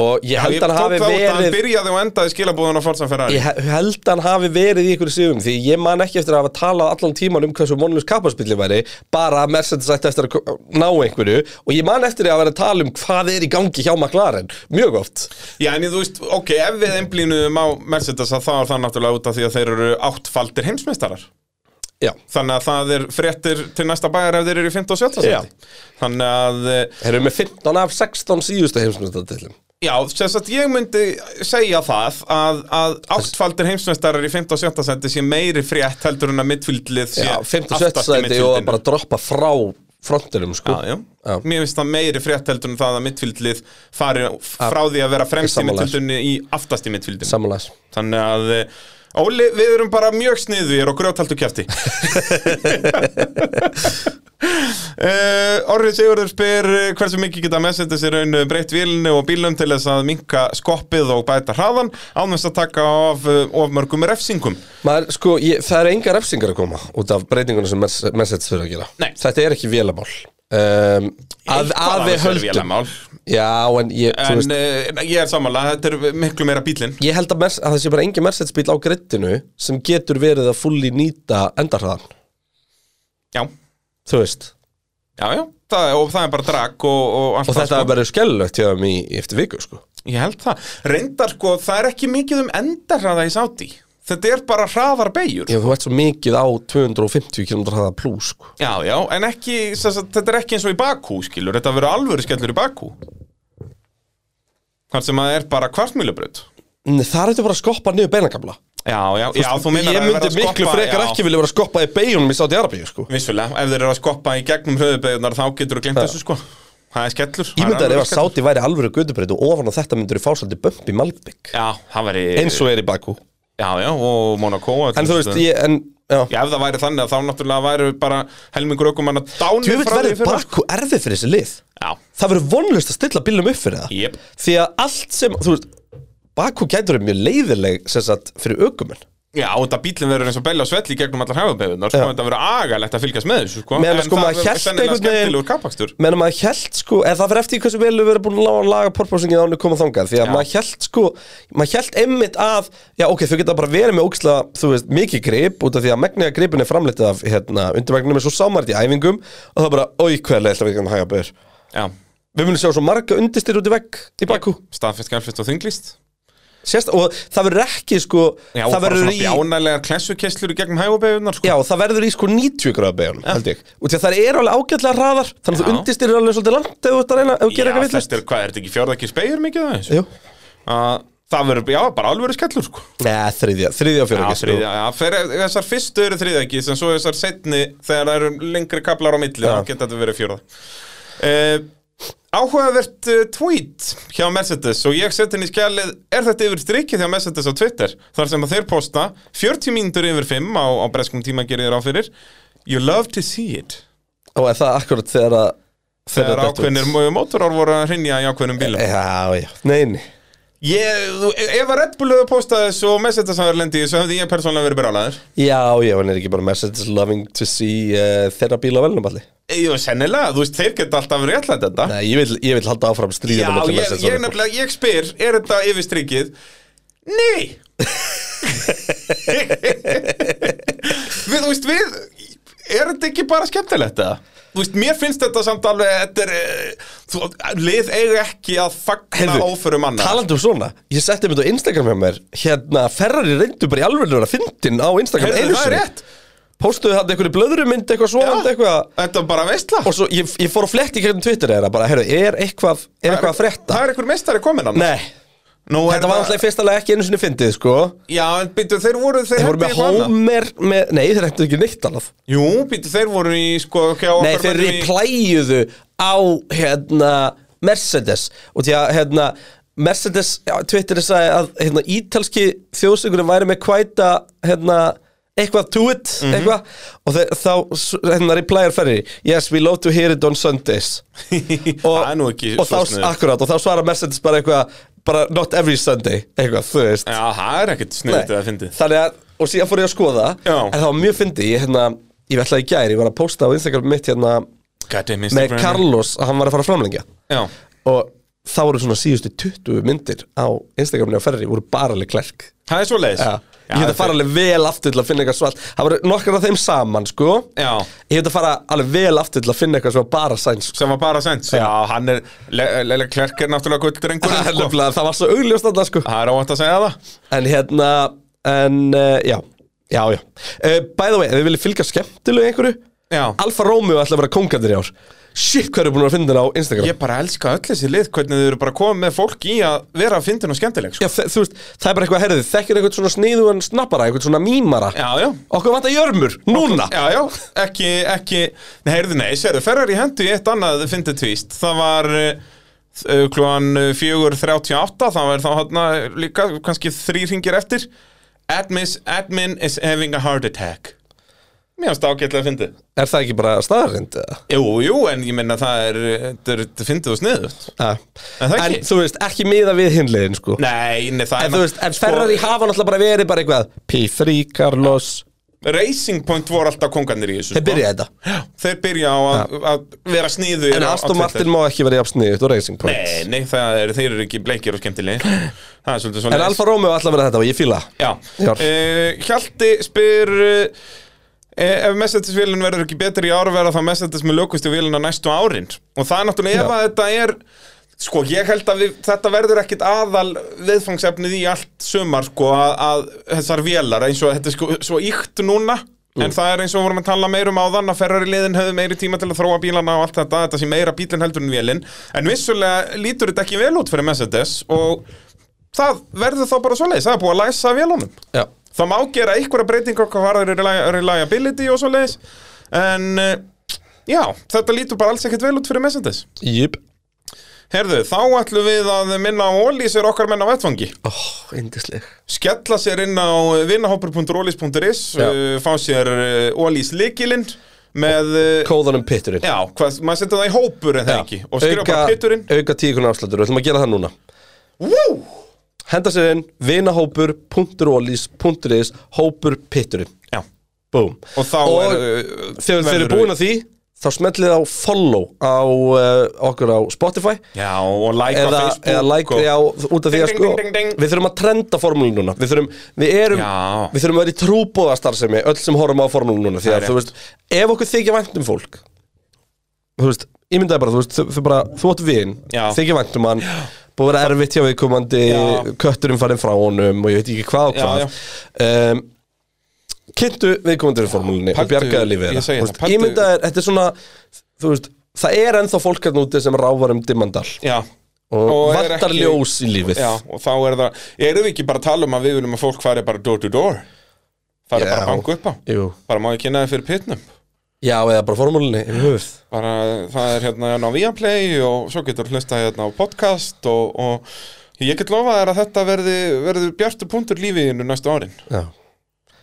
S1: Og ég held
S2: ég
S1: hann
S2: tók
S1: hafi
S2: það út að hann
S1: verið
S2: byrjaði og endaði skilabúðan á Forza Ferrari
S1: Ég he- held hann hafi verið í einhverju sigum Því ég man ekki eftir að hafa talað allan tíman um hversu vonlust kapparspilli væri Bara að Mercedes ætti eftir að ko- ná einhverju Og ég man eftir að vera að tala um hvað er í gangi hjá McLaren Mjög oft
S2: Já, en þú veist, ok, ef við einblínum á Mercedes að þá er það náttúrulega út af því að þeir eru áttfaldir heimsmeistarar
S1: Já
S2: Þannig að það er fréttir til næsta bæjar ef þeir eru í 15 og 17
S1: Já.
S2: seti Þannig að eh,
S1: Þeir eru með 15 af 16 síðustu heimsmyndatillum
S2: Já, sem sagt, ég myndi segja það að, að áttfaldir heimsmeistarar í 15 og 17 sendi sé meiri frétt heldur en að midfildlið sé
S1: Já, 5. og 6.
S2: aftast í
S1: sæti og
S2: mittfieldinu.
S1: bara droppa frá frontinum sko
S2: Já, já.
S1: Já.
S2: Mér finnst það meiri frétt heldur en það að mittfildlið fari frá því að vera fremst í
S1: Sammála.
S2: mittfildinu í aftast í mittfildinu
S1: Samanlæs
S2: Þannig að eh, Óli, við erum bara mjög sniðugir og grjóthaldu
S1: (laughs)
S2: kjæfti Uh, Orrið Sigurður spyr eh, hversu mikið geta messendis í raun eh, breytt vilni og bílum til þess að minka skoppið og bæta hraðan án þess að taka of, eh, of mörgum refsingum
S1: Maður, sko, ég, það eru engar refsingar að koma út af breytingunum sem Mercedes fyrir að gera
S2: Nei.
S1: Þetta er ekki vélamál um, að, að
S2: Eitthvað af
S1: við
S2: þessu er
S1: höldum
S2: vélamál.
S1: Já, en ég, þú
S2: En
S1: veist,
S2: uh, ég er sammála, þetta er miklu meira bílinn
S1: ég held að, Merce- að það sé bara engin Mercedes bíl á grittinu sem getur verið að fulli nýta endarhraðan
S2: Já,
S1: Þú veist
S2: já, já, það, og það er bara drag og, og allt
S1: Og
S2: það,
S1: þetta
S2: sko.
S1: er bara skellulegt hjá þeim í í eftir viku sko.
S2: Ég held það, reyndar sko, það er ekki mikið um endarhraða í sáti Þetta er bara hraðar beigjur
S1: Ég, Þú ert svo mikið á 250 km hraða plus sko.
S2: Já, já, en ekki, sem sagt, þetta er ekki eins og í Bakú, skilur Þetta verður alvöru skellur í Bakú Þar sem að það er bara kvartmýlubraut
S1: Nei, Það er þetta bara að skoppa niður beinagabla
S2: Já, já, já, þú meinar
S1: Ég
S2: að vera
S1: myndi
S2: að
S1: miklu
S2: skoppa-
S1: frekar
S2: já,
S1: ekki vilja vera að skoppa í beigunum í Saudi Arabíu sko.
S2: Vissulega, ef þeir eru að skoppa í gegnum höfuðbeigjarnar þá getur þú glemt
S1: Já.
S2: þessu sko Það er skellur það er
S1: Ég myndi að ef
S2: alvöru
S1: að
S2: skellur.
S1: Saudi væri alvöru gödubreyt og ofan á þetta myndur þú fá svolítið bömp í Malbygg
S2: Já, það væri
S1: eins og er í Bakú
S2: Já, já, og Monaco
S1: En
S2: og allir
S1: þú veist,
S2: þessu.
S1: ég, en, já
S2: Já, ef það væri þannig að þá náttúrulega væri bara helmingur ökumann að dánu
S1: Þú veit verður Bakú erfið fyrir þessi lið
S2: Já,
S1: Það verður vonlust að stilla bílum upp fyrir það
S2: Jep.
S1: Því að allt sem, þú veist Bakú gætur er mjög leiðileg sem sagt, fyrir ökumenn
S2: já, og þetta bílinn verður eins og belja og svelli í gegnum allar hæfabeyðunar
S1: Já.
S2: sko, þetta verður agalegt að fylgjast með þessu sko
S1: Meðan að sko maður
S2: verður
S1: hélt
S2: sennilega
S1: einhvern veginn-
S2: skemmtilegur kappakstur
S1: menn að maður held sko, eða það fyrir eftir því hversu vel við verðum búin að laga, laga porpósingin ánum koma þangað því að
S2: Já.
S1: maður held sko, maður held einmitt að, já ok, þau geta bara verið með óksla, þú veist, mikið grip út af því að megniga gripin er framleitt af, hérna, undirmegnum er svo sámært í æfingum og það er bara, oi, hverlega ætla við ekki að hæga bör
S2: Já,
S1: við munum sjá svo marga undistyr út í vegg í bakku,
S2: staðfest, gælfest og þinglist
S1: sérst, og það verður ekki sko,
S2: Já, og
S1: það
S2: bara
S1: verður
S2: svona
S1: í
S2: bjánælegar klessukesslur í gegnum hæfabeyðunar sko
S1: Já, það verður í sko 90 gráða beigjónum, held ég Út í að það er alveg ágætlega hraðar Þannig að
S2: Já.
S1: þú undirstyrir alveg svolítið langt Ef þú ert að reyna, ef þú gerir eitthvað Eh.
S2: þetta er, hvað, er þetta ekki fjörðakir spegjur mikið af þessu?
S1: villast
S2: Að Það verður, já, bara alvöru skellur sko
S1: Nei, þriðja, þriðja sko. og
S2: Já,
S1: fjórða
S2: þriðja, já, fyrir, þessar fyrstu eru þriðja ekki en svo þessar setni, þegar það eru lengri kaplar á milli,
S1: Já.
S2: þá geta þetta verið fjórða uh, Áhugavert uh, tweet hjá Mercedes og ég seti henni í skjalið, er þetta yfir strikið hjá Mercedes á Twitter, þar sem að þeir posta 40 mínútur yfir 5 á, á breskum tíma gerir þér á fyrir You love to see it
S1: Og er það akkurat þegar að
S2: Þegar
S1: þetta dettur
S2: ákveðnir
S1: út?
S2: mó- mótorar voru að hrinja í ákveðnum
S1: Eh,
S2: bílum
S1: Já, já, neini
S2: ég, þú- Ef að Red Bull hefur postað þessu og Mercedes hafði lendi í þessu hefði ég persónlega verið brálaður
S1: Já, já, hann er ekki bara message loving to see uh, þeirra bíl á velnum allir
S2: Eh, Jú, sennilega, þú veist, þeir geta alltaf réttlætt þetta
S1: Nei, ég vil, ég vil halda áfram
S2: Já,
S1: stríðinu
S2: ég, ég, nefnilega, ég spyr, er þetta yfir strikið? Nei! við, þú veist, við, er þetta ekki bara skemmtilegt það? Þú veist, mér finnst þetta samt alveg, þetta er, eh, þú, lið eiga ekki að fagna
S1: Heyrðu,
S2: óförum annað.
S1: Talandi um svona, ég setti mynd á Instagram hjá mér Hérna, Ferrari reyndu bara í alveg að fyndin á Instagram
S2: Heyrðu,
S1: einu
S2: það er
S1: sinni.
S2: rétt.
S1: Póstuðu hann einhverju blöðrumynd, eitthvað svovandi, eitthvað
S2: Þetta er bara veistla.
S1: Og svo, ég, ég fór að fletti hvernig Twitter er bara, herru, er eitthvað, er eitthvað að frétta?
S2: Það er einhver meistari komin annað.
S1: Nei,
S2: Nú, er
S1: þetta var alltaf í fyrsta lega ekki einu sinni fyndið, sko
S2: Já, en býttu, þeir voru, þeir,
S1: Þeir voru
S2: hentu
S1: með
S2: eitthvað annað.
S1: Homer með, Nei, þeir hættu ekki neitt annað
S2: Jú, býttu, þeir voru í, sko, hjá
S1: Nei,
S2: okkar
S1: þeir
S2: mönnum í-
S1: replæjuðu á hérna, Mercedes og því að hérna, Mercedes já, Twitter sagði að hérna, ítalski þjóðsöngurinn væri með kvæta hérna, eitthvað to it
S2: Mhm.
S1: eitthvað, og þeir, þá s- hérna, replæjar ferri Yes, we love to hear it on
S2: (laughs)
S1: Sundays
S2: Það er nú ekki
S1: og þá,
S2: svo sniðugt.
S1: akkurat, og þá svarar Mercedes bara eitthvað bara not every Sunday eitthvað, þú veist
S2: Já, það er ekkert
S1: Nei.
S2: sniðið að fyndið
S1: Þannig að, og síðan fór ég að skoða
S2: Já.
S1: En það var mjög fyndið, ég hérna Ég ætla í gæri, ég var að posta á Instagram mitt hérna
S2: Goddamn
S1: Með Carlos, að hann var að fara að framlengja
S2: Já,
S1: Og þá voru svona síðustu 20 myndir Á Instagramni á ferri, voru bara alveg klerk
S2: það er svo leiðis
S1: Já. Ég hefði að fara alveg vel aftur til að finna eitthvað svart Það voru nokkar af þeim saman, sko
S2: Já,
S1: Ég hefði að fara alveg vel aftur til að finna eitthvað sem var bara sæns (laughs) sko.
S2: sem var bara sent Já, hann er, Lele Klerk er náttúrulega gulldrengur
S1: Það er
S2: sko.
S1: nefnilega- það var svo augljóst þarna, sko
S2: Það er óvænt að segja það
S1: En hérna, en uh, já Já, Eh, já uh, By the way, ef þið viljið fylgja skemmtilegu einhverju
S2: Já,
S1: Alfa Romeo ætla að vera kóngandir í ár shit hvað eru búin að finna þér á Instagram
S2: Ég bara elska öll þessi lið Hvernig þau eru bara komið með fólk í að vera að fyndin og skemmtileg sko.
S1: Já, þe- þú veist, það er bara eitthvað herðið, þekkir einhvern svona sniðugan snappara, einhvern svona mýmara
S2: Já, já
S1: Okkur vantar jörmur, núna
S2: Já, já, ekki, ekki Nei, heyrðu, nei, sérðu, ferrar í hendu í eitt annað fyndið tvíst, það var uh, klugan 4.38 það var þá hérna líka kannski þrý ringir eftir Admis, Admin is having a heart attack Mér finnst það ágætlega fyndið
S1: Er það ekki bara staðarind? eða?
S2: Jú, jú, en ég minna það er eh, þetta er- þetta er fyndið og sniðugt
S1: Ja.
S2: En það
S1: En
S2: ekki-
S1: þú veist, ekki miða við hinlegin sko
S2: Nei, sko- nei, það
S1: En þú veist, en Ferrari hafa náttúrulega bara verið bara eitthvað P3, Carlos,
S2: Racing Point voru alltaf kongarnir í þessu
S1: þeir byrja þetta
S2: Já, Þeir byrja á að, að vera sniðu
S1: En Aston Martin má ekki vera jafnsniðut og Racing Point
S2: Nei, nei, það er, þeir eru ekki bleikir og skemmtilegir Það er svolítið svona
S1: En Alfa Romeo ætla að vera þetta og ég fíla það.
S2: Já,
S1: Já.
S2: uh, Hjalti spyr uh, Ef messagesvélun verður ekki betri í ár verða þá messages með lögustu véluna næstu árin Og það er náttúrulega ef
S1: Já.
S2: að þetta er Sko, ég held að við, þetta verður ekkit aðal viðfangsefnið í allt sumar sko, að, að þessar vélar eins og þetta er sko, svo íkt núna en það er eins og við vorum að tala meira um áðan að ferrari liðin höfðu meiri tíma til að þróa bílana og allt þetta, þetta sé meira bílinn heldur en vélinn en vissulega lítur þetta ekki vel út fyrir Mercedes og það verður þá bara svoleiðis, það er búið að læsa vélunum
S1: Já.
S2: það má gera einhverja breytingar hvað varður reli- reliability og svoleiðis en eh, já, þetta lítur bara alls ekkert vel út fyrir Mercedes
S1: Jip
S2: Herðu, þá ætlum við að minna á Ólís er okkar menn á vettfangi
S1: Ó, yndisleg
S2: skella sér inn á vinahopper.ólís.is
S1: Já.
S2: uh, fá sér Ólís likilinn með uh,
S1: Kóðanum pitturinn
S2: Já, hvað, maður setja það í hópur en það ekki og skrifa
S1: Auka,
S2: bara pitturinn
S1: auka tíkun afslættur, við ætlum að gera það núna
S2: Woo!
S1: Henda sér inn vinahópur.olís.is hópur pitturinn
S2: Já,
S1: Búm
S2: og þá
S1: Og
S2: er eh,
S1: Þegar þeir eru búin að því þá smellið á follow á uh, okkur á Spotify
S2: Já, og like
S1: eða,
S2: á Facebook
S1: eða like
S2: og...
S1: á, út af því
S2: Ding,
S1: að
S2: ding,
S1: sko
S2: ding, ding, ding.
S1: við þurfum að trenda formúlun núna við þurfum, við erum,
S2: Já.
S1: við þurfum að vera í trúbóða starfsemi öll sem horfum á formúlun núna því að
S2: Það er
S1: þú veist, ef okkur þykja vænt um fólk þú veist, ég myndaði bara þú veist, þú, þú bara, þú átt vin
S2: Já.
S1: þykja vænt um hann, búið að vera erfitt hjá viðkomandi
S2: Já.
S1: kötturinn farinn frá honum og ég veit ekki hvað og
S2: Já,
S1: hvað um, kynntu viðkomandi við formúlunni og
S2: Pældu-
S1: bjargaði lífið þeirra.
S2: ég segi
S1: Þú
S2: það,
S1: veist,
S2: pældu-
S1: ímyndaðu þér, þetta er svona þú veist, það er ennþá fólk hérna úti sem ráfar um dimmandal
S2: Já,
S1: og,
S2: Og er
S1: vantar
S2: ekki-
S1: ljós í lífið
S2: já, og þá er það Erum við ekki bara að tala um að við viljum að fólk fari bara door to door Fari
S1: Já.
S2: bara að banka upp á
S1: Jú.
S2: Bara má ég kynna þið fyrir pitnum
S1: já, eða bara formúlinni í höfuð
S2: bara það er hérna hérna á Viaplay og svo getur hlusta hérna á podcast og, og ég get lofað þér að þetta verði, verði bjartu punktur lífiðinu næstu árin
S1: já.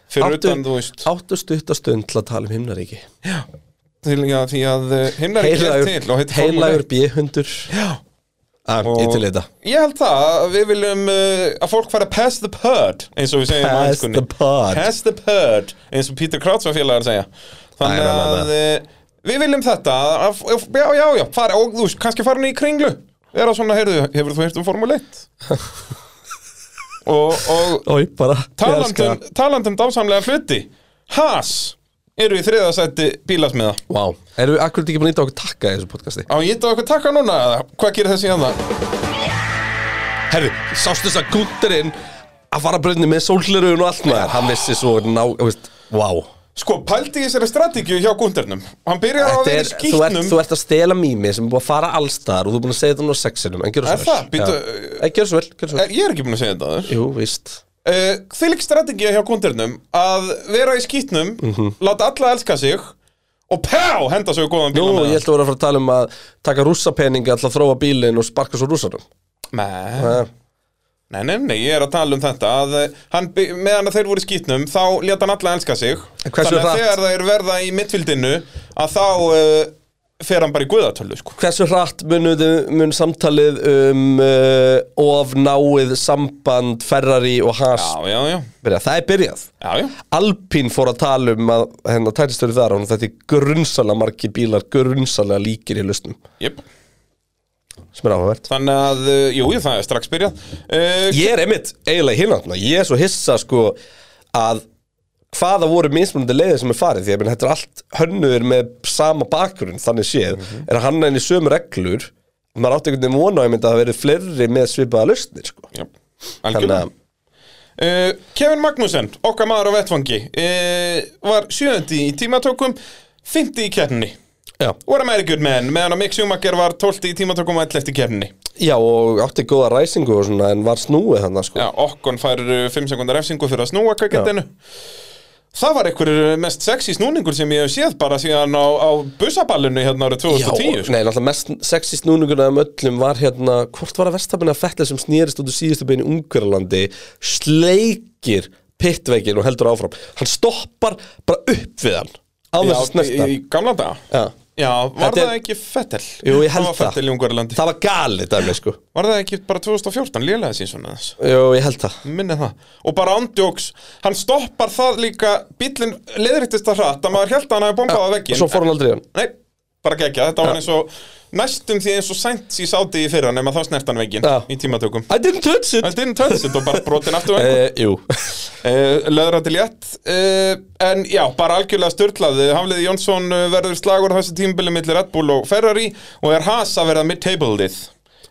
S2: fyrir
S1: Áttu-
S2: utan þú veist
S1: áttu stuttastund til að tala um himnaríki
S2: til, já, því að himnar ekki er til og
S1: heilagur,
S2: heitir
S1: heilagur
S2: Formúla
S1: bíhundur já ég
S2: Og-
S1: til í þetta
S2: 1. ég held það að við viljum uh, að fólk fara past the purd eins og við segjum á
S1: Pass
S2: enskunni.
S1: the pod
S2: Pass the purd eins og Peter Krauts var félagar að segja
S1: Nei,
S2: þannig
S1: nei, nei,
S2: að uh, við viljum þetta að, að, já já já fara, og þú veist kannski fara hann í kringlu vera svona, heyrðu, hefur þú heyrt um Formule
S1: (laughs)
S2: 1 og, og
S1: Oj, bara, ég elska
S2: talandum,
S1: það.
S2: talandum dásamlega hluti Haas eru í þriðasætti bílasmiða
S1: Vá, erum við akkurat ekki búin að nýta okkur takka í þessu podcasti
S2: á ég þetta okkur takka núna eða? hvað gerir þessi hérna?
S1: Herri, sástu þess að gútturinn að fara brunni með sólhlerugun og allt maður Hann vissi svo ná, veist, wow
S2: sko, pældi ég þessari strategíu hjá Gundernum hann byrjar á að
S1: Þetta er, þú,
S2: vera í
S1: ert,
S2: skýtnum
S1: þú ert að stela mými sem er búið að fara allstaðar og þú er búin að segja þetta nú á sexinum En gjör
S2: Er
S1: svo vel
S2: það? Býtu-
S1: Já. Nei, gjör svo vel, gjör svo vel
S2: Eh, ég er ekki búin að segja þetta þurr
S1: Jú, víst
S2: Uh, Þvílik strategið hjá kundurnum að vera í skýtnum,
S1: Mhm.
S2: láta alla elska sig og pá, henda svo í góðan
S1: Nú,
S2: bíla með
S1: ég ætla að vera að fara að tala um að taka rússapeninga til að þróa bílinn og sparka svo rússanum
S2: það.
S1: Það-
S2: Nei, nei, nei, ég er að tala um þetta að eh, hann, by- meðan að þeir voru í skýtnum þá leta hann alla elska sig
S1: En hversu
S2: þannig að
S1: hratt?
S2: þegar þeir verða í mittfildinu að þá uh, fer hann bara í guðatölu sko.
S1: Hversu hratt munuðu, mun samtalið um uh, of náið samband Ferrari og Haas
S2: Já, já, já,
S1: byrja? Það er byrjað
S2: já, já
S1: Alpín fór að tala um að hennar tækistöru þar og þetta er grunnsalega margir bílar, grunnsalega líkir í lustum
S2: yep.
S1: sem er áhugavert
S2: Þannig að, eh, jú, jú, það er strax byrjað uh,
S1: Ég er einmitt eiginlega hinantna, ég er svo hissa sko að hvaða voru mismunandi leiðir sem er farið því að ég meina, þetta er allt hönnuður með sama bakgrunn þannig séð,
S2: Mhm.
S1: er að hann henni sömu reglur maður átti einhvern veginn vona að ég myndi að það verið fleiri með svipaða lausnir sko.
S2: yep.
S1: þannig
S2: Algjörlega
S1: að
S2: Uh, Kevin Magnussen, okkar eh, maður á vettfangi uh, var sjöndi í tímatökum fymti í keppninni
S1: Já.
S2: What am I a good man meðan að Mick Schumacher var 12 í tímatökum og 11 í kefninni
S1: Já, og átti góða ræsingu og svona en var snúið þannig sko.
S2: Já, Okkon fær 5 sekundar efsingu fyrir að snúa kakendinu Það var einhver eh, mest sexy snúningur sem ég hef séð bara síðan á, á busaballinu hérna árið 2010 sko.
S1: nei, náttúrulega mest sexi snúninguna um öllum var hérna, hvort var að verstafinu að fætla sem snýrist út úr síðustu bein í Ungverjalandi sleikir pittveikin og heldur áfram hann stoppar bara upp við hann á
S2: Já,
S1: þess að snerta
S2: í, í gamla daga
S1: Já.
S2: Já, var
S1: Þetta er-
S2: það ekki Fettel?
S1: Jú, ég held
S2: það var
S1: það
S2: Fettel í Ungarlandi
S1: Það var galið dæmi, sko
S2: Var það ekki bara 2014 lélega sínsson aðeins?
S1: Jú, ég held það
S2: minni það og bara ándjóks, hann stoppar það líka bíllinn leðriktist það hratt að maður held að hann hafi bombað að
S1: Og
S2: veggin
S1: svo fór hann aldrei í hann
S2: Nei, bara gekkja, þetta var hann eins og næstum því eins og sænt í sáti í fyrra nema þá snert hann veggin
S1: Já.
S2: í tímatökum
S1: I didn't touch it
S2: Þetta er einn töðsitt og bara brotin aftur veginn
S1: uh, Jú
S2: uh, Löðra til jætt uh, En já, bara algjörlega störtlaði Hafliði Jónsson eh, verður slagur á þessu tímbili millir Red Bull og Ferrari og er Haas að verða mid-table-ið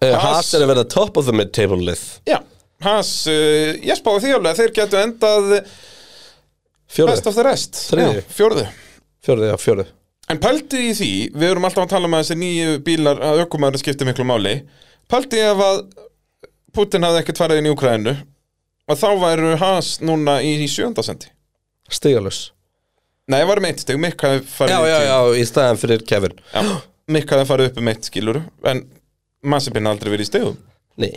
S1: Eh, Haas er að verða top of the mid-table lið
S2: Já, Haas, uh, ég spáði því alveg að þeir getu endað Best
S1: Fjörðu
S2: of the rest
S1: Þriðji.
S2: Já, Fjórðu
S1: Fjörðu, já, fjörðu
S2: En pældu í því, við erum alltaf að tala um að þessi nýju bílar að ökumæður skipti miklu máli Pældu ef að Putin hafði ekkert farið inn í Ukraínu og þá væru Haas núna í, í sjöndasendi
S1: Stigalus
S2: Nei, ég var um eitt steg, Mikk hafði farið
S1: Já, já, já, í staðan fyrir Kevin
S2: já. Mikk hafði farið upp um eitt skilur en Massipin aldrei verið í stegum
S1: Nei,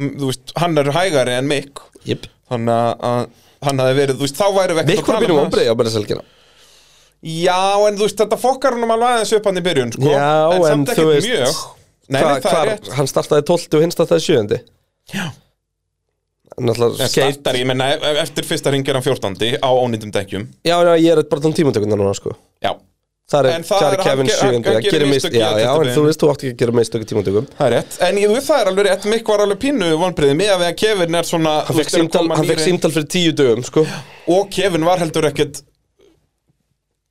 S2: M- Þú veist, hann er hægari en Mikk
S1: jip
S2: þannig að- að hann hafði verið, þú veist, þá væru við ekkert
S1: Mikkur
S2: að tala
S1: býnum
S2: um Haas.
S1: ombrið á bara selgina
S2: Já, en þú veist, þetta fokkar honum alveg aðeins upp hann í byrjun, sko
S1: Já, en
S2: samt
S1: þú
S2: ekkert
S1: veist-
S2: mjög. Nei, nei,
S1: Hva,
S2: það er
S1: hvar,
S2: rétt
S1: Hann startaði 12 og hinn startaði 7
S2: Já.
S1: Náttúrulega
S2: En
S1: skate
S2: startar, ég menna, eftir fyrsta ring er hann 14. á ónýndum dekkjum
S1: Já, já, ég er bara tón tímatökuna núna, sko
S2: Já,
S1: Það er,
S2: En það
S1: þar
S2: er-
S1: er Kevin
S2: hann ge- hann-
S1: 7
S2: hann
S1: hann
S2: gerir
S1: gerir
S2: mistök
S1: mistök
S2: í
S1: Já, já, en
S2: 21.
S1: þú veist, þú átti ekki að gera mistök í tímatökum
S2: það er rétt En ég, það er alveg rétt, Mikk var alveg pínu vonbriði með að við að Kevin er svona
S1: Hann fekk símtal, hann fekk símtal fyrir tíu dögum, sko
S2: Og Kevin var heldur ekkert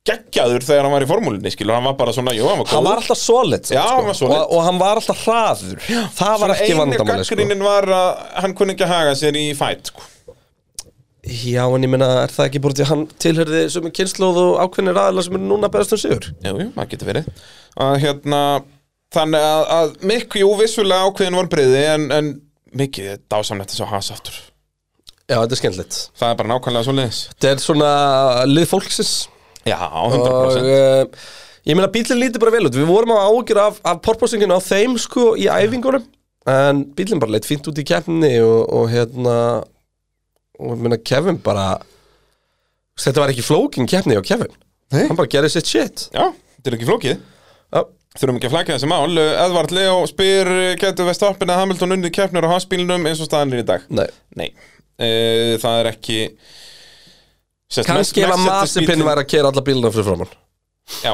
S2: geggjaður þegar hann var í formúlinni, skilur Hann var bara svona, jú, hann var góð
S1: Hann var alltaf solid samt,
S2: Já,
S1: sko.
S2: hann var solid.
S1: og, og hann var alltaf hraður Það var ekki vandamáli, sko
S2: gaggrínin var að hann kunni ekki að haga sér í fæt, sko
S1: Já, en ég meina, er það ekki bara því að hann tilhörði sömu kynnslóð og ákveðni ræðilega sem er núna beðast um sigur
S2: Jú, jú, það getur verið að, hérna, Þannig að, að Mikk, jú, vissulega ákveðin var breyði En, en mikið er dásamlegt að sjá hans aftur
S1: Já, þetta er skemmtilegt
S2: Það er bara nákvæmlega svo leiðis
S1: Þetta er svona lið fólksins
S2: Já,
S1: og
S2: 100%
S1: uh, ég meina bílinn líti bara vel út við vorum á ágjur af, af porposinginu á þeim sko í æfingunum en bílinn bara leitt fínt út í keppni og, og hérna og ég meina Kevin bara þetta var ekki flókin keppni á Kevin
S2: Nei.
S1: hann bara gerði sitt shit
S2: Já, þetta er ekki flókið
S1: Já,
S2: Þurfum ekki að flækja þessi mál Edvard Leo spyr Getur við stoppin að Hamilton unni keppnur á hansbílnum eins og staðan er í dag?
S1: nei
S2: Nei Eh, Það er ekki Sest,
S1: kannski ef að Masipin væri að kera alla bílina fyrir framann
S2: Já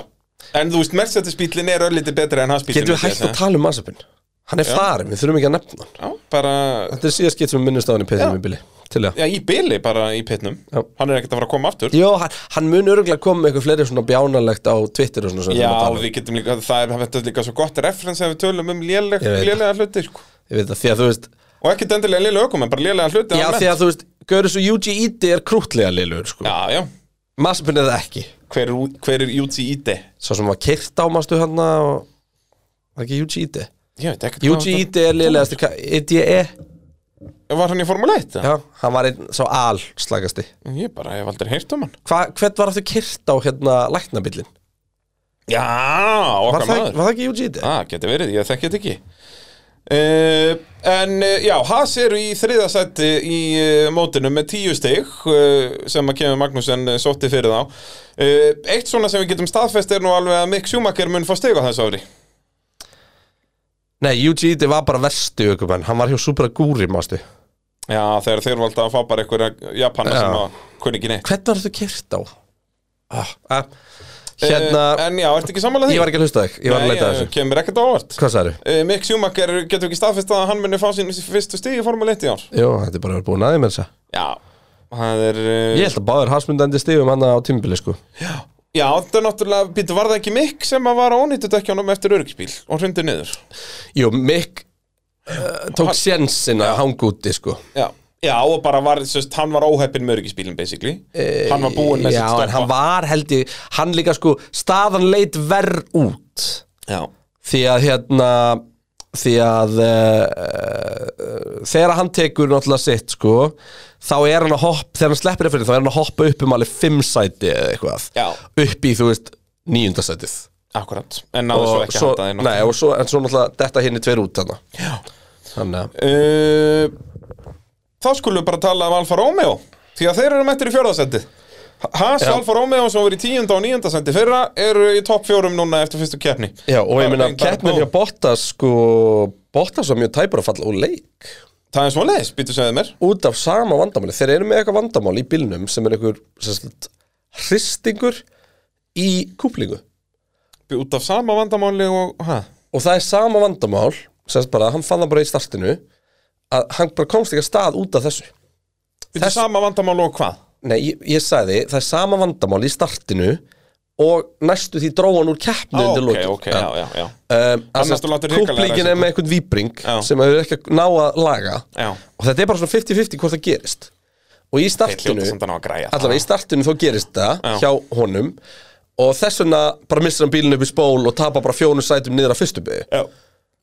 S2: En þú veist, Mercedes bílinn er örlítið betri en hansbílinn
S1: getum við hægt að tala um Masipin hann er farin, við þurfum ekki að nefna hann
S2: Já, bara
S1: þetta er síðast skitt sem við minnumst á hann í
S2: Já.
S1: peitinum í bíli til það
S2: Já, í byli bara í pitnum
S1: Já.
S2: Hann er ekkert að fara að koma aftur
S1: Jó, hann, hann mun örgulega koma með eitthvað fleiri svona bjánalegt á Twitter og svona sem við
S2: Já,
S1: erum að tala um.
S2: við getum líka, það er þetta er líka svo gott referens ef við tölum um léleg-
S1: Ég veit það.
S2: lélega hluti sko.
S1: Ég veit það, því að þú veist
S2: og ekkert endilega lélega ökum, en bara lélega hluti
S1: Já,
S2: almennt.
S1: því að þú veist, Görus og Yuji Íti er krútlega liðlugur, sko
S2: Já, já,
S1: Maspin er það ekki
S2: hver, er ú- hver er Júti Íde?
S1: Svo sem var kyrt á, mástu hann og Var ekki Yuji Íti?
S2: Ég veit ekkert
S1: Yuji
S2: hvað
S1: Íti er liðlegasti ka- Íti er
S2: þetta Var hann í Formule 1?
S1: Já, hann var einn svo al slagasti
S2: Ég bara hef aldrei heyrt um hann
S1: Hva, Hvern var aftur kyrt á hérna læknabillin?
S2: Já,
S1: Var,
S2: okkar
S1: það-
S2: maður
S1: var það ekki Yuji Íti?
S2: Það geti verið, ég þekki þetta ekki Uh, en uh, já, Haas eru í þriðasætti í uh, mótinu með tíu stig uh, sem að kemur Magnúsen uh, sótti fyrir þá uh, Eitt svona sem við getum staðfest er nú alveg að Mick Schumacher mun fá stig á þessu ári
S1: Nei, Yuji Íti var bara verstu ökumenn Hann var hjá Supra Guri, mástu
S2: Já, þegar þeir valda að fá bara einhverja Japana
S1: Já.
S2: sem að kunni ekki neitt
S1: Hvern var aftur kyrt á? Ah, ah, hérna,
S2: uh, En já, ertu ekki sammála því?
S1: ég var ekki að hlusta á þig Ég var að leita að
S2: Nei,
S1: þessu
S2: eh, kemur ekkert á óvart
S1: Hvað sagði
S2: Eh, Mick Schumacher getur ekki staðfest að hann muni fá sín fyrstu stig í Formule 1 í ár
S1: Jó, þetta er bara búin aðeins með þessa
S2: Já, það er eh,
S1: Ég
S2: yes.
S1: held að báður hasmundandi stigum hann á tímubili sko
S2: Já, þetta er náttúrulega, býttu, var það ekki Mick sem að var á ónýttu dekkjánum eftir örgisbíl og hrundi niður
S1: Jú, Mick uh, tók
S2: Hann-
S1: sjensin að hanga úti sko
S2: Já, Já, og bara var, sérst, hann var óheppin með öryggisbílinn, basically Hann var búinn með
S1: Eh, Já,
S2: sitt
S1: en hann
S2: stoppa
S1: var held ég Hann líka sko, staðan leit verð út
S2: Já,
S1: Því að hérna Því að uh, Þegar hann tekur náttúrulega sitt sko Þá er hann að hoppa Þegar hann sleppir það fyrir þá er hann að hoppa upp um alveg Fimm sæti eða eitthvað
S2: Já.
S1: Upp í þú veist níunda sætið
S2: akkurat En náðu svo ekki
S1: svo,
S2: að halda
S1: nei, og svo, en svo náttúrulega Detta hinn í tveir út þarna Þannig að
S2: þeim Eh, Þá skulum við bara tala um Alfa Romeo Því að þeir eru mættir í fjörðasendi Haas,
S1: Já.
S2: Alfa Romeo sem voru í tíunda og níunda sendi fyrra eru í topp fjórum núna eftir fyrstu keppni
S1: Já, og ég
S2: Bara
S1: meina,
S2: beint bara
S1: keppnin
S2: bó.
S1: hjá Bottas sko, Bottas var mjög tæpur að falla úr leik
S2: Það er svoleiðis, býtu segðu mér
S1: út af sama vandamáli þeir eru með eitthvað vandamál í bílnum sem er einhver sem sagt, hristingur í kúplingu
S2: Út af sama vandamáli og ha?
S1: og það er sama vandamál sem sagt bara, hann fann það bara í startinu að hann bara komst ekki að stað út af þessu
S2: Býtu
S1: Þess-
S2: sama vandamál og hvað?
S1: Nei, ég, ég sagði, það er sama vandamál í startinu og næstu því dróðan úr keppni
S2: Á,
S1: undir
S2: Ah, ok,
S1: lokin.
S2: ok, já, já, já
S1: Um, að
S2: Annars
S1: sem
S2: þú
S1: sagt,
S2: látur hrikalega
S1: kúplingin
S2: ræsa.
S1: er með einhvern víbring
S2: Já.
S1: sem hefur ekki að ná að laga
S2: Já,
S1: og þetta er bara svona 50-50 hvort það gerist og í
S2: þeir hljóta
S1: startinu
S2: samt að ná að græja það.
S1: allavega í startinu þá gerist það
S2: Já.
S1: hjá honum og þess vegna bara missir hann bílinn upp í spól og tapar bara fjónu sætum niður að fyrstu byggju
S2: Já.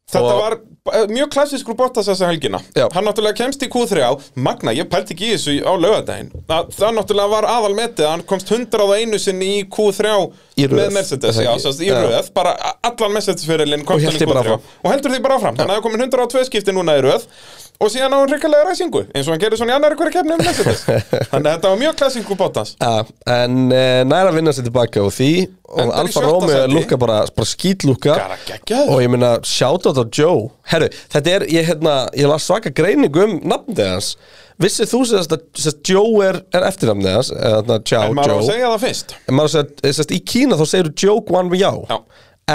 S2: Þetta
S1: Og-
S2: var eh, mjög klassískur Bottas þessa helgina
S1: Já.
S2: Hann náttúrulega kemst í Q3 á Magna, ég pælti ekki í þessu á laugardaginn Að- Það náttúrulega var aðalmetið Hann komst 101 sinni í Q3
S1: Í röð,
S2: Með
S1: er
S2: Mercedes,
S1: það
S2: já,
S1: ekki?
S2: sérst, í
S1: Já.
S2: röð Bara a- allan Mercedes-fyrirlin
S1: Og
S2: komst
S1: hélt
S2: hann í
S1: því bara
S2: Q3
S1: áfram.
S2: Og heldur því bara áfram, þannig að það komin 102 skipti núna í röð Og síðan á hann hrikalega ræsingu Eins og hann gerir svona í annar hverja kefni með um
S1: (laughs)
S2: Mercedes Þannig að þetta var mjög klassískur Bottas
S1: Ja, en uh, næra að vinna sér tilbaka og því og
S2: Endar í
S1: Alfa
S2: sjötta
S1: Romeo
S2: sæti.
S1: lukka bara, bara skýtlukka
S2: Bara geggjaður.
S1: og ég meina shoutout á Joe herru, þetta er, ég, hérna, ég las svaka greining um nafndið hans vissið þú sérst að sérst, Joe er, er eftirnafndið hans eða þarna Chao
S2: En maður á að
S1: Joe
S2: segja það fyrst
S1: en maður sérst, sérst, eh, í Kína þá segir Joe Guan Yao
S2: Já.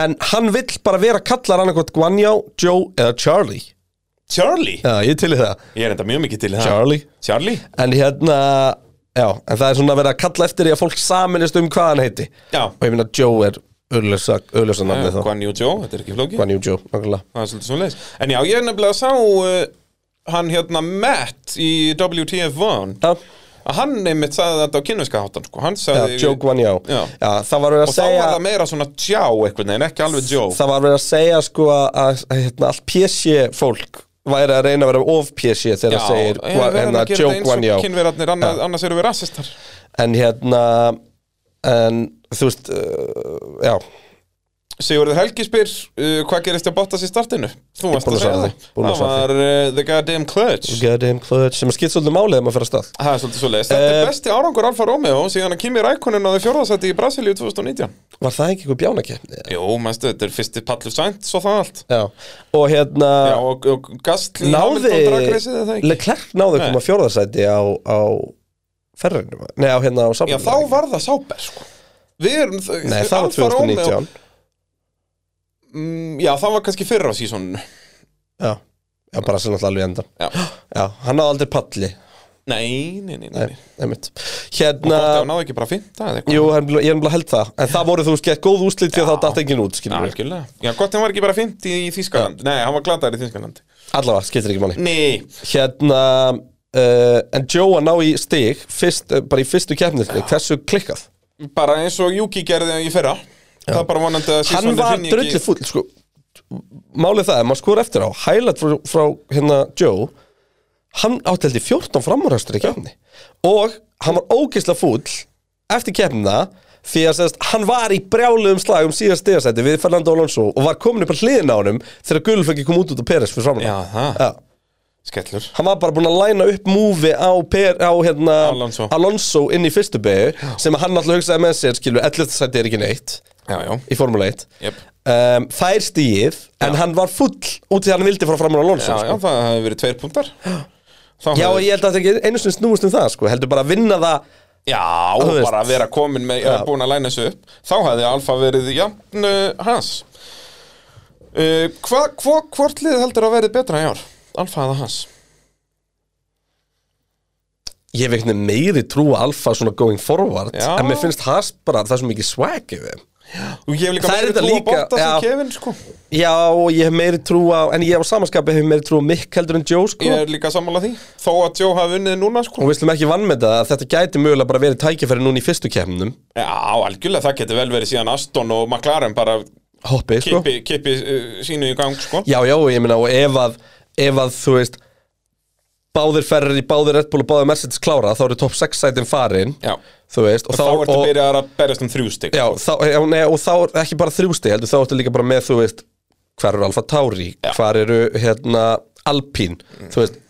S1: en hann vill bara vera kallar annarkvæmt Guan Yao, Joe eða Charlie
S2: Charlie,
S1: já, ég er til í það,
S2: ég er enda mjög mikið til í það
S1: Charlie
S2: Charlie?
S1: En hérna, já, en það er svona að vera að kalla eftir því að fólk saminist um hvað hann heiti
S2: Já. Eh,
S1: Og ég meina Joe er auðlösa namni þá
S2: Guan Yu Zhou, þetta er ekki flókið
S1: Guan Yu Joe, nákvæmlega
S2: Það er svolítið svoleiðis En já, ég er nefnilega að sá uh, hann hérna Matt í WTF1
S1: Já,
S2: að hann einmitt sagði þetta á kynneska hátan sko. hann sagði
S1: já Joe Guan Yao
S2: Já.
S1: já það var verið að
S2: og þá var
S1: segja
S2: það meira svona tjá einhvern veginn, ekki alveg Joe
S1: Það var verið að segja sko að, að hérna, allt PSG fólk væri að reyna að vera of PSG þegar
S2: Já,
S1: það segir
S2: ég
S1: Guan-
S2: verð
S1: hérna,
S2: að gera
S1: Joe
S2: þetta eins og
S1: Guan Yao
S2: kynverarnir, annars, annars erum við rassistar
S1: En hérna, en þú veist, uh, já
S2: Sigurður Helgi spyr uh, hvað gerist að Bottas í startinu? Þú varst
S1: búin að
S2: að segja
S1: svara
S2: það
S1: því, búin að
S2: Það
S1: svara
S2: var uh, the goddamn clutch
S1: Goddamn clutch, sem að skipt svolítið málið þegar maður fyrir að stað
S2: Það er svolítið svoleiðis Þetta
S1: Eh,
S2: er besti árangur Alfa Romeo síðan að Kimi Rækonin náði fjórðasætti í Brasilíu 2019
S1: Var það ekki eitthvað bjánakefni?
S2: Jú, mannstu, þetta er fyrsti pallur sænt, svo það allt
S1: Já, og hérna
S2: Já, og, og Gastli
S1: náði
S2: Hamilton dragreisið það ekki
S1: Leclerc náði
S2: Nei.
S1: koma fjórðarsæti á, á ferrinu, nei á hérna á
S2: Já,
S1: samfélagi
S2: þá var það sáber, sko Við erum þau
S1: Nei, það var
S2: Alfa Romeo-
S1: 2019
S2: Mm, Já, það var kannski fyrra á sísónu
S1: Já, já bara sem alltaf alveg í endan
S2: Já,
S1: Já, hann náði aldrei palli
S2: nei, nei, nei, nei,
S1: Nei,
S2: nei.
S1: einmitt
S2: Na...
S1: Hérna,
S2: náði ekki bara fynda eða eitthvað
S1: jú, hann, ég er nefnilega held það En það voru þú skett góð úslit því að þá datt enginn út, skilur við
S2: Algjörlega Já, gott hann var ekki bara fynnt í Þískaland Nei, hann var glataður í Þískaland
S1: Allavega, skiptir ekki manni
S2: Nei,
S1: Hérna, uh, en Joe að ná í stig fyrst, eh, Bara í fyrstu keppnisni, hversu klikkað
S2: bara eins og Juki gerði í fyrra Það bara vonandi að
S1: hann
S2: sísónu
S1: var drullið fúll sko, málið það, ef maður skor eftir á hælat frá, frá hérna Joe hann átteldi 14 framúræstur í kefni og hann var ógeðslega fúll eftir kefnina því að sérst, hann var í brjáluðum slagum síðast stegasæti við Fernando Alonso og var komin upp að hliðina á honum þegar Gulfengi kom út út á Peres fyrir
S2: Já,
S1: framúræstur
S2: það,
S1: Já,
S2: skellur
S1: hann var bara búinn að læna upp múfi á, per, á hérna,
S2: Alonso.
S1: inn í fyrstu begu sem hann alltaf hugsaði með sér skilu 11. sæti er ekki neitt
S2: Já, já,
S1: í Formule 1
S2: jöp
S1: um, Fær stíð En hann var full út í að hann vildi fara fram á Alonso
S2: Já, já,
S1: sko.
S2: það hefði verið tveir punktar Þá
S1: já, og
S2: hefði-
S1: ég held að það ekki einu sinni snúist um það sko. Heldur bara að vinna það
S2: já
S1: þú veist.
S2: bara að vera komin með, ja. búin að læna þessu upp Þá hefði Alfa verið jafn uh, hans uh, hva, hva, Hvort lið heldur að verið betra í ár? Alfa eða hans?
S1: ég hef einhvern veginn meiri trú á Alfa svona going forward
S2: Já.
S1: en mér finnst Haas bara það er svo mikið swag í þeim
S2: og ég hef líka
S1: Það er
S2: meiri
S1: þetta
S2: trú á
S1: líka,
S2: Bottas
S1: já.
S2: en Kevin sko.
S1: Já, og ég hef meiri trú á en ég hef á samanskapi hef meiri trú á Mick heldur en Joe sko
S2: ég er líka sammála því þó að Joe hafi unnið núna sko.
S1: og við slum ekki vann með það að þetta gæti mögulega bara verið tækifæri núna í fyrstu kemnum
S2: já, algjörlega það getur vel verið síðan Aston og McLaren bara
S1: hoppið sko
S2: kippi, kippi uh, sínu í gang sko.
S1: Já, já, ég meina og ef að, ef að þú veist báðir Ferrari, báðir Red Bull og báðir Mercedes klára þá eru topp 6 sætin farin
S2: Já.
S1: þú veist, og
S2: þá
S1: og,
S2: ertu og... byrjað að berjast um þrjú stygg
S1: já, þá, já, nei, og þá er ekki bara þrjústi heldur, þá ertu líka bara með þú veist, hvar eru Alfa Tauri
S2: Já. Mm.
S1: hvar eru hérna Alpín, þú veist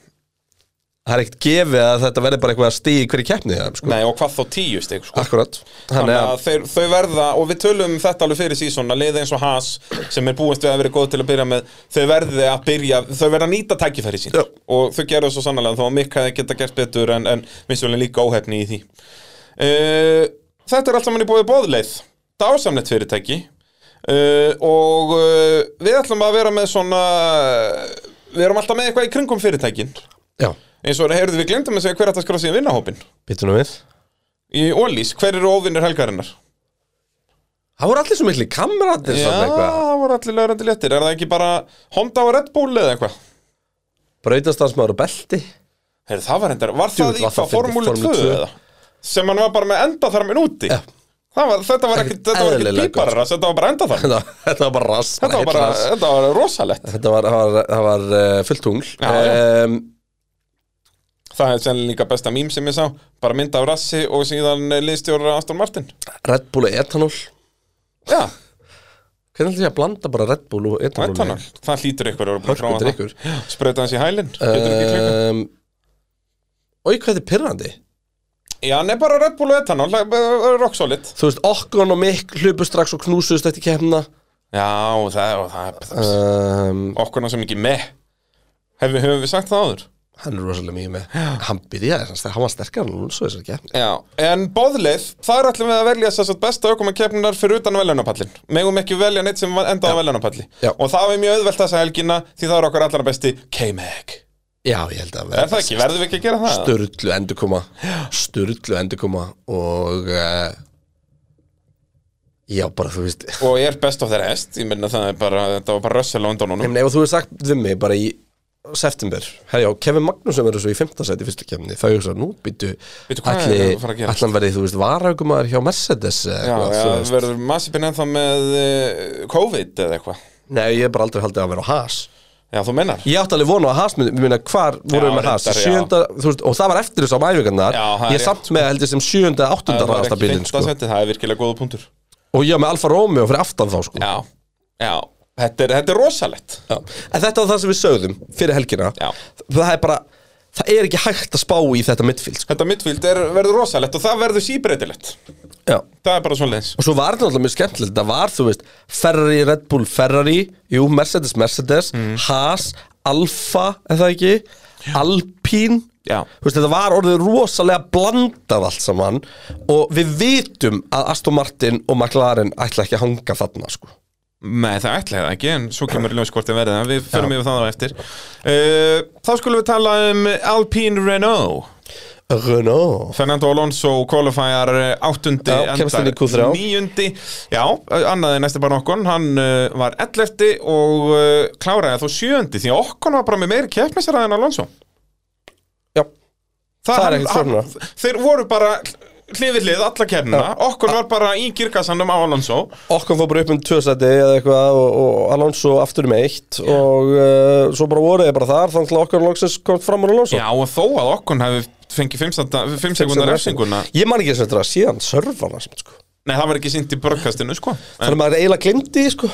S1: það er ekkert gefið að þetta verði bara eitthvað að stíð í hverju keppni það, sko,
S2: Nei, og hvað þá tíu stygg sko.
S1: akkurat
S2: Þannig
S1: þannig
S2: að
S1: að,
S2: þeir, þau verða, og við tölum um þetta alveg fyrir sísón, að liða eins og Haas sem er búist við að vera góð til að byrja með þau verði að byrja, þau verða að nýta tækifæri sín
S1: Já.
S2: og þau gerðu svo sannlega þó að Mikk hefði geta gert betur en, en vissulega líka óhefni í því uh, Þetta er allt saman í búið bóðleið dásamlegt fyrirtæki uh, og uh, við ætlum að vera með svona við erum alltaf með eitthvað í kringum fyrirtækin
S1: já,
S2: eins og heyrðu við glemdum að segja hver ætti að skrá síðan vinnahópin
S1: býtum við
S2: í Ólís, hver eru óvinnir helgarinnar?
S1: það voru allir svo miklu kameratir
S2: Já, það voru allir lögrandi léttir Er það ekki bara Honda og Red Bull eða eitthvað?
S1: brautastansmaður og belti
S2: Heyrðu, það var endar Var
S1: Djú,
S2: það í
S1: var það
S2: hvað
S1: fyndið,
S2: Formúlu 2
S1: Formúlu 2?
S2: eða? Sem hann var bara með enda þarminn úti
S1: Já.
S2: Það var, Þetta var ekkit, þetta var ekkit
S1: eðlilega gott.
S2: píparar Þetta var (laughs) bara enda
S1: (laughs)
S2: þarminn
S1: þetta þetta var bara rass
S2: Þetta var bara, þetta var rosalett
S1: Þetta var, það var, það var uh, fullt tungl
S2: Já, já.
S1: Um,
S2: Það er sennilega líka besta mím sem ég sá Bara mynda af rassi og síðan liðstjóra Aston Martin
S1: Red Bull og etanól
S2: Já,
S1: Hvernig ætlum ég að blanda bara Red Bull og etanól?
S2: metanol Það hlýtur ykkur Eh. að vera búin að
S1: Hörku
S2: prófa það.
S1: drikkur
S2: Sprauta hans í hælinn Getur ekki klikkað.
S1: um, Og hvað þetta er pyrrandi?
S2: Já, nei, bara Red Bull og etanol eh, Rock solid
S1: Þú veist, Okkon og Mikk hlupu strax og knúsuðust eftir kemna
S2: Já, og það, og það, það
S1: um,
S2: okkur ná sem ekki með Hef, Hefum við sagt það áður?
S1: Hann er rosalega mikið með Hann byrjaði, hans, hann var sterkar en Alonso í þessari kemni
S2: Já, en boðleið, þar ætlum við að velja þess að besta aukum að keppnunar fyrir utan veljónapallin Megum ekki velja neitt sem endaði á veljónapalli
S1: Já.
S2: Og það var mjög auðvelt þessa helgina því það er okkar allra besti K-Mag
S1: Já, ég held að
S2: Er það ekki, verðum við ekki að gera það?
S1: Sturlu endurkoma Sturlu endurkoma Og uh, Já, bara þú veist
S2: Og er best of the rest, ég meina það er bara, þetta var bara rössal á undanunum
S1: Ég meina, ef þú hefur sagt við mig bara í september, herjá, Kevin Magnússon verður svo í 15. seti fyrstu kemni, þá ég svo nú býtu
S2: Bíddu, hvað er að fara að
S1: allir
S2: gerast?
S1: allan verið, þú veist, varaukumar hjá Mercedes eða
S2: Já,
S1: eitthvað,
S2: já,
S1: þú veist.
S2: verður Masipin ennþá með uh, COVID eða eitthvað
S1: Nei, ég hef bara aldrei haldið að vera á Haas
S2: Já, þú meinar
S1: Ég átti alveg vona á Haas, við minna hvar vorum við með Haas
S2: reyndar, já.
S1: sjönda, þú veist, og það var eftir þessu á mæfingarnar,
S2: Já, það er
S1: ég er samt með held ég sem sjönda, áttunda
S2: Það var
S1: hraðasta
S2: ekki
S1: bílinn,
S2: fint
S1: sko,
S2: að setja, það er virkilega góða punktur
S1: og ég var með Alfa Romeo fyrir aftan þá, sko,
S2: Já, já, þetta er, þetta er rosalett
S1: Já. en þetta var það sem við sögðum fyrir helgina,
S2: Já.
S1: það er bara það er ekki hægt að spá í þetta midfield, sko,
S2: Þetta midfield er, verður rosalett og það verður síbreytilegt
S1: já
S2: Það er bara svona leins
S1: Og svo var þetta náttúrulega mjög skemmtilegt Það var, þú veist, Ferrari, Red Bull, Ferrari Jú, Mercedes, Mercedes
S2: Mm.
S1: Haas, Alfa, er það ekki Alpín
S2: Já.
S1: Þú veist, þetta var orðið rosalega blandað allt saman Og við vitum að Aston Martin og McLaren ætla ekki að hanga þarna, sko
S2: Nei, það ætlaði það ekki, en svo kemur ljóskortin verðið en Við förum yfir það á eftir uh, Þá skulum við tala um Alpine Renault
S1: Renault
S2: Fernando Alonso qualifier eh, áttundi
S1: Já, kemst inn í Q3.
S2: Níundi, já, eh, annaði næsti bara nokkon Hann uh, var ellefti og uh, kláraði þó sjöundi Því að okkon var bara með meiri keppnisræðin Alonso
S1: Já, Það er
S2: hann-
S1: ekkert svona.
S2: hann- Þeir voru bara hlifið hlið alla kernina Okkon var bara í girkasannum á Alonso
S1: okkur fór bara upp um tvösæti eða eitthvað og, og Alonso aftur um eitt og uh, svo bara voruði bara þar þannig að okkur loksins kom fram úr Alonso
S2: Já, og þó að Okkon hefði fengið 5 sekundar refsinguna
S1: Ég man ekki eins og þetta síðan sörfana samt, sko
S2: Nei, það var ekki sýnt í börgkastinu, sko en,
S1: Þannig að maður eiginlega glemdi því sko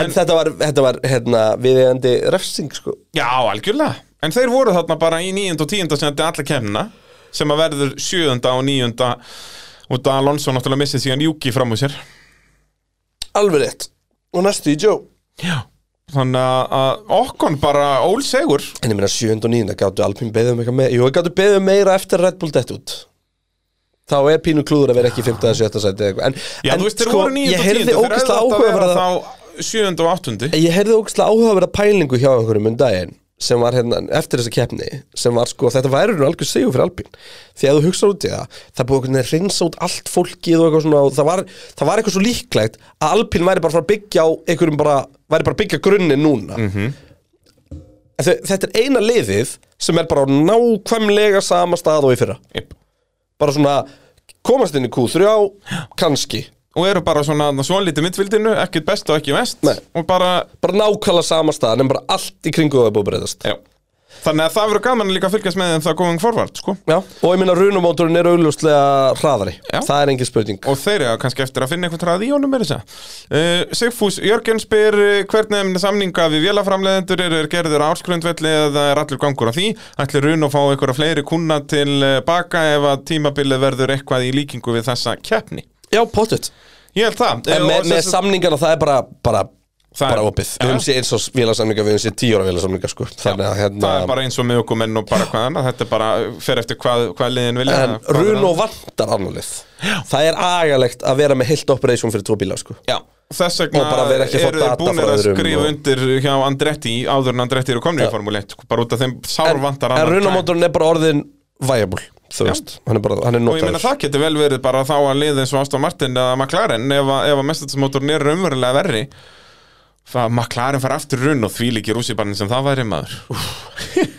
S1: en, þetta var, þetta var hérna, viðeigandi refsing sko
S2: Já, algjörlega En þeir voru þarna bara í 9. og 10. sem þetta alla kemna sem að verður 7. og 9. út að Alonso náttúrulega missið síðan Juki fram úr sér
S1: Alveg rétt Og næstu í Joe
S2: Já Þannig að- að Okkon bara ólsegur
S1: En ég meina 7. og 9. gáttu Alpín beðið um eitthvað meira Jú, gáttu beðið um meira eftir Red Bull dett út Þá er pínu klúður að vera ekki í 5. eða 7. sæti eða eitthvað En,
S2: Já,
S1: en sko,
S2: þú veist, þeir voru 9.
S1: ég
S2: og 10.
S1: heyrði ógæslega
S2: Þeir hefðu átt að
S1: áhugaverða
S2: vera þá 7. og 8.
S1: Ég heyrði ógæslega áhugaverða pælingu hjá einhverjum um daginn sem var hérna eftir þessa keppni sem var sko, þetta væri nú algjör segjum fyrir Alpín því að þú hugsa út í það það er búið einhvern veginn að reynsa út allt fólkið og eitthvað svona og það var, það var eitthvað svo líklegt að Alpín væri bara að fara að byggja á einhverjum bara, væri bara að byggja grunni núna mm -hmm. þetta er eina liðið sem er bara á nákvæmlega sama stað og í fyrra
S2: Yep.
S1: bara svona komast inn í Q3 kannski
S2: Og eru bara svona, svona lítið mittfildinu, ekkert best og ekki mest
S1: Nei.
S2: Og bara,
S1: bara nákvæmlega sama stað en bara allt í kringu það er búið að breyðast
S2: já Þannig að það verður gaman líka að fylgjast með þeim það komum forvart, sko
S1: Já, og ég minna runumótorinn er augljóslega hraðari
S2: Já.
S1: Það er engin spurning
S2: Og þeir eru kannski eftir að finna eitthvað ræði í honum er þess að. Uh, Sigfús Jörgen spyr uh, hvernig samninga við vélaframleðendur eru er gerður áskrundvelli eða er allur gangur á því. Ætlir Rún að fá einhverja fleiri kuna til uh, baka ef að tímabilið verður eitthvað í líkingu við þessa keppni.
S1: Já, pottet
S2: Ég held
S1: En
S2: það. Eh, og
S1: með, með
S2: sem sagt-
S1: samningana það er bara, bara,
S2: Það er-
S1: bara opið
S2: Já.
S1: Við höfum séð eins og vélarsamninga, við höfum séð tíu ára vélarsamninga sko. Þannig að hérna
S2: það er bara eins og með okkur menn og bara hvað annað. Þetta er bara uh, fer eftir hvað, hvað liðin vilja.
S1: En
S2: Hvað er
S1: run
S2: það?
S1: og vantar annarlið Það er agalegt að vera með heilt operation fyrir tvo bíla sko.
S2: Já, þess vegna
S1: Og bara vera ekki að fá
S2: eru þeir
S1: data
S2: búinir
S1: frá
S2: að
S1: öðrum
S2: skrifa
S1: og-
S2: undir hjá Andretti áður en Andretti eru komin í Formule 1 sko, bara út af þeim sár
S1: En,
S2: vantar
S1: en
S2: annan gæ-
S1: runumótorinn er bara orðin viable Þú veist, hann er, bara, hann er
S2: Og ég meina
S1: notaður
S2: það getur vel verið bara þá að liða eins og Aston Martin eða McLaren ef að, ef að mestatismótorn er raunverulega verri það að McLaren fara aftur runn og því líkir úsibarnin sem það væri maður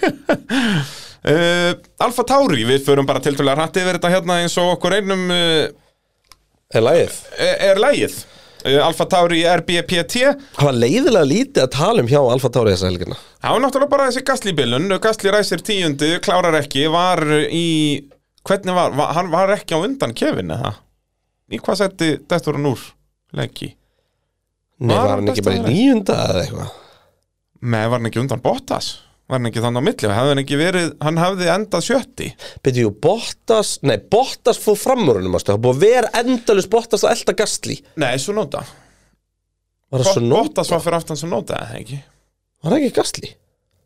S2: (laughs) uh, Alfa Tauri, við förum bara tiltölulega hrætti yfir þetta hérna eins og okkur einum uh,
S1: Er lagið?
S2: er, er lægið uh, Alfa Tauri RBPT
S1: Það var leiðilega lítið að tala um hjá Alfa Tauri þessa helgina
S2: Það var náttúrulega bara þessi Gasly-bilun Gasly ræsir tíundi, klárar ekki Var í Hvernig var, var hann var ekki á undan Kevin eða? Í hvað setti dettur hann úr Leggi?
S1: Nei,
S2: Var
S1: var
S2: hann
S1: hann ekki
S2: besta
S1: bara í
S2: maður?
S1: nýjunda eða eitthvað?
S2: Nei, var hann ekki undan Bottas? Var hann ekki þannig á milli? Hefði hann ekki verið, hann hefði endað sjötti
S1: Byrju, jú, Bottas, nei, Bottas fór framúrunum, mástu, það er búið að vera endalus Bottas að elda gasli.
S2: Nei, svo nota
S1: Var það svo nót?
S2: Bottas var fyrir aftan sem nota, eða ekki?
S1: Var það ekki gasli?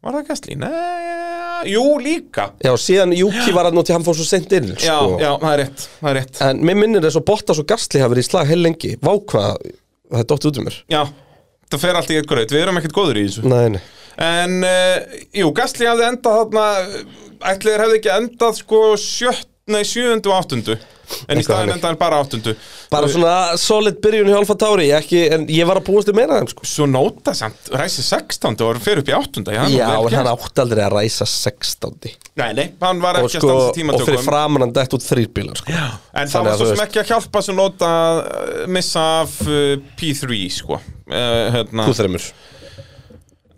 S2: Var það Gasly? Nei, jú, líka
S1: Já, síðan Juki var að noti, hann fór svo seint inn,
S2: Já,
S1: sko.
S2: já, það er rétt, það er rétt
S1: En mér minnir þess að Bottas og gasli hafa verið í slag heil lengi. Vá hvað, það er dótt út um mér.
S2: Já, það fer allt í eitthvað Við erum ekkert góður í þessu
S1: Nei, nei.
S2: En, uh, jú, Gastli hafði endað þarna Ætliður hefði ekki endað sko sjött, nei, sjöundu og áttundu En
S1: Eitthvað
S2: í staðin
S1: þannig.
S2: endaði hann bara áttundu
S1: Bara svona solid byrjun hjá Alfa Tauri, ég ekki, en ég var að búast um meira af þeim, sko.
S2: Svo nota samt, ræsi sextándu og fyrir upp í áttunda ég,
S1: Já,
S2: var
S1: en
S2: vel
S1: hann
S2: gert.
S1: átti aldrei að ræsa 16.
S2: Nei, nei, hann var
S1: Og,
S2: ekki
S1: sko,
S2: að stansa
S1: og fyrir
S2: tímatökum
S1: framan hann dætt út þrýrbílar, sko. Já. Þannig
S2: En það var
S1: að
S2: svo
S1: þú
S2: sem
S1: veist.
S2: ekki að hjálpa svo nota eh, missa af eh, P3, sko uh, hérna,
S1: Q3.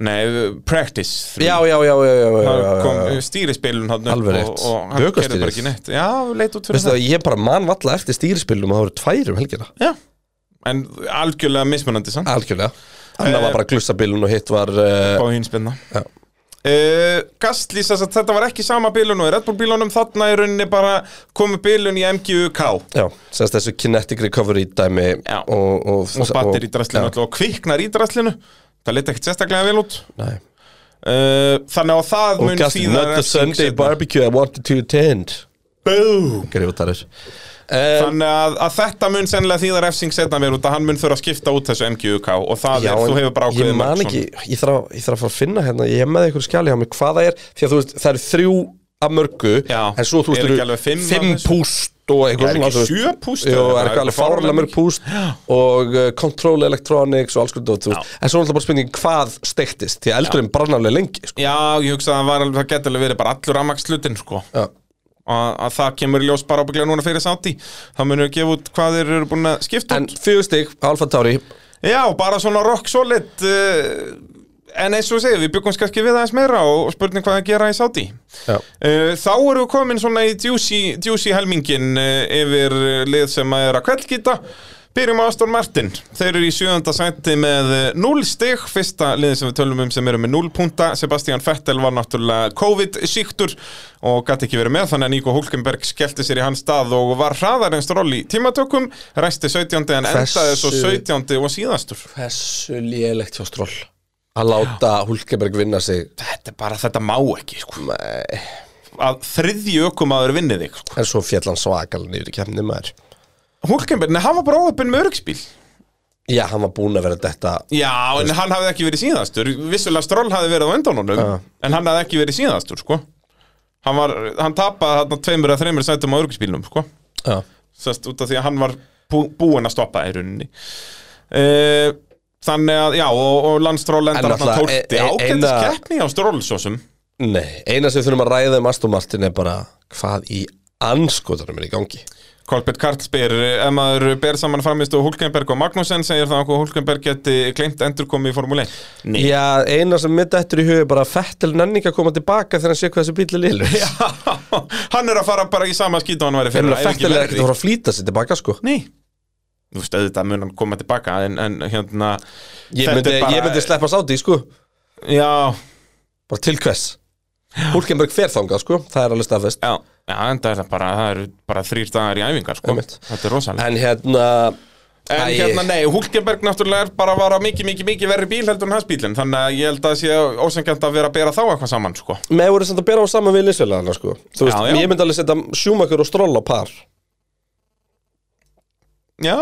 S2: Nei, practice 3
S1: Já, já, já, já, já, já, já,
S2: kom
S1: já.
S2: stýrispilun hann
S1: Alveg
S2: upp
S1: rétt.
S2: og, og hann
S1: Vökvastýris.
S2: kerði bara ekki neitt Já, leit út fyrir
S1: Veistu það, ég bara man valla eftir stýrispilum og það voru tvær um helgina
S2: Já, en algjörlega mismunandi samt
S1: Algjörlega Annað var bara glussabilun og hitt var uh,
S2: Bá hinspilna
S1: Já.
S2: Uh, Gastli, þess að þetta var ekki sama bílun og í Red Bull bílunum, þarna í rauninni bara komu bílun í MGUK og
S1: Já, semst þessu kinetic recovery dæmi
S2: Já.
S1: Og, og,
S2: spattir í draslinu
S1: Já,
S2: og kviknar í draslinu það liti ekkert sérstaklega vel út
S1: nei.
S2: uh, þannig að það
S1: Og
S2: mun
S1: gæst,
S2: þýða
S1: not the
S2: refsing
S1: Sunday
S2: seinna.
S1: barbecue I wanted to attend
S2: Boom.
S1: Grífutarir um,
S2: þannig að, að þetta mun sennilega þýða refsing setna mér út að hann mun þurfa að skipta út þessu MGUK og það
S1: Já,
S2: er, þú
S1: en
S2: hefur bara ákveðið
S1: Ég man
S2: mörg
S1: ekki, ég þarf, að- ég þarf að fara að finna hérna Ég hef með ykkur skjali hjá mig hvað það er Því að þú veist, það eru þrjú af mörgu
S2: Já,
S1: En svo þú veist,
S2: eru ekki
S1: eru
S2: alveg fimm af
S1: fimm
S2: þessu?
S1: púst og
S2: svona.
S1: eitthvað
S2: er
S1: svona, þú
S2: ekki
S1: veist.
S2: sjö púst
S1: Jú,
S2: eða
S1: er
S2: eitthvað?
S1: eitthvað alveg fárlega mörg púst og uh, control electronics og alls konar dót, þú veist. en svo er alltaf bara spurningin hvað steiktist því að eldurinn brann alveg lengi sko.
S2: Já, ég hugsa að það, var alveg- það getur alveg verið bara allur ammakslutin sko.
S1: Já.
S2: að, að það kemur í ljós bara ábygglega núna fyrir sátti það munur að gefa út hvað þeir eru búin að skipta
S1: en
S2: út
S1: fjögur stig, Alfa Tauri
S2: Já, bara svona rock solid uh, en eins og ég segi, við byggum kannski við aðeins meira og og spurning hvað að gera í sátti
S1: Já.
S2: Uh, Þá eru við komin svona í juicy, juicy helmingin uh, yfir uh, lið sem að er að kveldgita Byrjum á Aston Martin, þeir eru í sjöönda sæti með uh, 0 stig, fyrsta liðin sem við tölum um sem eru með 0 punta, Sebastian Vettel var náttúrulega COVID-síktur og gæti ekki verið með þannig að Nico Hulkenberg skellti sér í hans stað og var hraðar en stról í tímatökum, ræsti 17. en
S1: Hversu-
S2: endaði svo 17. og síðastur.
S1: hversu lélegt hjá stról að láta Hulkeberg vinna sig
S2: Þetta er bara, þetta má ekki, sko,
S1: Nei.
S2: að þriðji ökumaður vinni þig, sko.
S1: en svo fjall hann svakal niður í kemni maður
S2: Hulkenberg, nei, hann var bara óöppin með öryggsbíl
S1: Já, hann var búinn að vera detta
S2: Já, en hann hafði ekki verið síðastur Vissulega Stroll hafði verið á undanunum
S1: Já.
S2: En hann hafði ekki verið síðastur, sko Hann, var, hann tapaði hann tveimur að þreimur sætum á örgisbílnum, sko
S1: Já,
S2: Sest út af því að hann var bú, búinn að stoppa í rauninni uh, Þannig að, já, og, og landstról
S1: En
S2: endar hann
S1: náttúrulega,
S2: tólti
S1: e- e-
S2: Ákendis
S1: eina-
S2: keppni á stról, svo sem
S1: nei, eina sem við þurfum að ræða um Aston Martin er bara hvað í anskotanum er í gangi
S2: Kolbett Karl spyr, ef maður ber saman framist og Hulkenberg og Magnussen segir það okkur Hulkenberg geti kleimt endurkomi í Formule 1 Nei
S1: Já, eina sem mitt eftir í hugi er bara Fettel nenninga að koma tilbaka þegar hann sé hvað þessi bíl er liður
S2: Já, hann er að fara bara í sama skýt og hann væri fyrir
S1: Fyrir að Fettel er ekkert að fara að flýta sér tilbaka sko
S2: Nei Þú veist, auðvitað mun hann koma tilbaka en, en hérna
S1: Ég
S2: Þetta
S1: myndi,
S2: er bara-
S1: ég myndi sleppa sáti sko
S2: Já,
S1: Bara til hvers Hulkenberg fer þangað sko, það er alveg staðfest
S2: já, já enda er það bara, það eru bara þrýr dagar í æfingar sko.
S1: Einmitt.
S2: Þetta er rosalega
S1: En hérna
S2: En
S1: æ,
S2: hérna, nei, Hulkenberg náttúrulega er bara að vara mikið, mikið, mikið verri bíl heldur en hans bílinn Þannig að ég held að sé ósengjant að vera að bera þá eitthvað saman, sko
S1: Með voru samt að bera á saman við liðsfélagana sko Þú veist,
S2: Já, já.
S1: ég myndi alveg setja Schumacher og Stroll á par
S2: Já,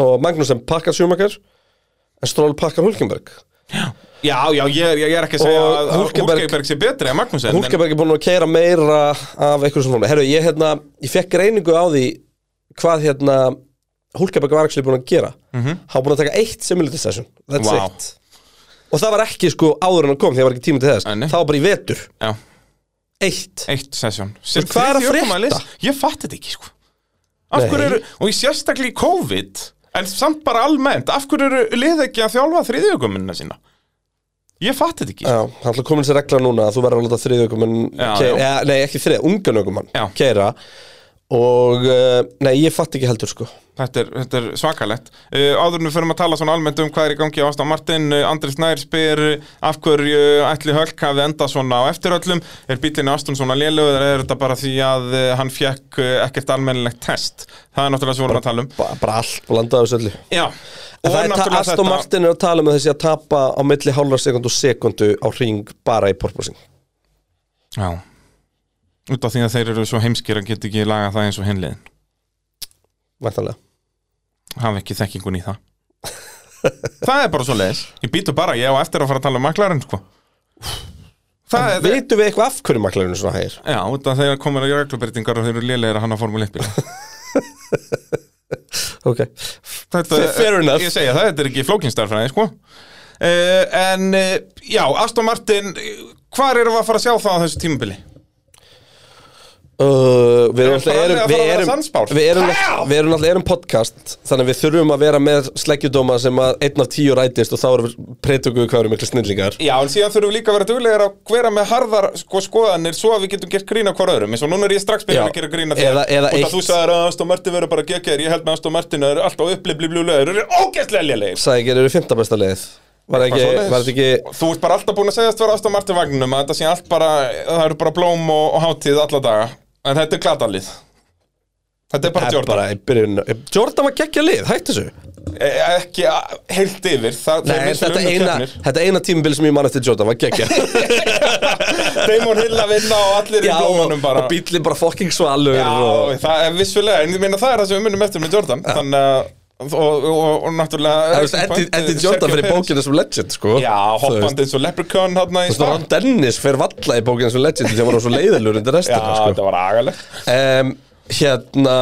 S1: og Magnúsen pakkar Schumacher en Stroll pakkar Hulkenberg
S2: já, já, ég, er- ég er ekki að segja
S1: Og
S2: að
S1: Hulkenberg-
S2: Hulkenberg, sé betri en Magnús
S1: Hulkenberg er búinn að keira meira af einhverjum sem fórnum Herru, ég, hérna, ég fekk greiningu á því hvað hérna Hulkenberg var ekki búinn að gera hann var búinn að taka eitt simulator session that's
S2: Mhm. Vá.
S1: it og það var ekki sko áður en hann kom því það var ekki tími til þess
S2: Nei, nei.
S1: það var bara í vetur,
S2: Já,
S1: eitt
S2: eitt sessjón
S1: hvað er að frétta?
S2: Ég fatt þetta ekki sko Af
S1: Nei.
S2: hverju eru, og ég sérstaklega í COVID En samt bara almennt Af hverju eru lið ekki að þjálfa þriðjögumunna sína Ég fatt þetta ekki
S1: Já, hann ætla að koma sér regla núna að þú verður að láta þriðjökumann
S2: Já, já.
S1: ja, Nei, ekki þrið, unganökumann
S2: Já.
S1: keira og uh, nei, ég fatt ekki heldur sko
S2: Þetta er, þetta er svakalett uh, Áðurinn fyrir að tala svona almennt um hvað er í gangi á Aston Martin uh, Andris Nær spyr uh, Af hverju uh, ætli Hölk hafi endað svona á eftiröllum Er bílinni Aston svona lélugur Eða er þetta bara því að uh, hann fekk uh, ekkert almennilegt test Það er náttúrulega svo vorum að tala um
S1: bara, bara allt blandað á þessu öllu
S2: Já
S1: En það er ta-
S2: náttúrulega
S1: Aston
S2: þetta-
S1: Martin er að tala um að þessi að tapa á milli hálfra sekundu og sekundu á ring bara í porpoising
S2: Já Út af því að þeir eru svo heimskir að geta ekki laga það eins og hinliðin
S1: Væntanlega
S2: Hafa ekki þekkingun í
S1: (laughs)
S2: það Það er bara svo leiðis Ég býtu bara, ég á eftir að fara að tala um maklarinn sko. Það er við...
S1: Vitum við eitthvað af hverju maklarinn er svona hægir?
S2: Já, út af þegar komur að gera reglubreitingar og þeir eru lélegir að hanna formule 1
S1: (laughs)
S2: bíla.
S1: Ok
S2: Þetta
S1: Fair- fair enough.
S2: Ég segja það, þetta er ekki flókinstarfræði sko. uh, En uh, já, Aston Martin eh, Hvar erum við að fara að sjá það á þessu tímabili?
S1: uh, Við
S2: Er
S1: erum alltaf
S2: bara
S1: erum, við
S2: að fara að vera
S1: erum,
S2: sannspár?
S1: við erum,
S2: Já!
S1: við erum alltaf erum podcast Þannig að við þurfum að vera með sleggjudóma sem að einn af tíu rætist og þá erum við preytökum við hvað erum miklu snillingar
S2: Já, en síðan þurfum við líka að vera duglegir að vera með harðar sko, skoðanir svo að við getum gert grína hvar öðrum eins og núna er ég strax byrjað
S1: Já,
S2: að gera grína þér
S1: eða- eða
S2: Út
S1: eitt.
S2: að þú sagðir að Aston Martin verður bara geggjær ég held með Aston Martin að það eru alltaf upplibliblulegur þeir eru ógeðslega lélegir
S1: Sæði ekki, eru fymta besta leið Var,
S2: Eitthvað
S1: ekki,
S2: svoleiðis.
S1: var þetta ekki
S2: Þú ert bara alltaf búin að segjast vera Aston Martin vagnum að þetta sé allt bara það eru bara blóm og, og hátíð alla daga en þetta er glatalið Þetta er bara
S1: er
S2: Jordan
S1: bara í byrjun Jordan var geggja lið, hætti þessu
S2: e ekki a- heilt yfir það, þeir
S1: Nei,
S2: vissulega
S1: þetta
S2: unnu
S1: eina,
S2: keppnir.
S1: þetta eina tímabil sem ég man eftir Jordan var geggja
S2: (laughs) Damon Hill að vinna og allir í
S1: Já,
S2: blómanum bara
S1: og bílinn bara fucking svalur og...
S2: Já, það er vissulega, en ég meina það er það sem við munum eftir með Jordan Þannig að, og, og, og, og náttúrulega eh,
S1: Það veist, Eddie, Eddie Jordan fyrir bókina sem legend, sko
S2: Já, hoppandi eins og Leprechaun hann í
S1: Þú veist, Ron Dennis fyrir valla í bókina sem legend sem var svo leiðilur undir
S2: Já,
S1: restina,
S2: þetta var agalegt
S1: sko um, Hérna,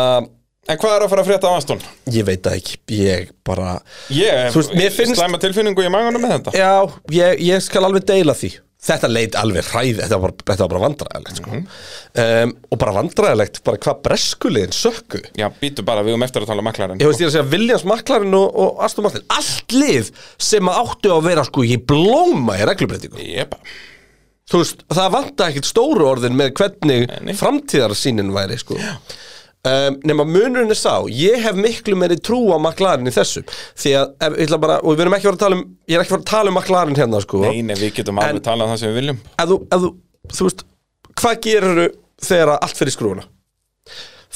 S2: En hvað er að fara að frétta á Aston?
S1: ég veit það ekki, ég bara
S2: Ég,
S1: Þú veist, mér finnst-
S2: slæma tilfinningu í maganum með þetta
S1: Já, ég, ég skal alveg deila því Þetta leit alveg hræði, þetta var bara, þetta var bara vandræðilegt, sko
S2: Mhm.
S1: um, Og bara vandræðilegt, bara hvað breskulegin sökku
S2: Já, býtu bara, við um eftir að tala um maklarinn
S1: Ég veist ég er að segja Williams maklarinn og, og Aston Martin Allt lið sem að áttu að vera sko í blóma í reglubreitingu
S2: Jepa
S1: Þú veist, það vanta ekkit stóru orðin með hvernig
S2: nei.
S1: framtíðarsýnin væri sko um, Nefna munurinn er sá, ég hef miklu meiri trú á maklarinn í þessu Því að, ef, ég ætla bara, og við erum ekki að fara að tala um, ég er ekki að fara að tala um maklarinn hérna sko
S2: Nei, nei, við getum alveg
S1: En-
S2: talað um það sem við viljum
S1: ef þú, ef þú, þú veist, hvað gerirðu þegar að allt fyrir skrúna?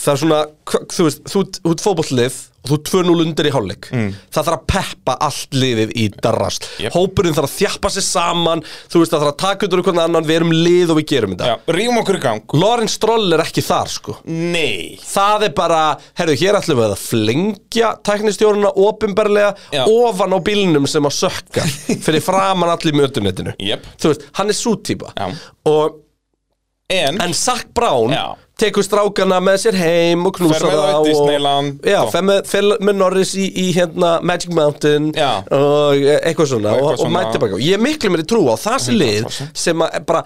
S1: Það er svona, hva, þú veist, þú ert- þú ert fótbollið og þú ert 2-0 undir í hálfleik það þarf að peppa allt liðið í darrast
S2: Mm. Jep.
S1: hópurinn þarf að þjappa sér saman þú veist það þarf að taka undir einhvern annan við erum lið og við gerum þetta
S2: Já, rýfum okkur í gang
S1: Lorenz Stroll er ekki þar sko
S2: Nei
S1: það er bara, herru hér ætlum við að flengja tæknistjórnuna opinberlega
S2: Já.
S1: ofan á bílnum sem að sökka fyrir framan allir í
S2: (laughs)
S1: mötunettinu
S2: Jep.
S1: þú veist, hann er svo típa
S2: Já.
S1: og
S2: En,
S1: En Zac Brown
S2: Já.
S1: tekur strákana með sér heim og knúsa
S2: Fer með þá í
S1: og-
S2: Disneyland.
S1: Já,
S2: Já.
S1: fer með, fer með Norris í, í hérna Magic Mountain
S2: Já.
S1: og eh, eitthvað svona og,
S2: Og
S1: og,
S2: eitthvað
S1: og
S2: svona.
S1: mætti baka Ég er miklu meiri trú á það sem lið
S2: 100%.
S1: sem að er bara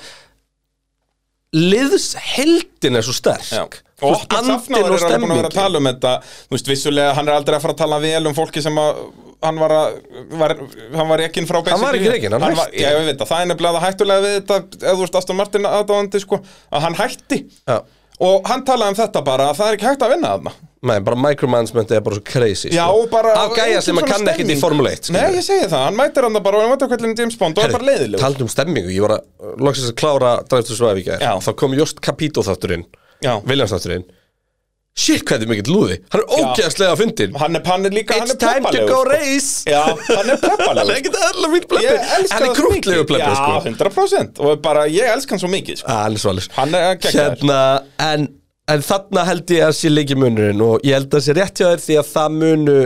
S1: liðsheldin er svo sterk
S2: Já.
S1: Þú
S2: Og
S1: veist,
S2: Ottmar
S1: andinn
S2: Safnaður er alveg búin að vera að
S1: stemningin.
S2: tala um þetta Þú veist, vissulega, hann er aldrei að fara að tala vel um fólki sem að hann var, að, var, hann var ekki frá basically.
S1: var ekki rekinn, hann
S2: var-
S1: hætti.
S2: Já, ég veit það, það er nefnilega það hættulega við þetta ef þú veist Aston Martin aðdáðandi sko, að hann hætti
S1: Já.
S2: og hann talaði um þetta bara að það er ekki hægt að vinna þarna
S1: Nei, bara micromanagement er bara svo crazy
S2: Já,
S1: sko.
S2: og bara
S1: Af gæja sem að kann ekkert í sko. Formule 1 skilur.
S2: Nei, ég segi það, hann mætir hann bara og hann mætir hvernig James Bond og er bara leiðileg
S1: Taldum um stemmingu, ég var að loksins að klára Dræftur Svævík
S2: Já.
S1: Þá kom Jost Capito þátturinn
S2: Já.
S1: Williams þátturinn Shit, hvað þetta er mikill lúði Hann er ógeðslega að fyndin
S2: Hann er, hann er líka, hann
S1: It's
S2: er
S1: time to
S2: peppalegur,
S1: go
S2: sko.
S1: race
S2: Já, hann er
S1: Hann er (laughs)
S2: peppalegur
S1: ekkert eðla mín
S2: Ég
S1: plebbi
S2: elska
S1: Hann er
S2: það svo
S1: krútlegu
S2: mikið.
S1: plebbi
S2: Já,
S1: sko.
S2: 100% Og bara, ég elska hann svo mikið sko.
S1: Ah, Hann er svalis
S2: Hann er geggjaður.
S1: Hérna, en, en þarna held ég að sé leiki munurinn Og ég held að það sé rétt hjá þér því að það munu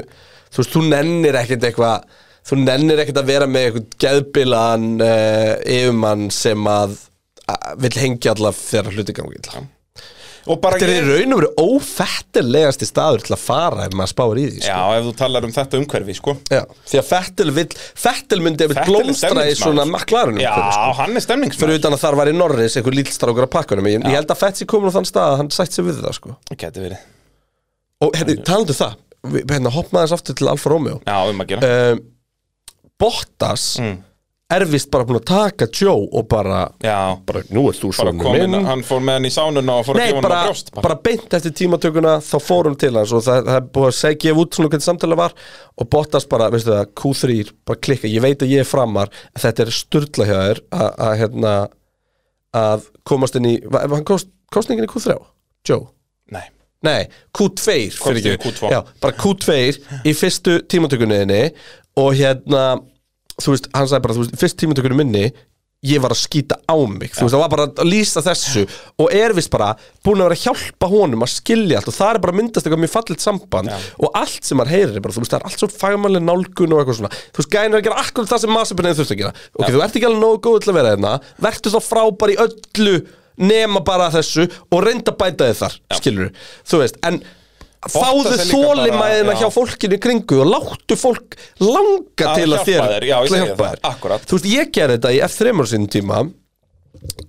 S1: Þú veist, þú nennir ekkert eitthvað Þú nennir ekkert að vera með eitthvað geðbilan uh, Yfirmann sem að uh, Vill hengja alla þegar hluti gangi illa
S2: Og bara
S1: Þetta er í raun og veru ófettilegasti staður til að fara ef maður spáir í því sko.
S2: Já, ef þú talar um þetta umhverfi, sko
S1: Já. Því að Fettel, vill, Fettel myndi ef
S2: Vettel er
S1: blómstra í
S2: stemningsmaður,
S1: svona
S2: sko.
S1: maklarunum
S2: Já, hann er
S1: Fyrir
S2: stemningsmaður
S1: utan að þar var í Norris einhver lítstrákur að pakkanum ég, ég held að Fettel komin á þann stað að hann sætt sér við það sko.
S2: Gæti verið Já,
S1: Og hérna, talandu það við, hérna, Hoppum aðeins aftur til Alfa Romeo
S2: um að gera
S1: um, Bottas
S2: Mm.
S1: er vist bara búin að taka Joe og bara,
S2: Já,
S1: bara Nú ert þú
S2: bara
S1: svona
S2: komin,
S1: minn
S2: hann fór með hann í sánuna og fór að
S1: Nei,
S2: gefa hann
S1: bara,
S2: á brjóst
S1: bara beint eftir tímatökuna þá fórum til hans og það, það er búið að segja gefa út svona hvernig samtala var og Bottas bara, veistu það, Q3 bara klikka, ég veit að ég er framar en þetta er sturla hjá þér að- að hérna að komast inn í, var, var hann komst, komst enginn í Q3? Joe?
S2: Nei,
S1: Nei, Q2 fyrir
S2: inn í
S1: ekki
S2: Q2.
S1: Já, bara Q2 í fyrstu tímatökunniðinni og hérna þú veist, hann sagði bara, þú veist, fyrst tímatökunni minni ég var að skýta á mig þú veist, það var bara að lýsa þessu og er vist bara búin að vera að hjálpa honum að skilja allt og það er bara að myndast eitthvað mjög fallit samband og allt sem maður heyrir er bara, þú veist, það er allt svo fagmannlega nálgun og eitthvað svona, þú veist, gæðin er að gera akkurat það sem maðursapinnið þurft að gera ok, þú ert ekki alveg nógu góð til að vera þeirna vertu þá frábær í öllu nema bara þessu og reynda að bæta þið þar, skilur þú veist, en fáðu
S2: er líka
S1: þólimæðina
S2: bara- já.
S1: hjá fólkinu í kringu og láttu fólk langa
S2: Að
S1: til að
S2: hjálpa
S1: þér
S2: þér,
S1: til
S2: já, ég
S1: að
S2: segi
S1: hjálpa
S2: það,
S1: þér.
S2: akkúrat.
S1: þú veist, ég gerði þetta í F3 á sínum tíma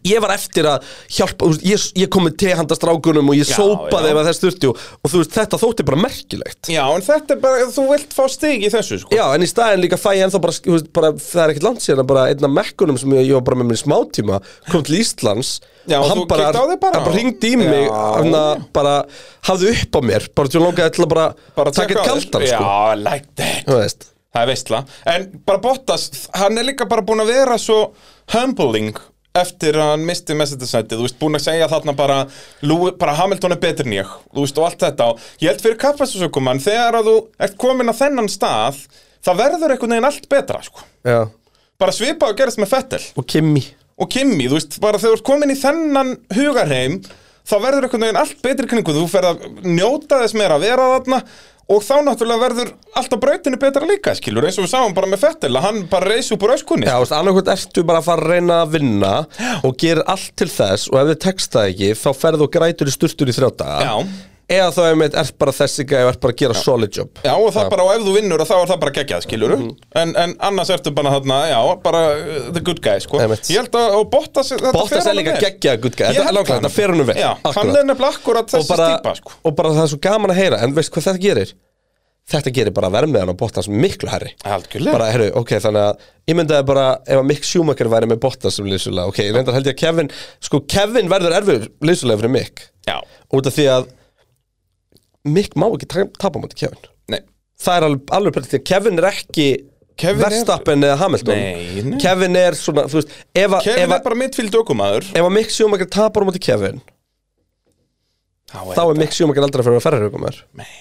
S1: ég var eftir að hjálpa þú veist, ég, ég kom með tehanda strákunum og ég
S2: Já,
S1: sópaði
S2: já.
S1: ef að þess þurfti og, og þú veist, þetta þótti bara merkilegt
S2: já, en þetta er bara, þú vilt fá stig í þessu, sko
S1: Já, en í staðin líka fæ ég ennþá bara, þú veist, bara það er ekkert land síðan að bara einn af mekkunum sem ég, ég var bara með mér í smátíma kom til Íslands
S2: Já,
S1: og hann
S2: þú
S1: bara,
S2: kíkti á þig bara?
S1: hann bara ringdi í mig
S2: Já.
S1: hann að bara hafði upp á mér bara til að langaði til að bara,
S2: Bara
S1: taka eitt
S2: tjekka á þér.
S1: kaldan sko.
S2: Já, like that
S1: Þú veist
S2: Það er veistla En bara Bottas, hann er líka bara búin að vera svo humbling eftir að hann misti messagesæti þú veist, búin að segja þarna bara, Lú- bara Hamilton er betur en ég, þú veist, og allt þetta og ég held fyrir kapastusökumann, þegar að þú ert komin að þennan stað það verður einhvern veginn allt betra, sko
S1: Já.
S2: bara svipað og gerist með Fettel
S1: og Kimi
S2: og Kimi, þú veist, bara þegar þú ert komin í þennan hugarheim, þá verður einhvern veginn allt betri kringu, þú ferð að njóta þess meira að vera þarna og þá náttúrulega verður allt á brautinu betra líka, skilur, eins og við sáum bara með Fettel að hann bara reis upp úr öskunni
S1: Já, veist, annarkvæmt ertu bara að fara að reyna að vinna og gerir allt til þess og ef þið tekst það ekki, þá ferðu og grætur í sturtur í þrjá daga
S2: Já.
S1: eða þá einmitt ert bara þessi gæði og ert bara að gera solid job
S2: Já, og það bara, og ef þú vinnur, þá er það bara geggjað, skilur
S1: Mhm.
S2: en, en annars ertu bara þarna, já, bara uh, the good guy, sko
S1: Einmitt.
S2: Ég held að, og Bottas, þetta fer
S1: Bottas er
S2: honum
S1: líka
S2: vel.
S1: geggjaða gutt gæði,
S2: Ég
S1: þetta er
S2: held
S1: langt, þetta fer húnum vel
S2: Já, hann
S1: Akkúrat.
S2: er nefnilega akkurat
S1: og
S2: þessi
S1: bara,
S2: stípa, sko
S1: og bara það er svo gaman að heyra en veist hvað þetta gerir? Þetta gerir bara vermiðan á Bottas miklu herri
S2: Algjörlega.
S1: Bara, herru, ok, þannig að ég myndaði bara ef að Mick Schumacher væri með Bottas sem liðsulega ok, ég reyndar held ég að Kevin sko, Kevin verður erfur liðsulega fyrir Mick
S2: Já,
S1: út af því að Mick má ekki ta- tapa á móti Kevin
S2: nei,
S1: það er alveg, alveg prættið því að Kevin er ekki
S2: Kevin er-
S1: Verstappen eða Hamilton
S2: Nei, nei.
S1: Kevin er svona, þú veist ef að-
S2: Kevin
S1: ef
S2: er
S1: að-
S2: bara midfield ökumæður
S1: ef að Mick Schumacher tapar á móti Kevin
S2: Þá
S1: þá er Mick Schumacher aldrei að fyrir að ferra hugum er
S2: Nei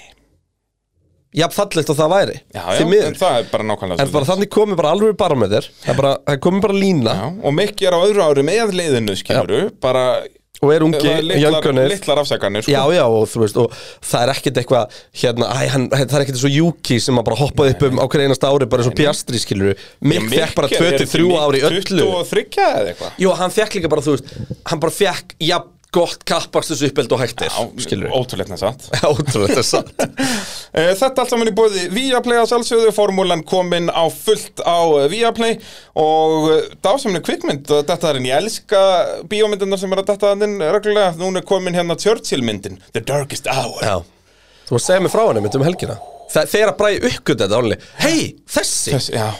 S1: jafn fallegt og það væri
S2: Já,
S1: því
S2: já,
S1: miður.
S2: en það er bara nákvæmlega
S1: En bara þannig komi bara alveg barometer Það er bara, það komi bara lína
S2: Já, og Mikki er á öðru ári með leiðinu, skiluru, bara
S1: Og er ungi,
S2: það er litlar,
S1: jöngunir
S2: litlar afsakanir, sko.
S1: Já, já, og þú veist, og það er ekkert eitthvað hérna, æ, hann, það er ekkert svo Juki sem að bara hoppaði upp um á hverju einasta ári bara eins og Piastri, skilur við, Mikk fekk bara 23 ári í öllu
S2: 23 eða eitthvað
S1: Jú, hann fekk líka bara, þú veist, hann bara fekk jafn gott kappakstins uppeld og hægtir skilur (laughs) við,
S2: Ótrúleitna satt
S1: ótrúlega þetta er satt
S2: Eh, Þetta allt saman í bóði Viaplay að sjálfsögðu, formúlan komin á fullt á eh, Viaplay og eh, dásamleg kvikmynd og þetta er en ég elska bíómyndunar sem er að detta þannig reglulega, núna er komin hérna Churchill myndin, The Darkest Hour
S1: Já, þú varst að segja mig frá henni, myndum helgina Þa, Þegar að bræði uppgönd þetta, ónlega, hei, þessi
S2: Þess, já,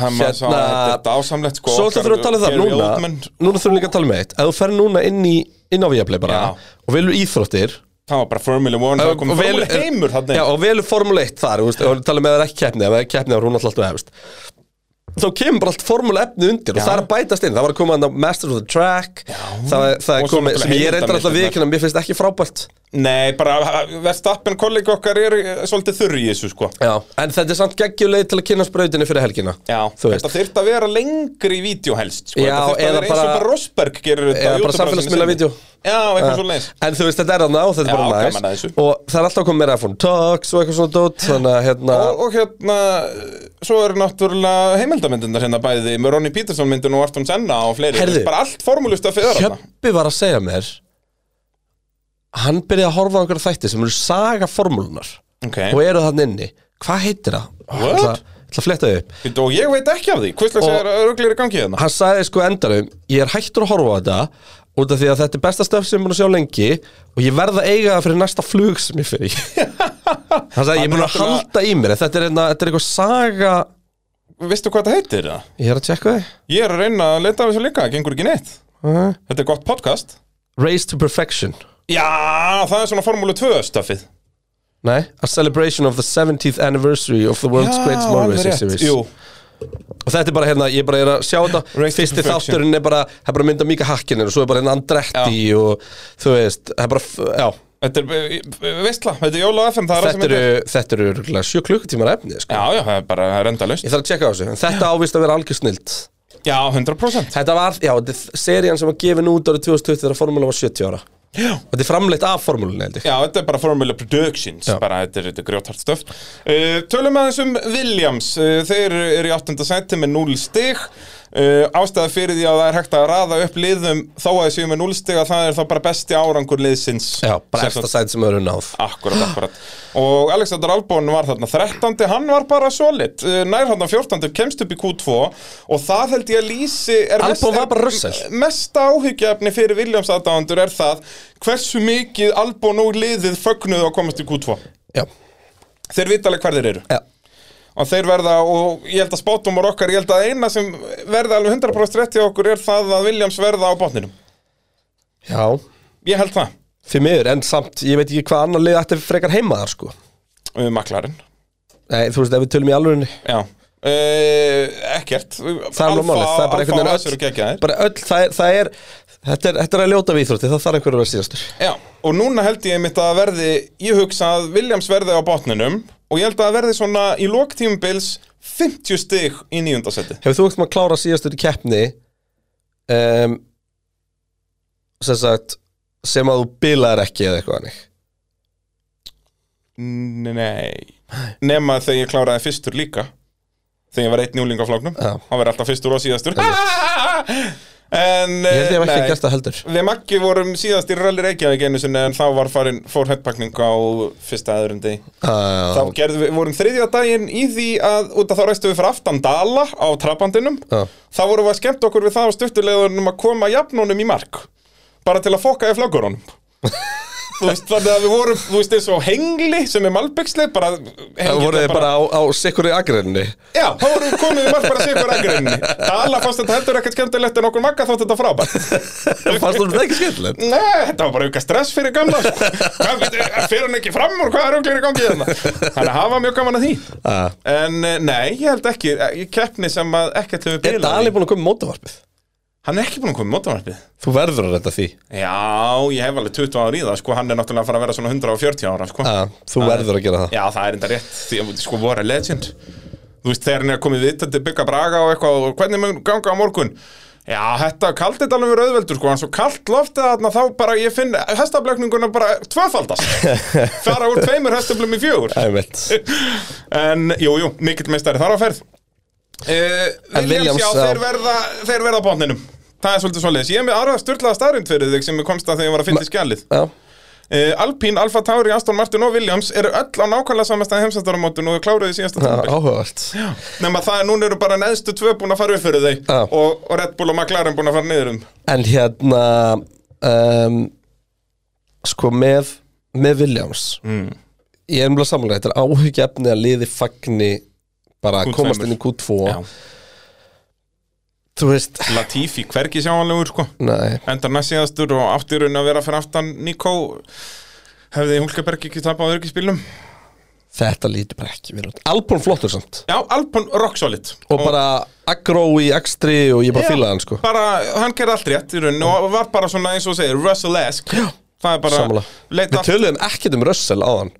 S2: það maður sá
S1: Hérna-
S2: að þetta er dásamlegt sko
S1: Svo ætlum við að tala um það
S2: Gary
S1: núna
S2: Oldman,
S1: Núna þurfum við líka að tala með eitt Ef þú fer núna inn, í, inn á Viaplay bara
S2: Já.
S1: Og velur íþróttir
S2: Það var bara Formula One, það kom
S1: velur-
S2: Formula heimur þarna
S1: Já,
S2: inn.
S1: og velur Formule 1 þar þú veist, Og tala með það er ekki keppni Ef það er keppni þá er hún alltaf hefst Þá kemur bara allt formule efni undir
S2: Já.
S1: og það er að bætast inn, það var að koma að Masters of the Track Já. það, er- það
S2: Og
S1: er
S2: svo
S1: komið,
S2: náttúrulega
S1: sem ég er eitthvað alltaf
S2: heimildarmyndirnar.
S1: vikina, mér finnst ekki frábært
S2: Nei, bara verðstappen kollegi okkar er eh, svolítið þurr í þessu sko
S1: Já, en þetta er samt geggjuleg til að kynna sprautinni fyrir helgina
S2: Já,
S1: þú veist
S2: þetta þyrft að vera lengri í vídeo helst sko.
S1: Já,
S2: Þetta þyrfti að
S1: eða
S2: vera eins og
S1: bara-
S2: bara Rosberg gerir
S1: eða
S2: þetta á
S1: bara
S2: YouTube-rásinni
S1: samfélagsmiðla
S2: sinni.
S1: vídeó.
S2: Já, eitthvað
S1: Já.
S2: svo leins
S1: En þú veist, þetta er þarna og þetta er
S2: Já,
S1: bara
S2: gaman að
S1: næs
S2: þessu.
S1: Og það er alltaf komið meira iPhone Talks og eitthvað svona dót Þannig að hérna
S2: og, og hérna, svo eru náttúrulega heimildamyndunar hérna bæði með Ronny Peterson myndin og Artum Senna og fleiri
S1: Heyrðu.
S2: Bara allt formúlust að fyrir hérna
S1: Hjöppi var að segja mér Hann byrjaði að horfa á einhverja þætti sem eru saga formúlunar
S2: Ok,
S1: Og eru þarna inni Hvað heitir það? Ég
S2: What?
S1: ætla- ég ætla að fletta þau upp
S2: Bíddu, og ég veit ekki af því, hvers
S1: Og-
S2: slags er örglir í gangi hérna
S1: Hann sagði sko endanum Ég er hættur að horfa á þetta Út af því að þetta er besta stöf sem ég er búin að sjá lengi Og ég verð að eiga það fyrir næsta flug sem ég fer
S2: (laughs)
S1: í Hann sagði ég er búin að
S2: náttúrulega-
S1: halda í mér Þetta er, einna, þetta er eitthvað saga
S2: Veistu hvað þetta heitir það?
S1: Ég er að tjekka þið
S2: Ég er að reyna að leita af þessu líka, það gengur ekki neitt
S1: Mhm.
S2: Þetta er gott podcast
S1: Race to Perfection
S2: Já, það er svona formúlu 2 stafið
S1: Nei, A Celebration of the 70th Anniversary of the World's
S2: Já,
S1: Greatest Motor
S2: alveg
S1: Racing
S2: rétt.
S1: Series
S2: Jú,
S1: Og þetta er bara hérna, ég bara er að sjá þetta
S2: Race to
S1: Fyrsti
S2: Perfection.
S1: þátturinn er bara, það er bara mynda mika hakkinin Og svo er bara hérna Andretti og þú veist, það er bara, f- já
S2: Þetta er e, veistla, þetta er Jóla FM, það er það sem
S1: Þetta eru, þetta eru örugglega sjö klukkutímar efni sko.
S2: Já, já, það er bara það er enda laust
S1: Ég þarf að tjekka á þessu, en þetta ávist að vera algjör snild
S2: Já, 100%
S1: Þetta var, já, þetta er serían sem var gefin út árið 2020 þegar formúla var 70 ára Og
S2: Já,
S1: þetta er framleitt af formúlunni, held ég
S2: já þetta er bara Formula Productions
S1: Já.
S2: bara þetta er, þetta er grjóthart stöf uh, Tölum aðeins um Williams uh, Þeir eru í 8. seti með 0 stig uh, Ástæða fyrir því að það er hægt að raða upp liðum þó að þessu með 0 stig að það er þá bara besti árangur liðsins
S1: Já, bara efsta sæt sem eru náð
S2: Akkurat, (gasps) akkurat Og Alexander Albon var þarna 13. Hann var bara solid Eh, Nær hann 14. kemst upp í Q2 Og það held ég að lýsi er
S1: Albon var
S2: er-
S1: bara russell.
S2: Mesta áhyggjaefni fyrir Williams aðdáðandur er það Hversu mikið Albon og liðið fögnuðu að komast í Q2
S1: Já,
S2: Þeir vita alveg hver þeir eru
S1: já
S2: Og þeir verða, og ég held að spátumar okkar Ég held að eina sem verða alveg 100% rétt í okkur Er það að Williams verða á botninum
S1: Já,
S2: Ég held það
S1: því miður, en samt, ég veit ekki hvað annar lið ætti frekar heima þar, sko
S2: Um maklarinn
S1: Nei, þú veist, ef við tölum í alvörunni
S2: Já Uh, ekkert
S1: Það er alveg málið, það er bara einhvern veginn öll,
S2: öll
S1: bara öll það er, það er þetta, er, þetta er að ljóta við íþrótti, það þarf einhverju að vera síðastur
S2: Já, og núna held ég mitt að verði ég hugsa að Williams verði á botninum og ég held að það verði svona í lóktímubils 50 stig í nýjundasetti
S1: Hefur þú ekkert maður að klára síðastur í keppni um, sem sagt sem að þú bilaðir ekki eða eitthvað hannig
S2: Nei Nema þegar ég kláraði fyrstur líka þegar ég var eitt njúling á flóknum
S1: Já.
S2: hann verði alltaf fyrstur og síðastur (laughs) En eh,
S1: Ég held ég hef
S2: nei.
S1: ekki gert það heldur
S2: Við Maggi vorum síðast í Rally Reykjavík einu sinni en þá var farin, fór headpakning á fyrsta aðurundi Þá
S1: Ah, Já,
S2: gerðum við, vorum þriðja daginn í því að út að þá ræstum við fyrir aftan Dala á trapandinum
S1: já,
S2: Þá vorum við að skemmta okkur við það á stuttulegðunum að koma jafnunum í mark Bara til að fokka
S1: (laughs)
S2: í flaggurunum Þú veist, þannig að við vorum, þú veist, eins og hengli sem er malbyggsleif bara
S1: Það
S2: Það
S1: voru þið bara á, á sikkur í
S2: (laughs)
S1: agrinni
S2: Já, þá vorum við komið í mark bara sigur agrinni Dala fannst þetta heldur ekkert skemmtilegt en okkur magga þótt þetta frábært
S1: Fannst þú þetta ekki skemmtilegt?
S2: Nei, þetta var bara auka stress fyrir gamla sko. Hvað veit, Fer hann ekki fram úr hvað er auðvitað í gangi hérna Þannig að hafa mjög gaman að því
S1: Já.
S2: En eh, nei, ég held ekki Ég eh, keppni sem að ekkert hefur
S1: Er
S2: bilað
S1: Dali
S2: í.
S1: búin að koma í mótavarpið?
S2: Hann er ekki búin að koma í mótavarpið
S1: Þú verður að redda því
S2: Já, ég hef alveg 20 ára í það sko, hann er náttúrulega að fara að vera svona 140 ára sko.
S1: ja, Ah, Þú verður að gera það
S2: Já, það er enda rétt, því að sko voru legend Þú veist, þegar hann er komið vitt til bygga braga og eitthvað, og hvernig mun ganga á morgun Já, þetta, kalt þetta alveg verið auðveldur sko, hann svo kalt loftið þarna þá bara ég finn hestablökninguna bara tvöfaldast fara úr tveimur hestablum í fjögur
S1: Æmitt
S2: En, jú, jú, mikill meistari þar á ferð uh,
S1: En
S2: Williams,
S1: Williams,
S2: já,
S1: já.
S2: þeir verða, þeir verða á botninum Það er svolítið svoleiðis, ég er með aðra styrlaða starrend fyrir þig sem ég komst að þegar ég var að finna í skjalið
S1: Já,
S2: Uh, Alpín, Alfa Tauri, Aston Martin og Williams eru öll á nákvæmlega samastæði heimsættaramótun og kláruðu í síðasta
S1: já,
S2: tímabil.
S1: áhugavert
S2: Nema það, núna eru bara neðstu tvö búin að fara upp fyrir þau
S1: Já.
S2: og, og Red Bull og McLaren búin að fara niður um
S1: En hérna um, Sko með Með Williams
S2: mm.
S1: Ég er umlega samanlega, þetta er áhugjefni að liði fagni Bara
S2: Q2.
S1: að komast inn í Q2
S2: Já.
S1: Þú veist,
S2: Latifi, hvergi sjáanlegur sko
S1: nei
S2: Endar næst síðastur og áttir raun að vera fyrir aftan Nico Hefði Hulkeberg ekki tapað á örgispilnum
S1: Þetta lítur bara ekki vel út Albon flottur samt
S2: Já, Alpon rock solid
S1: Og bara aggro í ekstri og ég bara fílaði hann sko
S2: bara, hann gerði allt rétt í raun og var bara svona eins og segir Russell-esk
S1: Já,
S2: Það er bara,
S1: Sammála.
S2: leit
S1: Við
S2: allt
S1: töluðum ekkert um Russell á hann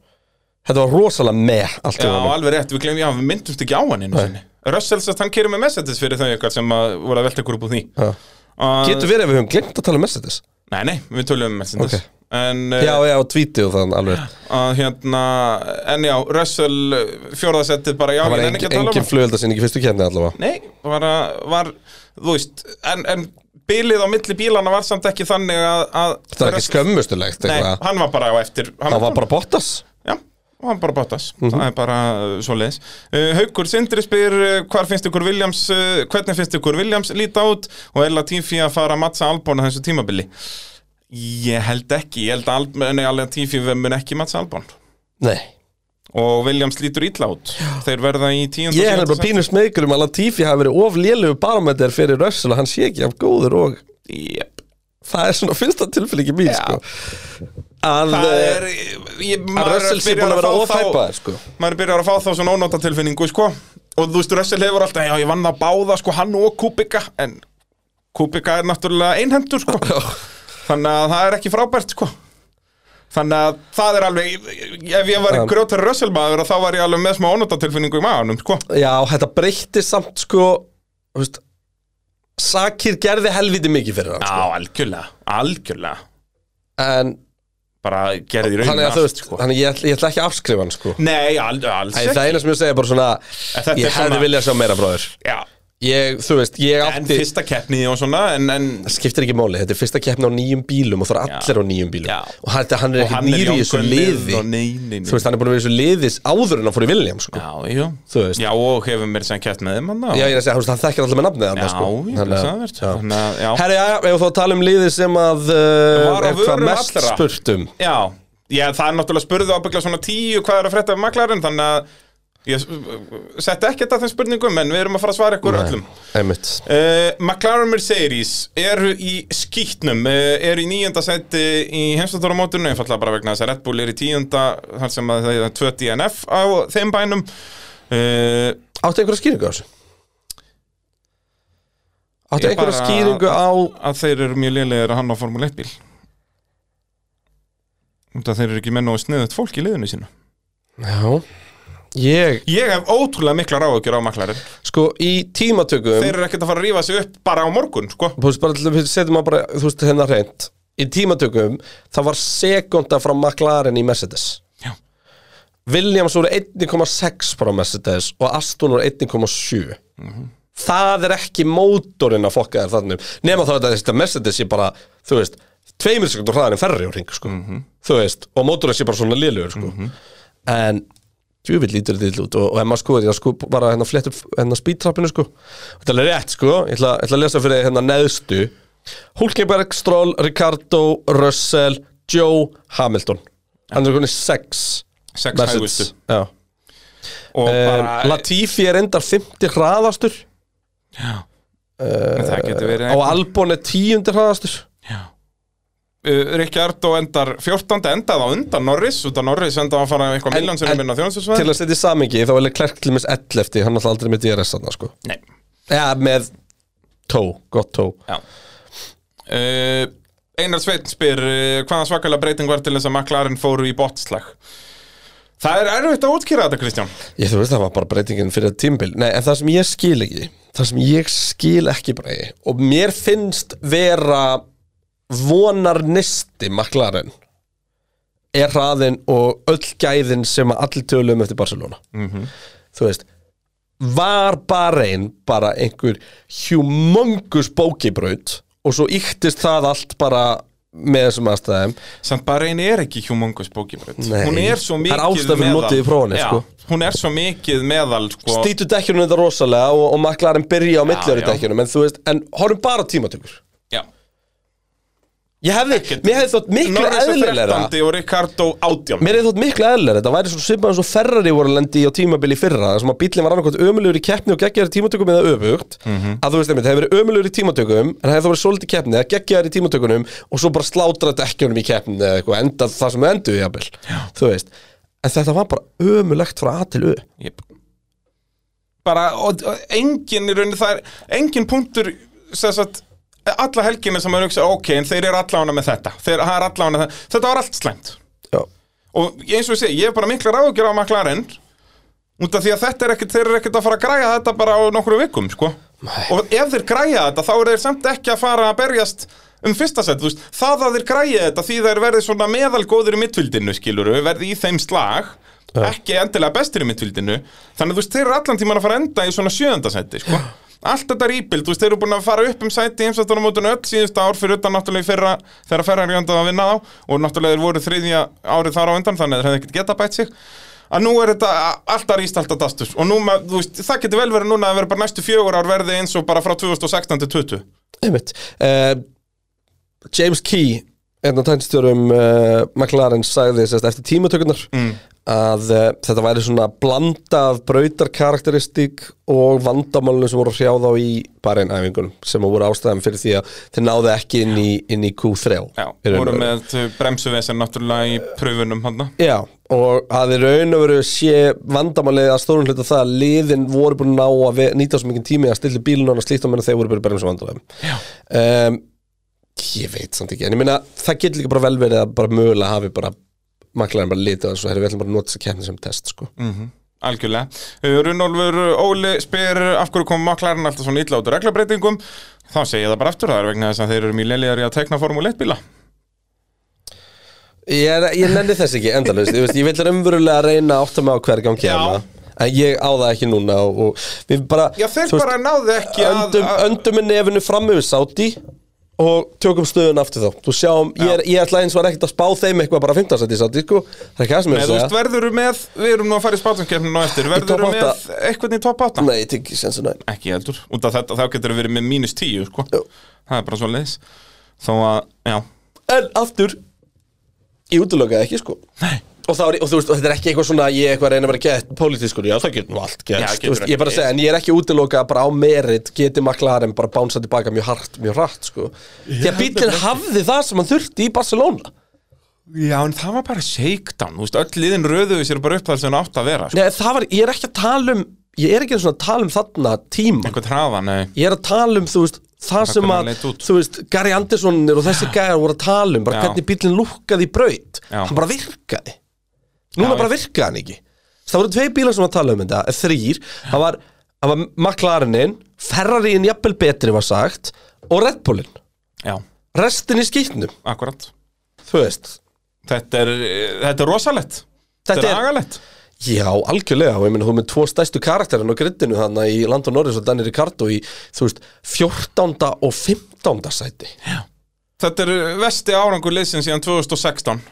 S1: Þetta var rosalega með allt í
S2: Já,
S1: honum
S2: alveg rétt, við glemum, já, við myndumst ekki á hann einu sinni Russell sérst, hann kýrir með Mercedes fyrir þau eitthvað sem að voru að velta ykkur upp úr því
S1: Já.
S2: uh,
S1: Getur verið ef við höfum glemt að tala um Mercedes
S2: Nei, nei, við tölum um Mercedes
S1: Ok.
S2: En,
S1: Já,
S2: já.
S1: já, og tweetið og þann alveg
S2: hérna, en já, Russell fjórðasettið bara, já,
S1: Það var
S2: ég
S1: engin,
S2: nenni ekki að tala um
S1: engin
S2: hann.
S1: flugöldasinn í fyrstu kenni allavega
S2: Nei, bara, var, þú veist, en, en bilið á milli bílana var samt ekki þannig að, að
S1: Þetta var ekki skömmustulegt
S2: Nei,
S1: eitthvað
S2: hann var bara á eftir hann
S1: Það var bara Bottas
S2: Já, og hann bara bóttas,
S1: Mhm.
S2: það er bara uh, svoleiðis. Uh, Haukur Sindri spyr, uh, hvar finnst ykkur Williams, uh, hvernig finnst ykkur Williams líta út og er Latifi að fara að mattsa Albon á þessu tímabili? Ég held ekki, ég held að Al- nei, Latifi mun ekki mattsa Albon
S1: Nei
S2: og Williams lítur illa út, þeir verða í tíund
S1: Ég er bara pínu smegur um að Latifi hafi verið of lélugu barometer fyrir Russell og hann sé ekki af góður og
S2: Jep,
S1: það er svona fyrsta tilfélgi mín sko að,
S2: það er,
S1: eh,
S2: ég,
S1: að
S2: maður er
S1: Russell sé
S2: byrjar
S1: búin að vera
S2: fá þá-
S1: ofhæpaður sko
S2: maður byrjar að fá þá svona ónóta tilfinningu sko. og þú veist, Russell hefur alltaf já, ég vann að báða sko, hann og Kubika en Kubika er náttúrulega einhendur sko. þannig að það er ekki frábært sko. þannig að það er alveg ef ég var
S1: Já.
S2: grjótari Russell maður þá var ég alveg með smá ónóta tilfinningu í maðanum sko.
S1: Já, þetta breytti samt sko þú veist, Sakir gerði helviti mikið fyrir hann
S2: já,
S1: sko.
S2: algjörlega, algjörlega
S1: En
S2: bara gerði í
S1: hann
S2: rauninu
S1: er að þú veist sko. ég, ætla- ég ætla ekki að afskrifa hann sko
S2: nei, al, alls
S1: Æ,
S2: ekki
S1: Það eina sem ég segja er bara svona
S2: þetta er
S1: Ég hefði
S2: svona-
S1: viljað sjá meira bróður
S2: já,
S1: ég, Þú veist, ég
S2: en
S1: átti
S2: fyrsta keppni og svona en, en
S1: Það skiptir ekki máli, þetta er fyrsta keppni á nýjum bílum og það er allir á nýjum bílum
S2: Já.
S1: og hann, hann er ekki
S2: hann er
S1: nýri í þessu
S2: ákveðnið
S1: liði
S2: og nei, nei, nei.
S1: Þú veist, hann er búin að vera í þessu liðis áður en hann fór í William sko.
S2: Já, já,
S1: Þú veist.
S2: já og hefur mér sem kætt með þeim hann
S1: Já, ég er að segja, þú veist, hann þekkir allir með nafnið hann
S2: já,
S1: sko.
S2: ég er sagðvert Þannig að, já
S1: Herri, já, já, ef þú að tala um liði sem að uh,
S2: Var á
S1: er hvað
S2: vörum
S1: mest
S2: allra.
S1: spurt um
S2: Já, já, það er náttúrulega spurðu ábyggla svona tíu hvað er að frétta af maklarinn Þannig að ég sett ekkert að þeim spurningum en við erum að fara að svara ykkur öllum
S1: Einmitt
S2: Uh, McLaren Mercedes eru í skýtnum, uh, eru í nýjönda seti í heimsvættaramótinu, einfallega bara vegna þess að Red Bull er í tíunda, þar sem að það er 2 DNF á þeim bænum uh,
S1: Áttu einhverja skýringu á þessu? Áttu
S2: Ég
S1: einhverja
S2: bara-
S1: skýringu á
S2: að þeir eru mjög lélegir að hann á Formule 1 bíl Út að þeir eru ekki menn og sniðut fólk í liðinu sínu
S1: Já Ég,
S2: Ég hef ótrúlega mikla ráðugjur á maklarinn
S1: sko, í tímatökum
S2: Þeir eru ekkert að fara að rífa sig upp bara á morgun, sko
S1: Þú veist, bara til að setja maður bara, þú veist, hennar hreint Í tímatökum, það var sekunda frá McLaren í Mercedes
S2: Já.
S1: Williams voru 1,6 frá Mercedes og Aston voru 1,7 Það er ekki mótorinn að fokka þér þannig Nefna þá þetta, þetta Mercedes sé bara, þú veist Tveimur sekundur hraðan en ferri á ring, sko Þú veist, og mótorinn sé bara svona liðlugur, sko En djúvill lítur þetta illa út og, og ef maður sko, ég sko bara hérna flett upp hérna speedtrappinu sko þetta er alveg rétt sko, ég ætla, ég ætla að lesa fyrir hérna neðstu Hulkenberg, Stroll, Ricardo, Russell Joe, Hamilton hann er konið 6
S2: Sex hægustu.
S1: Já.
S2: Og bara,
S1: Eh, Latifi er endar 50 hraðastur
S2: en það getur verið
S1: Eh, og Albon er 10 hraðastur
S2: uh, Rikjardo endar 14. endað á undan Norris Út að Norris endað að fara eitthvað
S1: En- en-
S2: miljónsverðum inn á
S1: til
S2: þjónsusvæð
S1: að setja í samingi þá er Klerk til mis 11 hann er alltaf aldrei með DRS hann sko
S2: Nei,
S1: Já, með tó, gott tó
S2: Já uh, Einar Sveinn spyr uh, hvaða svakalega breyting var til þess að McLaren fóru í botslag Það er erfitt að útkýra þetta Kristján
S1: Ég þú veist það var bara breytingin fyrir tímbil Nei, en það sem ég skil ekki Það sem ég skil ekki bregi Og mér finnst vera vonar nisti maklarinn er hraðin og öll gæðin sem að allir tölum eftir Barcelona Þú veist Var bara einn bara einhver humongus bókibraut og svo yktist það allt bara með þessum aðstæðum
S2: Samt bara einu er ekki humongous bókibraut
S1: Nei.
S2: Hún er svo
S1: Það er
S2: mikið
S1: ástæða fyrir
S2: meðal-
S1: notið í prófinu,
S2: Já,
S1: sko.
S2: Hún er svo mikið meðal sko.
S1: stýtu dekkjunum þetta rosalega og, og maklarinn byrja á millari
S2: já.
S1: dekkjunum en þú veist, en horfum bara á tímatökur
S2: Já.
S1: ég hefði, mér hefði þótt miklu
S2: Norris er
S1: eðlilegra
S2: 13. og Ricardo 18
S1: mér hefði þótt miklu eðlilegra, þetta væri svona svipað eins og Ferrari voru að lendi á tímabili í fyrra þar sem að bíllinn var annarkvæmt ömulegur í keppni og geggjaður í tímatökum eða öfugt
S2: Mhm.
S1: að þú veist einmitt, það hefði verið ömulegur í tímatökum en það hefði þá verið svolítið í keppni, það geggjaður í tímatökunum og svo bara slátra dekkjunum í keppni eða eitthvað, enda það sem endur í abil þú veist, en þetta var bara ömulegt frá A til U
S2: yep. bara og, og engin í rauninni það er engin punktur sem sagt alla helgina sem maður hugsa ok, en þeir eru allána með þetta þeir, það er allána það, þetta var allt slæmt
S1: Já.
S2: og eins og ég segi, ég hef bara mikla ráðugjur á McLaren út af því að þetta er ekkert, þeir eru ekkert að fara að græja þetta bara á nokkru vikum, sko
S1: Nei.
S2: og ef þeir græja þetta, þá eru þeir samt ekki að fara að berjast um fyrsta set, þú veist það að þeir græja þetta, því þeir verði svona meðalgóður í mittvildinu, skiluru, verði í þeim slag ekki endilega bestir í mittvildinu þannig að þú veist, þeir eru allan tíman að fara að enda í svona sjöönda seti, sko Allt þetta rýpild, þú veist, þeir eru búin að fara upp um sæti í heimsættunum mótun öll síðustu ár fyrir utan náttúrulega í fyrra þegar Ferrari andaði að vinna á og náttúrulega þeir voru þriðja árið þar á undan þannig að þeir hefði ekkert geta bætt sig að nú er þetta alltaf ríst alltaf dastus og nú, ma- þú veist, það getur vel verið núna að vera bara næstu fjögur ár verði eins og bara frá 2016 til 20
S1: Einmitt. Uh, James Key, einn af tænstjórum uh, McLaren, sagði sérst, eftir tímatökurnar
S2: Mm.
S1: að uh, þetta væri svona blanda af brautarkarakteristík og vandamálunum sem voru að hrjá þá í barinn-æfingunum sem voru ástæðan fyrir því að þeir náðu ekki inn í, inn í Q3
S2: Já,
S1: Í raun og
S2: voru
S1: veru.
S2: með bremsuvesen náttúrulega í pröfunum hann
S1: Já, og að í raun og veru sé vandamálið að stórum hluta það að liðin voru búin að ná að ve- nýta svo mikið tími að stilla bílun og slíkt á meðan þeir voru bara berðum svo vandamálið um, Ég veit samt ekki, en ég meina það getur líka bara vel verið að bara mögulega hafi bara maklarinn bara litið og svo herri við ætlum bara að nota þess að kemna sem test sko.
S2: Mhm. Algjörlega. Uh, Runolfur Óli spyr af hverju kom maklarinn alltaf svona illa út úr reglabreitingum. Þá segi ég það bara aftur, það er vegna þess að þeir eru mjög leiligari að tekna Formule 1 bíla.
S1: Ég, er- ég nenni þess ekki endalaust Ég veist, ég vil umverulega reyna að átta mig á hver gangi
S2: Já.
S1: hana En ég á það ekki núna og, og við bara,
S2: Já, þeir
S1: þú veist,
S2: bara náðu ekki að...
S1: öndum,
S2: að-
S1: öndum með nefinu fram yfir Saudi og tökum stöðun aftur þá þú sjáum, ég, er, ég ætla eins og er ekkert að spá þeim eitthvað bara að fynda sætti í Saudi sko. það er ekki það sem ég
S2: Nei,
S1: er
S2: þú
S1: að
S2: veist,
S1: segja
S2: verður með, við erum nú að fara í spátumkeppninu á eftir, verður
S1: top
S2: með
S1: átta.
S2: eitthvað í top 8?
S1: nei, ég tek ekki sensu næ
S2: Ekki heldur, út af þetta, þá getur við verið með mínus 10, sko.
S1: Jú.
S2: Það er bara svo leiðis. Þó að, já,
S1: en aftur, ég útlökaði ekki sko.
S2: Nei.
S1: og, það, og þú veist, og þetta er ekki eitthvað svona ég er eitthvað að reyna að vera gett pólitískur, já það getur nú allt
S2: Já,
S1: gett
S2: getur
S1: ég er bara að
S2: ekki.
S1: segja, en ég er ekki útlokað bara á merit geti maklarinn bara bánsa tilbaka mjög hart mjög hratt, sko því að bíllinn hafði það sem hann þurfti í Barcelona
S2: já, en það var bara shakedown, þú veist, öll liðin röðuðu sér bara upp þar sem hún átt að vera, sko.
S1: Nei, það var, ég er ekki að tala um ég er ekki einu sinni að tala um þarna tíma
S2: Eitthvað hraða, nei.
S1: ég er að tala um, þú veist, það
S2: Bara
S1: sem
S2: hvernig
S1: að
S2: hann leit út.
S1: þú veist, Gary Anderssonir og þessi gæjar voru að tala um, bara
S2: Já.
S1: hvernig bílinn lúkkaði í braut,
S2: Já.
S1: hann bara virkaði núna
S2: Já,
S1: bara virkaði hann ekki það voru tvei bílar sem var að tala um þetta, eða þrýr það var, það var McLarenin Ferrariin jafnvel betri var sagt og Red Bullin,
S2: Já,
S1: restin í skýtnum
S2: akkurat.
S1: þú veist,
S2: Þetta er, þetta er rosalett.
S1: þetta er
S2: agalett
S1: Já, algjörlega, og ég meina þú er með tvo stæstu karakterinn á grittinu þannig í Landon Norris og Danny Ricardo í, þú veist, 14. og 15. sæti
S2: Þetta er vesti árangur liðsins síðan 2016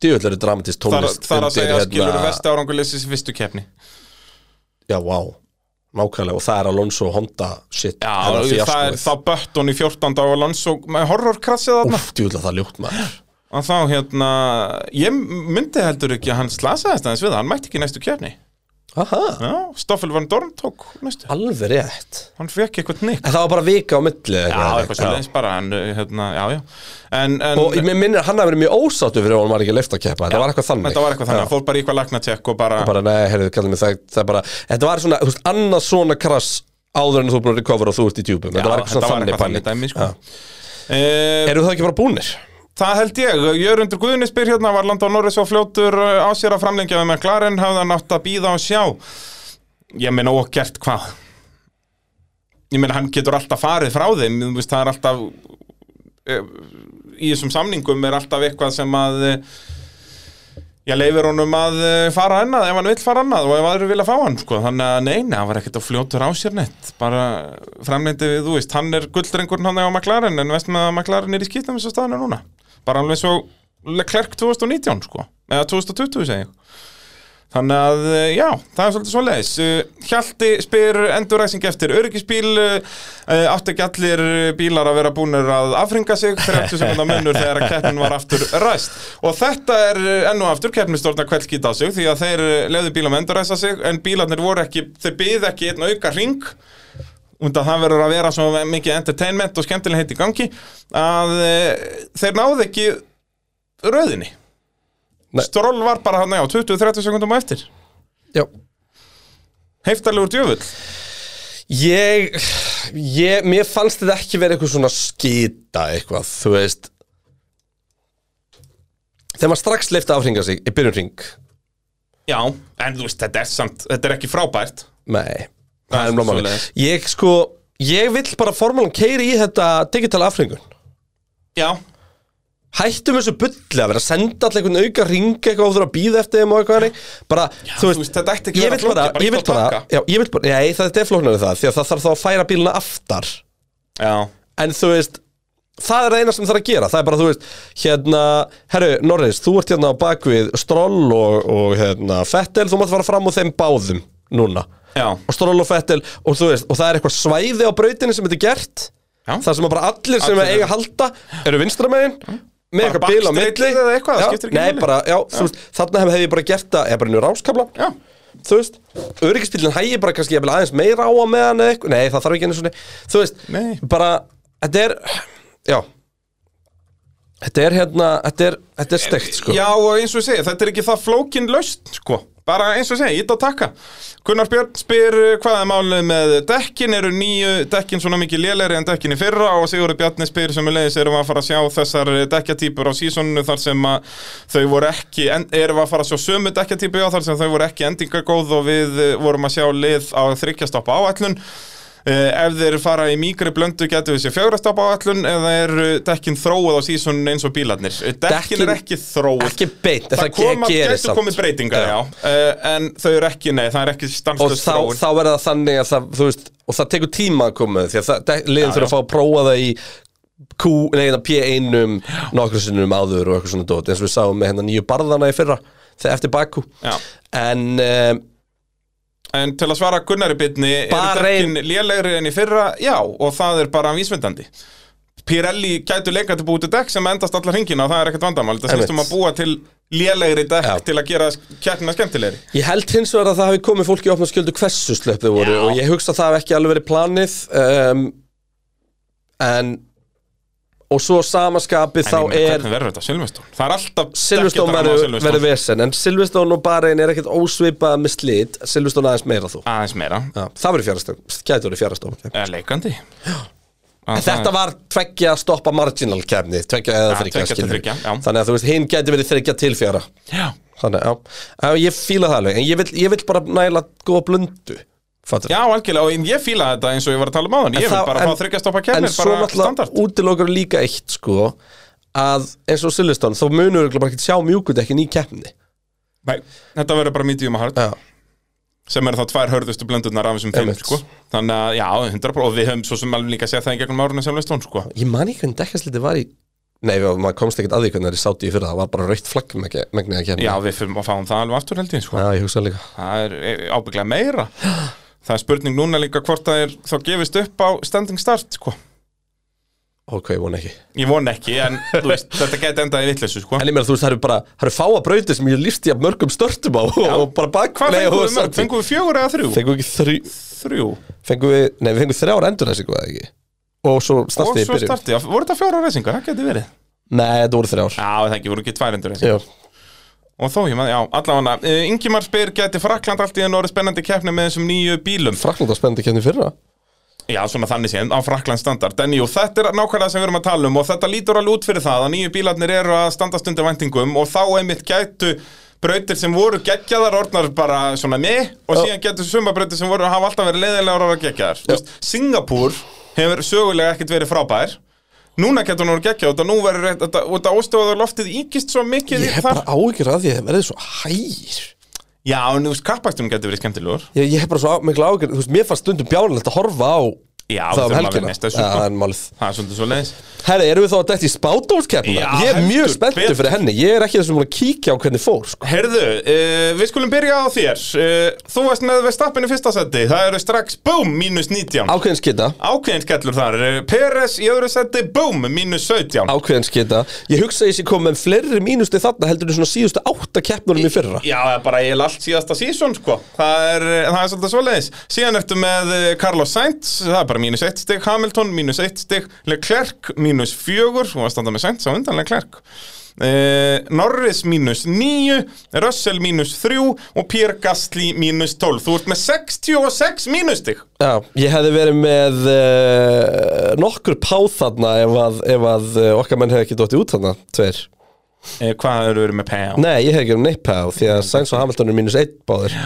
S1: Djöfull eru dramatist
S2: Þar,
S1: tónlist
S2: þar að
S1: undir,
S2: segja
S1: hérna-
S2: skilur vesti árangur liðsins í fyrstu keppni
S1: Já, vá, nákvæmlega, og það er Alonso Honda shit
S2: Já, það er þá bött hún í 14. á Alonso með horrorkrassið þarna
S1: Úf, djöfull að það er ljótt maður
S2: og þá hérna, ég myndi heldur ekki að hann slasaðist aðeins við það, hann mætti ekki í næstu keppni
S1: Aha,
S2: Já, Stoffel van Dorn tók næstu
S1: alveg rétt
S2: Hann fekk eitthvað nikk
S1: En það var bara vika á milli
S2: Já, eitthvað svo leiðis bara, en hérna, já, já En, en
S1: Og ég mér minnir að hann hafi verið mjög ósáttu fyrir að hann var ekki leift að keppa Þetta var eitthvað þannig
S2: þetta var eitthvað þannig,
S1: Já.
S2: hann fór bara í eitthvað lagnatekk og bara,
S1: bara, nei, heyrðu, kallum við það, það er bara, þetta var svona, þú veist, annað svona krass áður en þú er búin að recovera og þú ert í djúpum þetta var eitthvað svona þannig pæling
S2: dæmi sko. Eh,
S1: eru það ekki bara búnir?
S2: Það held ég, Jörundur Guðni spyr hérna var Landon Norris og fljótur eh, á sér að framlengja með McLaren, hafði hann átt að býða og sjá Ég meina og gert hvað Ég meina hann getur alltaf farið frá þeim þú veist, það er alltaf eh, í þessum samningum er alltaf eitthvað sem að eh, ég leifir honum að eh, fara annað ef hann vill fara annað og ef aðrir vilja fá hann sko. þannig að neina, hann var ekkert að fljótur á sér neitt bara framleindi við, þú veist hann er gulddrengurinn hann á McLaren en veist með að McLaren er í skýtnum sem staðan er núna bara alveg svo Leclerc 2019 sko, eða 2020 segi ég Þannig að, eh, já, það er svolítið svoleiðis. Eh, Hjalti spyr enduræsing eftir öryggisbíl, eh, áttu ekki allir eh, bílar að vera búnir að afringa sig, 30 sekundar munur þegar að keppnin var aftur ræst. Og þetta er eh, enn og aftur keppnistórna kveldskýta á sig, því að þeir leðu bílum að enduræsa sig, en bílarnir voru ekki, þeir byðu ekki einn auka ring, undan það verður að vera svo mikið entertainment og skemmtilegheit í gangi, að eh, þeir náðu ekki rauðinni.
S1: Nei.
S2: Stról var bara hann, já, 20-30 sekundum á eftir
S1: Já.
S2: Heiftarlegur djöfull
S1: Ég, ég, mér fannst þetta ekki verið eitthvað svona skýta eitthvað, þú veist Þegar maður strax leifta áhringa sig í byrjun ring
S2: Já, en þú veist, þetta er samt, þetta er ekki frábært
S1: Nei,
S2: Það
S1: það
S2: er
S1: er blómáli
S2: svoleiðis.
S1: Ég sko, ég vill bara formálum keiri í þetta digital afhringun
S2: Já,
S1: Hættum þessu bulli að vera að senda allir einhvern auka ring eitthvað og þú þurfa að býða eftir þeim og eitthvað þannig Bara, þú
S2: þú veist,
S1: veist,
S2: þetta ætti ekki að
S1: ég
S2: vera
S1: vill bara,
S2: flókið, bara
S1: ég vill
S2: ýtt á
S1: bara,
S2: takka.
S1: já, ég vill bara, nei, það er flóknar við það Því að það þarf þá að færa bíluna aftar
S2: já,
S1: en þú veist það er eina sem þarf að gera, það er bara þú veist hérna, herru Norris, þú ert hérna á bakvið Stroll og, og hérna, Fettel, þú mátt fara fram úr þeim báðum núna,
S2: já,
S1: og Stroll og Fettel og þú veist, og það er eitthvað svæði á brautinni sem þetta er gert,
S2: Já.
S1: það sem að bara allir sem
S2: Allir.
S1: allir. eiga að halda eru vinstramegin með
S2: Bara
S1: eitthvað bíl á
S2: backstraight
S1: milli
S2: eða eitthvað, það
S1: Já,
S2: skiptir ekki
S1: nei,
S2: máli.
S1: bara, já, þú veist, þarna hef, hef ég bara gert það, eða bara inn í ráskabla
S2: já
S1: þú veist, öryggisbílinn hægir bara kannski jafnvel aðeins meira á að meðan eða eitthvað, nei það þarf ekki einu svona, þú veist,
S2: Nei.
S1: bara, þetta er, já, þetta er hérna, þetta er, þetta er steikt sko.
S2: Já, og eins og ég segi, þetta er ekki það flókin laust, sko Bara eins og ég segi, ít á takka Gunnar Björn spyr uh, hvað er málið með dekkin Eru nýju dekkin svona mikið lélegri en dekkin í fyrra Og Sigurður Bjarni spyr sem leiðis Erum við að fara að sjá þessar dekkjatýpur á sísoninu Þar sem að þau voru ekki en, Erum við að fara að sjá sömu dekkjatýpu á Þar sem þau voru ekki endingagóð Og við uh, vorum að sjá lið á þryggjastoppa áætlun Eh, ef þeir fara í mýkri blöndu getur við sér fjögrastop á allun eða er eh, dekkin þróið á sísunum eins og bílarnir Eh, dekkin
S1: Dekkin-
S2: er ekki þróið
S1: ekki beint,
S2: það
S1: það, það
S2: koma,
S1: gerir
S2: getur komið
S1: samt
S2: breytingar já. Uh, en þau eru ekki, nei, það er ekki
S1: og
S2: stanslust
S1: þá, þá er það þannig að það, þú veist, og það tekur tíma að koma því að það, liðin þurfa
S2: já.
S1: að fá að prófa það í Q, nei, hérna P1-um nokkru sinnum áður og eitthvað svona dót eins og við sáum með hérna nýju barðana í fyrra þegar eftir Baku
S2: Já.
S1: en um,
S2: en til að svara Gunnari bitni
S1: Bara
S2: eru dekkin lélegri enn í fyrra já, og það er bara vísvindandi Pirelli gætu leikandi búið til dekk sem endast allar hringina og það er ekkert vandamál það
S1: Einmitt.
S2: snýst um að búa til lélegri dekk
S1: Já.
S2: til að gera kjærnina skemmtilegri
S1: Ég held hins vegar að það hafi komið fólki í opna skjöldu hversu slöpp þau voru
S2: Já.
S1: og ég hugsa að það hafi ekki alveg verið planið um, en og svo samaskapi þá
S2: en ég meina,
S1: er
S2: hvernig verður þetta Silvestón? það er alltaf
S1: Silveston
S2: dekkjadrama á
S1: verður
S2: Silverstone.
S1: verður vesen en Silveston og Bahrein er ekkert ósvipað með slit Silveston aðeins meira þú
S2: aðeins meira
S1: Já, það verður fjárastöfn, gæti verið fjárastöfn okay.
S2: er leikandi
S1: En þetta var tveggja að stoppa marginal kefni tveggja eða
S2: Já,
S1: þryggja
S2: tveggja til
S1: skilur
S2: þriggja, já.
S1: þannig að þú veist, hinn gæti verið þryggja til fjara
S2: já,
S1: þannig, já, já ég fíla það alveg en ég vil, ég vil bara næla góða blöndu Fattur.
S2: já algjörlega, og ég fíla þetta eins og ég var að tala um áðan
S1: En
S2: ég vil
S1: það-
S2: bara
S1: en-
S2: fá þryggjastoppa kefnir,
S1: en svo
S2: bara standard
S1: náttúrulega útilokar líka eitt sko að eins og Silveston þá munur örugglega bara ekki sjá mjúkudekkin í keppni
S2: Nei, þetta verður bara medium og hard
S1: Já.
S2: sem eru þá tvær hörðustu blöndurnar af þessum fimm
S1: Einmitt.
S2: sko. þannig að já, 100% og við höfum svo sem alveg líka að segja það í gegnum árunum sjálfstón sko.
S1: ég man ekki hvernig dekkasliti var í nei, við- maður komst ekkert að því hvernig það er í sáti í fyrra það var bara raukt flagg megnið að keppni
S2: já, við fyrir að fáum það alveg aftur held ég sko.
S1: já, ég hugsa líka
S2: það er e, ábygglega meira það er spurning núna líka hvort það er þá gefist upp á standing start sko.
S1: ok, ég vona ekki
S2: ég von ekki, en þú
S1: (laughs)
S2: veist, þetta geti endað í vitleysu sko.
S1: en ég meina þú veist, það eru bara það eru fáa brauti sem ég lífst í að mörgum störtum á og bara bak
S2: hvað
S1: nei,
S2: fengum
S1: og
S2: við mörg?
S1: Sauti.
S2: fengum við fjögur eða þrjú?
S1: fengum við ekki þrjú
S2: þrjú
S1: fengum við, nei, við fengum þrjár endur þessi hvað ekki og svo
S2: og
S1: startið í
S2: svo
S1: byrjun
S2: startið, já, voru þetta fjóra reysingar, það geti verið
S1: nei, þetta voru þrjár
S2: já, það ekki, voru ekki tværendur reysingar
S1: já,
S2: Og þó, ég maður, já, allavega hana Ingimar spyr, geti Frakland allt í enn orðið spennandi keppni með þessum nýju bílum
S1: Frakland var spennandi keppni í fyrra
S2: Já, svona þannig séð, á Frakland standard En jú, þetta er nákvæmlega sem við erum að tala um Og þetta lítur alveg út fyrir það að nýju bílarnir eru að standast undir væntingum Og þá einmitt gætu brautir sem voru geggjaðar orðnar bara svona með Og
S1: Já.
S2: síðan gætu suma brautir sem voru hafa alltaf verið leiðilegar orðnar geggjaðar Þú veist, Singapúr hefur sögulega ekkert verið frábær Núna getur hún orðið geggjað og það nú verður þetta- þetta, og þetta óstöðuðar loftið íkist svo mikið
S1: Ég hef
S2: þar.
S1: bara áhyggjur að því að það verði svo hægir
S2: Já, en þú veist, kappakstunum getur verið skemmtilegur
S1: Ég, ég hef bara svo á- mikla áhyggjur, þú veist, mér fannst stundum bjálulegt að horfa á
S2: Já,
S1: það um
S2: við þurfum að
S1: helgina
S2: vinna þessu,
S1: Já,
S2: sko.
S1: það er málið
S2: Það er svolítið svo leiðis
S1: Herri, erum við þá að dætt í spátdómskeppna?
S2: Já,
S1: Ég er mjög
S2: heldur
S1: spenntur
S2: betur.
S1: fyrir henni, ég er ekki þessum að kíkja á hvernig fór sko.
S2: Herðu, uh, við skulum byrja á þér uh, Þú varst með Verstappen í fyrsta seti Það eru strax, búm, mínus 19
S1: Ákveðin skita,
S2: Ákveðin skellur þar Eh, Peres í öðru seti, búm, mínus 17
S1: ákveðin skita Ég hugsa að ég sé komið með fleiri mínusti þarna heldur en svona síðustu átta keppnurum í fyrra
S2: Já, það er bara ég allt síðasta sísón, sko Það er, eh, það er svolítið svo leiðis Síðan ertu með eh, Carlos Sainz Það er bara mínus 1 stig, Hamilton, mínus 1 stig Leclerc, mínus 4 Hún var að standa með Sainz á undan Leclerc Uh, Norris mínus 9 Russell mínus 3 og Pierre Gasly mínus 12 þú ert með 66 mínustig
S1: Já, ég hefði verið með uh, nokkur páð þarna ef að, ef að eh, okkar menn hefði ekki dóttið út þarna, tveir
S2: Eh, Hvað eru verið með Pell?
S1: Nei, ég hef ekki um neitt páð því að Sainz og Hamilton er mínus einn báðir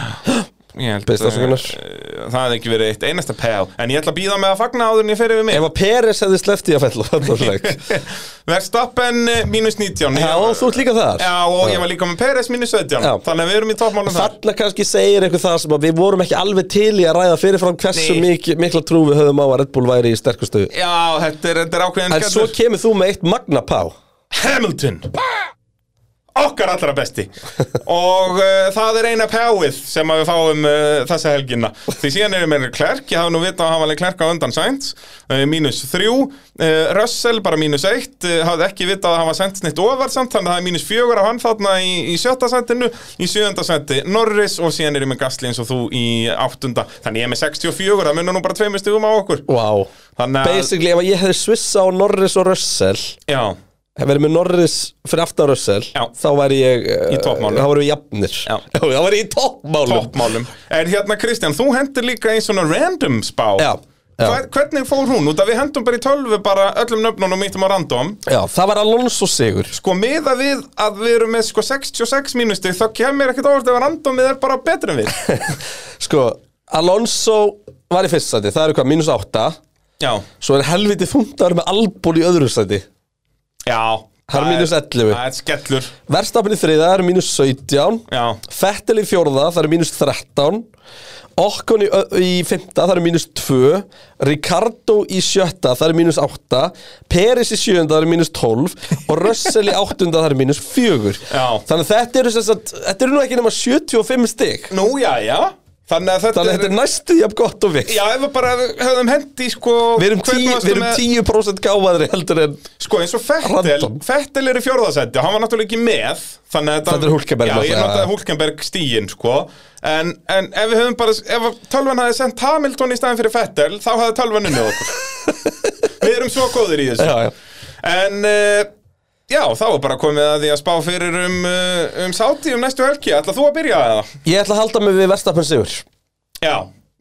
S2: Ég held,
S1: Beðst
S2: eh,
S1: afsökunar.
S2: eh, Það hefði ekki verið eitt einasta Pell En ég ætla að býða með að fagna áður en ég fyrir við mig
S1: Ef að Peres hefði sleppt í að fella þarna um leik
S2: (laughs) Verstappen eh, mínus
S1: (laughs)
S2: 19
S1: Já,
S2: Ég var-
S1: og þú ert líka þar
S2: Já, og ég var líka með Peres mínus 17
S1: Já.
S2: Þannig að við erum í toppmálum þar
S1: Þarna kannski segir einhver það sem að við vorum ekki alveg til í að ræða fyrirfram hversu
S2: Nei.
S1: mik mikla trú við höfum á að Red Bull væri í sterkustu
S2: Já, þetta er, þetta er ákveðin
S1: En svo
S2: skellur
S1: kemur þú með eitt magna pá
S2: Hamilton Okkar allra besti Og uh, það er eina pjáið sem að við fáum uh, þessa helgina Því síðan erum við klærk, ég hafði nú vitað að hafa alveg klærk á undan Sainz uh, Mínus þrjú, uh, Russell bara mínus eitt uh, Hafði ekki vitað að hafa Sainz neitt ofar samt Þannig að það er mínus fjögur á hann þarna í, í sjötta sentinu Í sjöunda senti Norris og síðan erum við Gasly eins og þú í áttunda Þannig ég er með 64, það munur nú bara tveimur stigum á okkur
S1: Wow
S2: Þannig að,
S1: Basically, ef að ég hefði svissa á Norris og Russell
S2: já
S1: Hefði verið með Norris fyrir aftan Russell
S2: Já.
S1: Þá væri ég eh,
S2: Í toppmálum.
S1: Þá væri við jafnir (laughs)
S2: Já.
S1: Þá væri ég í toppmálum
S2: toppmálum En hérna Kristján, þú hendur líka einn svona random spá
S1: Já, já.
S2: Hva- Hvernig fór hún? Út að við hendum bara í tölvu bara öllum nöfnunum og mýttum á random
S1: Já, það var Alonso sigur
S2: Sko miða við að við erum með sko 66 mínustið þá kemur ekkert ávart ef að randomið er bara betur
S1: (laughs)
S2: en við
S1: Sko, Alonso var í fyrsta sæti Það eru hvað, mínus átta
S2: Já,
S1: Svo er helviti þungt að vera með Albon í öðru sæti
S2: já
S1: Hann er mínus 11.
S2: Það er skellur,
S1: Verstapin í þriða það eru mínus 17
S2: já
S1: Fettel í fjórða, það eru mínus 13 Okkon í, ö- í fymta, það eru mínus 2 Ricardo í sjötta, það eru mínus 8 Peris í sjöunda, það eru mínus 12 Og Russell í áttunda, það eru mínus 4
S2: Já.
S1: Þannig að þetta eru, sem sagt, þetta eru nú ekki nema 75 stig
S2: Nú, já, já Þannig að þetta
S1: Þannig að þetta er næstu jafn gott og við
S2: Já, ef við bara hefðum hendi sko
S1: Við erum,
S2: hvern
S1: tí,
S2: varstu
S1: við erum
S2: með-
S1: 10% gáfaðri heldur en
S2: Sko eins og Fettel,
S1: Random.
S2: Fettel er í fjórðasendi og hann var náttúrulega ekki með Þannig að
S1: Þetta er Hulkenberg
S2: Já, ég
S1: náttúrulega.
S2: notaði Hulkenberg stíin sko En, en ef við höfum bara, ef að tölvan hafði sendt Hamilton í staðin fyrir Fettel Þá hafði tölvan unnið okkur
S1: (laughs)
S2: Við erum svo góðir í þessu
S1: Já, já.
S2: En uh, já, þá er bara komið að því að spá fyrir um, uh, um sáti um næstu helgi Ætla þú að byrja eða?
S1: Ég ætla að halda mig við Verstapin sigur
S2: Já,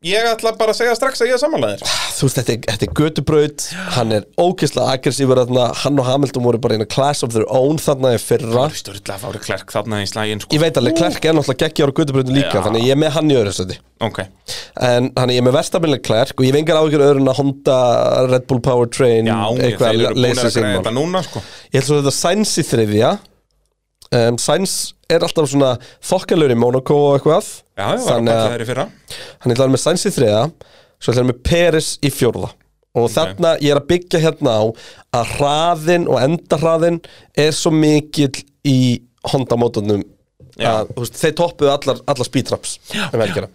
S2: ég ætla bara að segja strax að ég er samanlega þér
S1: þú veist, þetta er, þetta er götubraut hann er ógeðslega aggressífur þarna hann og Hamilton voru bara in a class of their own þarna í fyrra
S2: Sturla fári klerk þarna í slægin sko
S1: ég veit alveg, Klerk er náttúrulega geggjar á götubrautin líka
S2: Já.
S1: þannig að ég er með hann í öðru stöði
S2: Ok,
S1: en þannig að ég er með verstafnileg Klerk og ég vengar á ykkur öðrun að Honda Red Bull Powertrain
S2: já, ég- þeir
S1: eitthvað
S2: eru
S1: að
S2: búin
S1: leysa
S2: að
S1: sín
S2: greiða
S1: mál
S2: þetta núna sko
S1: ég held svo að þetta Sainz í þriðja um, Sainz er alltaf svona þokkalur í Monaco og eitthvað
S2: Já, það var að
S1: þannig
S2: palla
S1: að
S2: þeirri fyrra
S1: hann ætlaði með Sainz í þriða svo ætlaði með Peres í fjórða og þarna ég er að byggja hérna á að hraðin og endahraðin er svo mikill í Honda mótunum
S2: Já.
S1: að þú veist, þeir toppuðu allar, allar speedtraps en
S2: akkurat.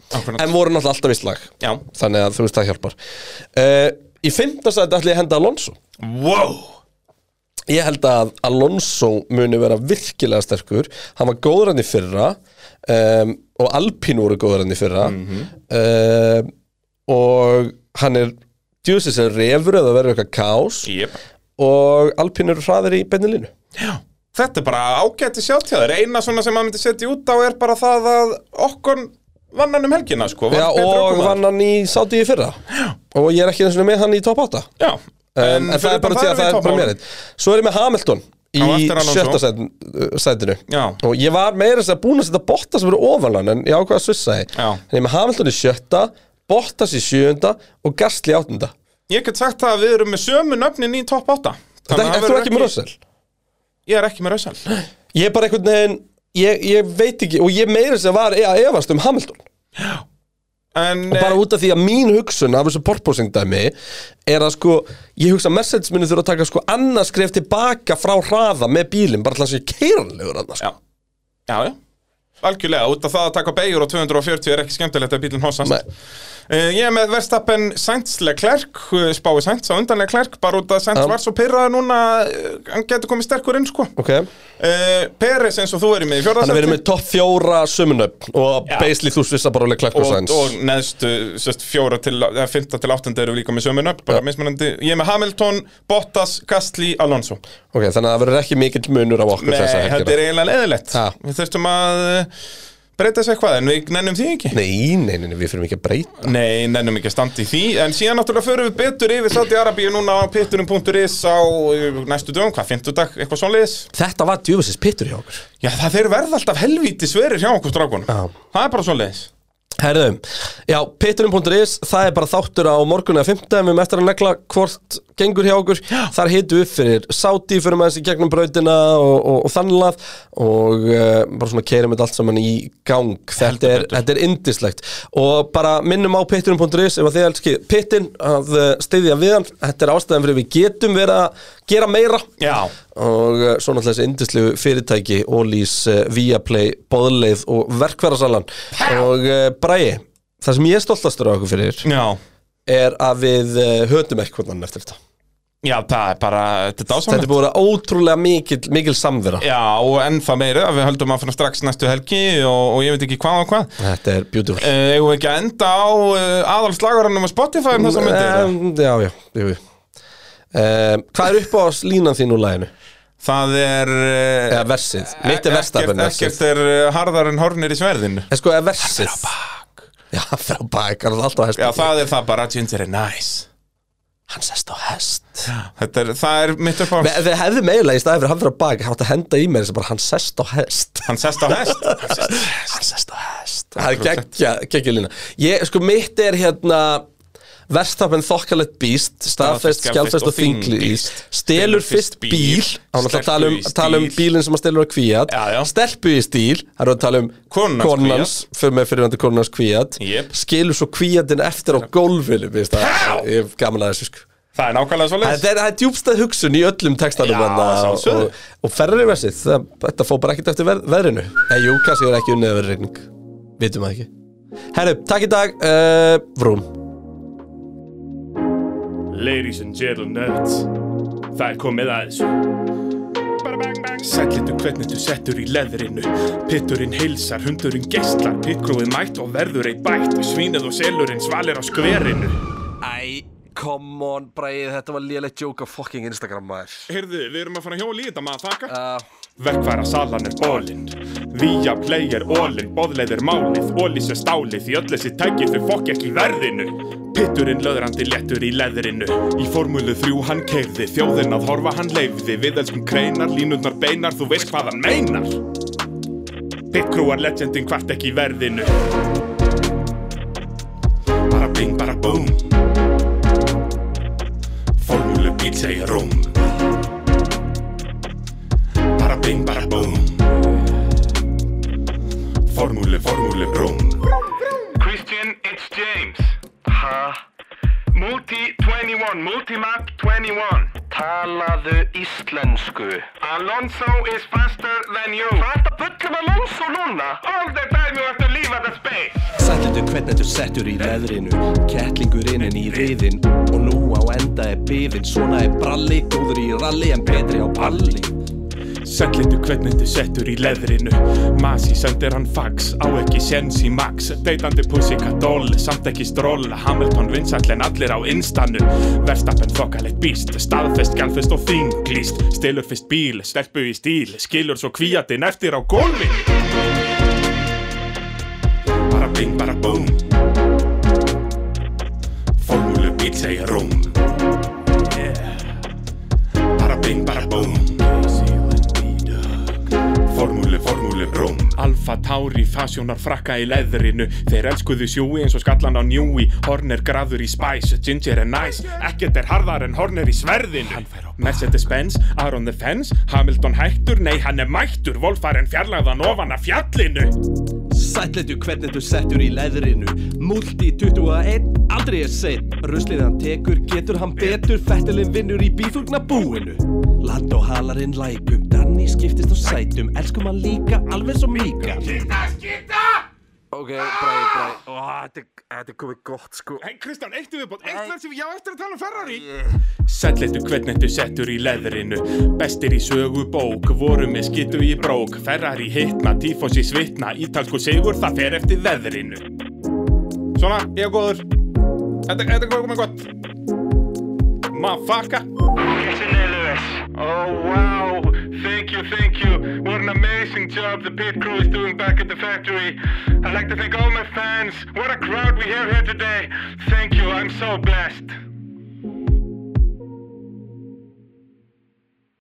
S1: voru náttúrulega alltaf í slag
S2: Já
S1: þannig að þú veist það hjálpar uh, í fimmta sæti ætla ég að henda Alonso
S2: Wow
S1: ég held að Alonso muni vera virkilega sterkur hann var góður hann í fyrra um, og Alpine voru góður hann í fyrra
S2: Mhm.
S1: um, og hann er djúsins er refur eða verður eitthvað kás
S2: yep.
S1: og Alpine eru hraðir í beinni línu
S2: Þetta er bara ágæti sjátjáður Eina svona sem maður myndi setja út á er bara það að okkur vann hann um helgina sko
S1: Já,
S2: betri
S1: og
S2: ökumaður.
S1: vann hann í sáti í fyrra og ég er ekki einu sinni með hann í top 8
S2: Já,
S1: en, en það er bara því að það er bara mér einn. svo er ég með Hamilton í
S2: Á eftir Alonso.
S1: sjötta sætin- sætinu
S2: Já,
S1: og ég var meira þess að búin að setja Bottas fyrir ofan hann en ég ákvað að svissa þið
S2: Já.
S1: en ég er með Hamilton í sjötta Bottas í sjöunda og Gastli í áttunda
S2: ég get sagt það að við erum með sömu nöfnin í top 8
S1: Þetta
S2: Þannig
S1: er
S2: að það
S1: þú
S2: verður
S1: ekki með Russell?
S2: Ég er ekki með Russell
S1: Ég er bara einhvern veginn ég, ég veit ekki og ég meira þess að var að efast um Hamilton
S2: En
S1: og bara
S2: eh,
S1: út af því að mín hugsun af þessu porposing dæmi er að sko ég hugsa að message minni þurfa að taka sko annars skref tilbaka frá hraða með bílinn bara alltaf sér keiranlegur annars
S2: Já, já, já Algjörlega, út af það að taka beigur á 240 er ekki skemmtilegt að bílinn hossast
S1: Nei.
S2: uh, Ég er með Verstappen Sainzlega Klerk, spái Sainz á undanlega Klerk bara út af Sainz
S1: Já.
S2: var svo pyrraða núna eh, hann getur komið sterkur inn sko uh,
S1: Ok, þannig
S2: Peres eins og þú erum með í
S1: að við erum
S2: fjórðarsætti
S1: með topp fjóra sömunöp og
S2: Já.
S1: basically þú svissa bara alveg klakk og
S2: og,
S1: sæns
S2: og neðstu sest, fjóra til, eða fymta til áttunda eru líka með sömun upp, bara
S1: Já.
S2: mismunandi Ég er með Hamilton, Bottas, Gastli, Alonso
S1: Ok, þannig að það verður ekki mikill munur á okkur
S2: Nei,
S1: þessa
S2: þetta
S1: helgina
S2: er eiginlega leðilegt
S1: Ha.
S2: Við þurftum að eh, breyta þessu eitthvað en við nennum því ekki
S1: Nei, nei, nei, nei, við fyrir mikið að breyta
S2: Nei, nennum ekki að standa í því En síðan náttúrulega förum við betur yfir Sátti Arabíu núna á pitturum.is á uh, næstu dögum, hvað, fimmtudag, eitthvað svoleiðis
S1: Þetta var djúfisins pittur hjá okkur
S2: Já, það þeir verða alltaf helvíti sverir hjá okkur strákunum
S1: Já.
S2: Það er bara svoleiðis
S1: Herðum, já, pitturinn.is það er bara þáttur á morgun eða fimmtæðum við erum eftir að negla hvort gengur hjá okkur þar hitu upp fyrir sáti fyrir maður þessi gegnum brautina og, og, og þannlað og uh, bara svona keirum þetta allt saman í gang þetta er, þetta er indislegt og bara minnum á pitturinn.is ef að þið elski pittin að stiðja við hann þetta er ástæðan fyrir við getum verið að gera meira
S2: Já,
S1: og eh, svo náttúrulega þessi indislegu fyrirtæki Ólís, eh, Viaplay, Bóðleið og Verkværasalan og eh, Bragi, það sem ég er stoltastur á okkur fyrir
S2: já,
S1: er að við eh, höndum eitthvað annan eftir þetta
S2: já, það er bara, þetta er
S1: þetta
S2: dásamlega
S1: er búin að vera ótrúlega mikil, mikil samvera
S2: Já, og ennþá meira, við höldum að fara strax næstu helgi og, og ég veit ekki hvað og hvað
S1: þetta er beautiful
S2: Eh, Eigum við ekki að enda á uh, aðalslagurinn um Spotify um þess að myndir?
S1: um, já, já, jú, jú. Um, hvað er upp á línan þín úr læginu?
S2: Það er... eh,
S1: eða versið, mitt er verstafinn
S2: Ekkert-
S1: versið
S2: Ekkert er eh, harðar en hornir í sverðinu
S1: en sko, eða versið já, frá bak, hann er alltaf á hest
S2: Já, það er það bara, Ginger er nice
S1: hann sest á hest
S2: Þetta er, það er mitt upp á
S1: Me- Þið hefðu meðlega í staði fyrir hann fyrir að baka Hátt að henda í mér þess að bara hann sest á hest
S2: Hann sest á hest Hann sest á hest.
S1: Hann sest á hest Það er geggja, geggja lína Ég, sko, mitt er hérna Verstappen þokkalett býst Staðfest, skjálfest og þinglýst Stelur fyrst bíl Hann ætla að tala um, tala um bílinn sem að stelur á kvíat
S2: Já, já.
S1: Stelpu í stíl Það eru að tala um
S2: Konans
S1: konans Fyrir með fyrirvandi konans kvíat
S2: Jep.
S1: Skilur svo kvíatin eftir á gólfinu mér finnst það- Ég hef gaman að þessu sko
S2: Það er nákvæmlega svo
S1: Það er, það er djúbstæð hugsun í öllum textanum
S2: Já, að
S1: og,
S2: sjálfsögðu.
S1: og, og ferri versið, það, þetta fór bara ekkert eftir veð, veðrinu Nei, jú, kannski er ekki unnið að vera regning Vitum það ekki Herru, takk í dag, uh, Vrúm
S3: Ladies and gentlemen Það er komið að þessu Sætlindu hvernig þú settur í leðrinu Pitturinn heilsar, hundurinn geislar Pittgrúið mætt og verður ei bætt Svínið og selurinn svalir á skverinu
S1: Æ, come on, Bræði, þetta var lélegt joke á fucking Instagram maður
S3: Heyrðu, við erum að fara hjóli í þetta maður þakka
S1: uh,
S3: Verkværa salan er bólinn Vía play er ólinn Bóðleið er málið, ólís er stálið Því öll þessi tækir þau fokk ekki í verðinu Pitturinn löðrandi lettur í leðrinu Í formúlu þrjú hann keirði Þjóðinn að horfa hann leifði Við elskum kreinar, línundar beinar Þú veist hvað hann meinar Pitkrúar legendin hvart ekki í verðinu Bara bing, bara búm Formúlu bíl segir rúm Bara bing, bara búm Formúlu, formúlu, brúm
S4: Christian, it's James. Ha? Multi 21, Multimap 21. Talaðu íslensku. Alonso is faster than you. Hvað er þetta bullum Alonso núna? All the time you have to leave at the space.
S5: Sætlindu hvernig þú settur í leðrinu Kettlingur innin í riðin Og nú á enda er bifin Svona er bralli, góður í ralli En betri á palli
S3: Sællindu hvernig þú settur í leðrinu Masi sendir hann fax Á ekki sens í max Deitandi pussikadól Samt ekki stról Hamilton vinsall en allir á instanu Verstappen þokkalegt býst Staðfest, galfest og þinglýst Stilur fyrst bíl Stelpu í stíl Skilur svo kvíatinn eftir á gólfi Bara bing, bara búm Formúlu bíl
S2: ekkert segja rúm Yeah. Bara bing, bara búm Formúlu, formúlu, rúm Alfa Tauri, fasjónar frakka í leðrinu Þeir elskuðu sjúi eins og skallan á njúi Horner graður í spice, ginger and nice Ekkert er harðar en Horner í sverðinu Mercedes-Benz, Aaron the Fence Hamilton hættur, nei hann er mættur Volfaren fjarlagðan ofan af fjallinu
S1: Sætletu hvernig þú settur í leðrinu Múlti 21, aldrei er seitt Ruslið hann tekur, getur hann betur Fettilinn vinnur í bífugna búinu Land og halarinn lækum Danni skiptist á sætum Elskum hann líka, alveg svo mýka
S6: Ok, bræði, bræði Ó, þetta er- þetta er komið gott sko
S2: Hei Kristján, eitt í viðbót, eitt verð sem ég á eftir að tala um Ferrari Sætletu hvernig þú settur í leðrinu Bestir í sögu bók, voru með skittu í brók Ferrari hitna, tífósi svitna Ítalsku sigur, það fer eftir veðrinu
S7: Svona, ég er góður Þetta þetta er komið gott
S2: Mafaka
S4: Listen, LOS. Oh, wow. Thank you, thank you. What an amazing job the pit crew is doing back at the factory. I'd like to thank all my fans. What a crowd we have here today. Thank you. I'm so blessed.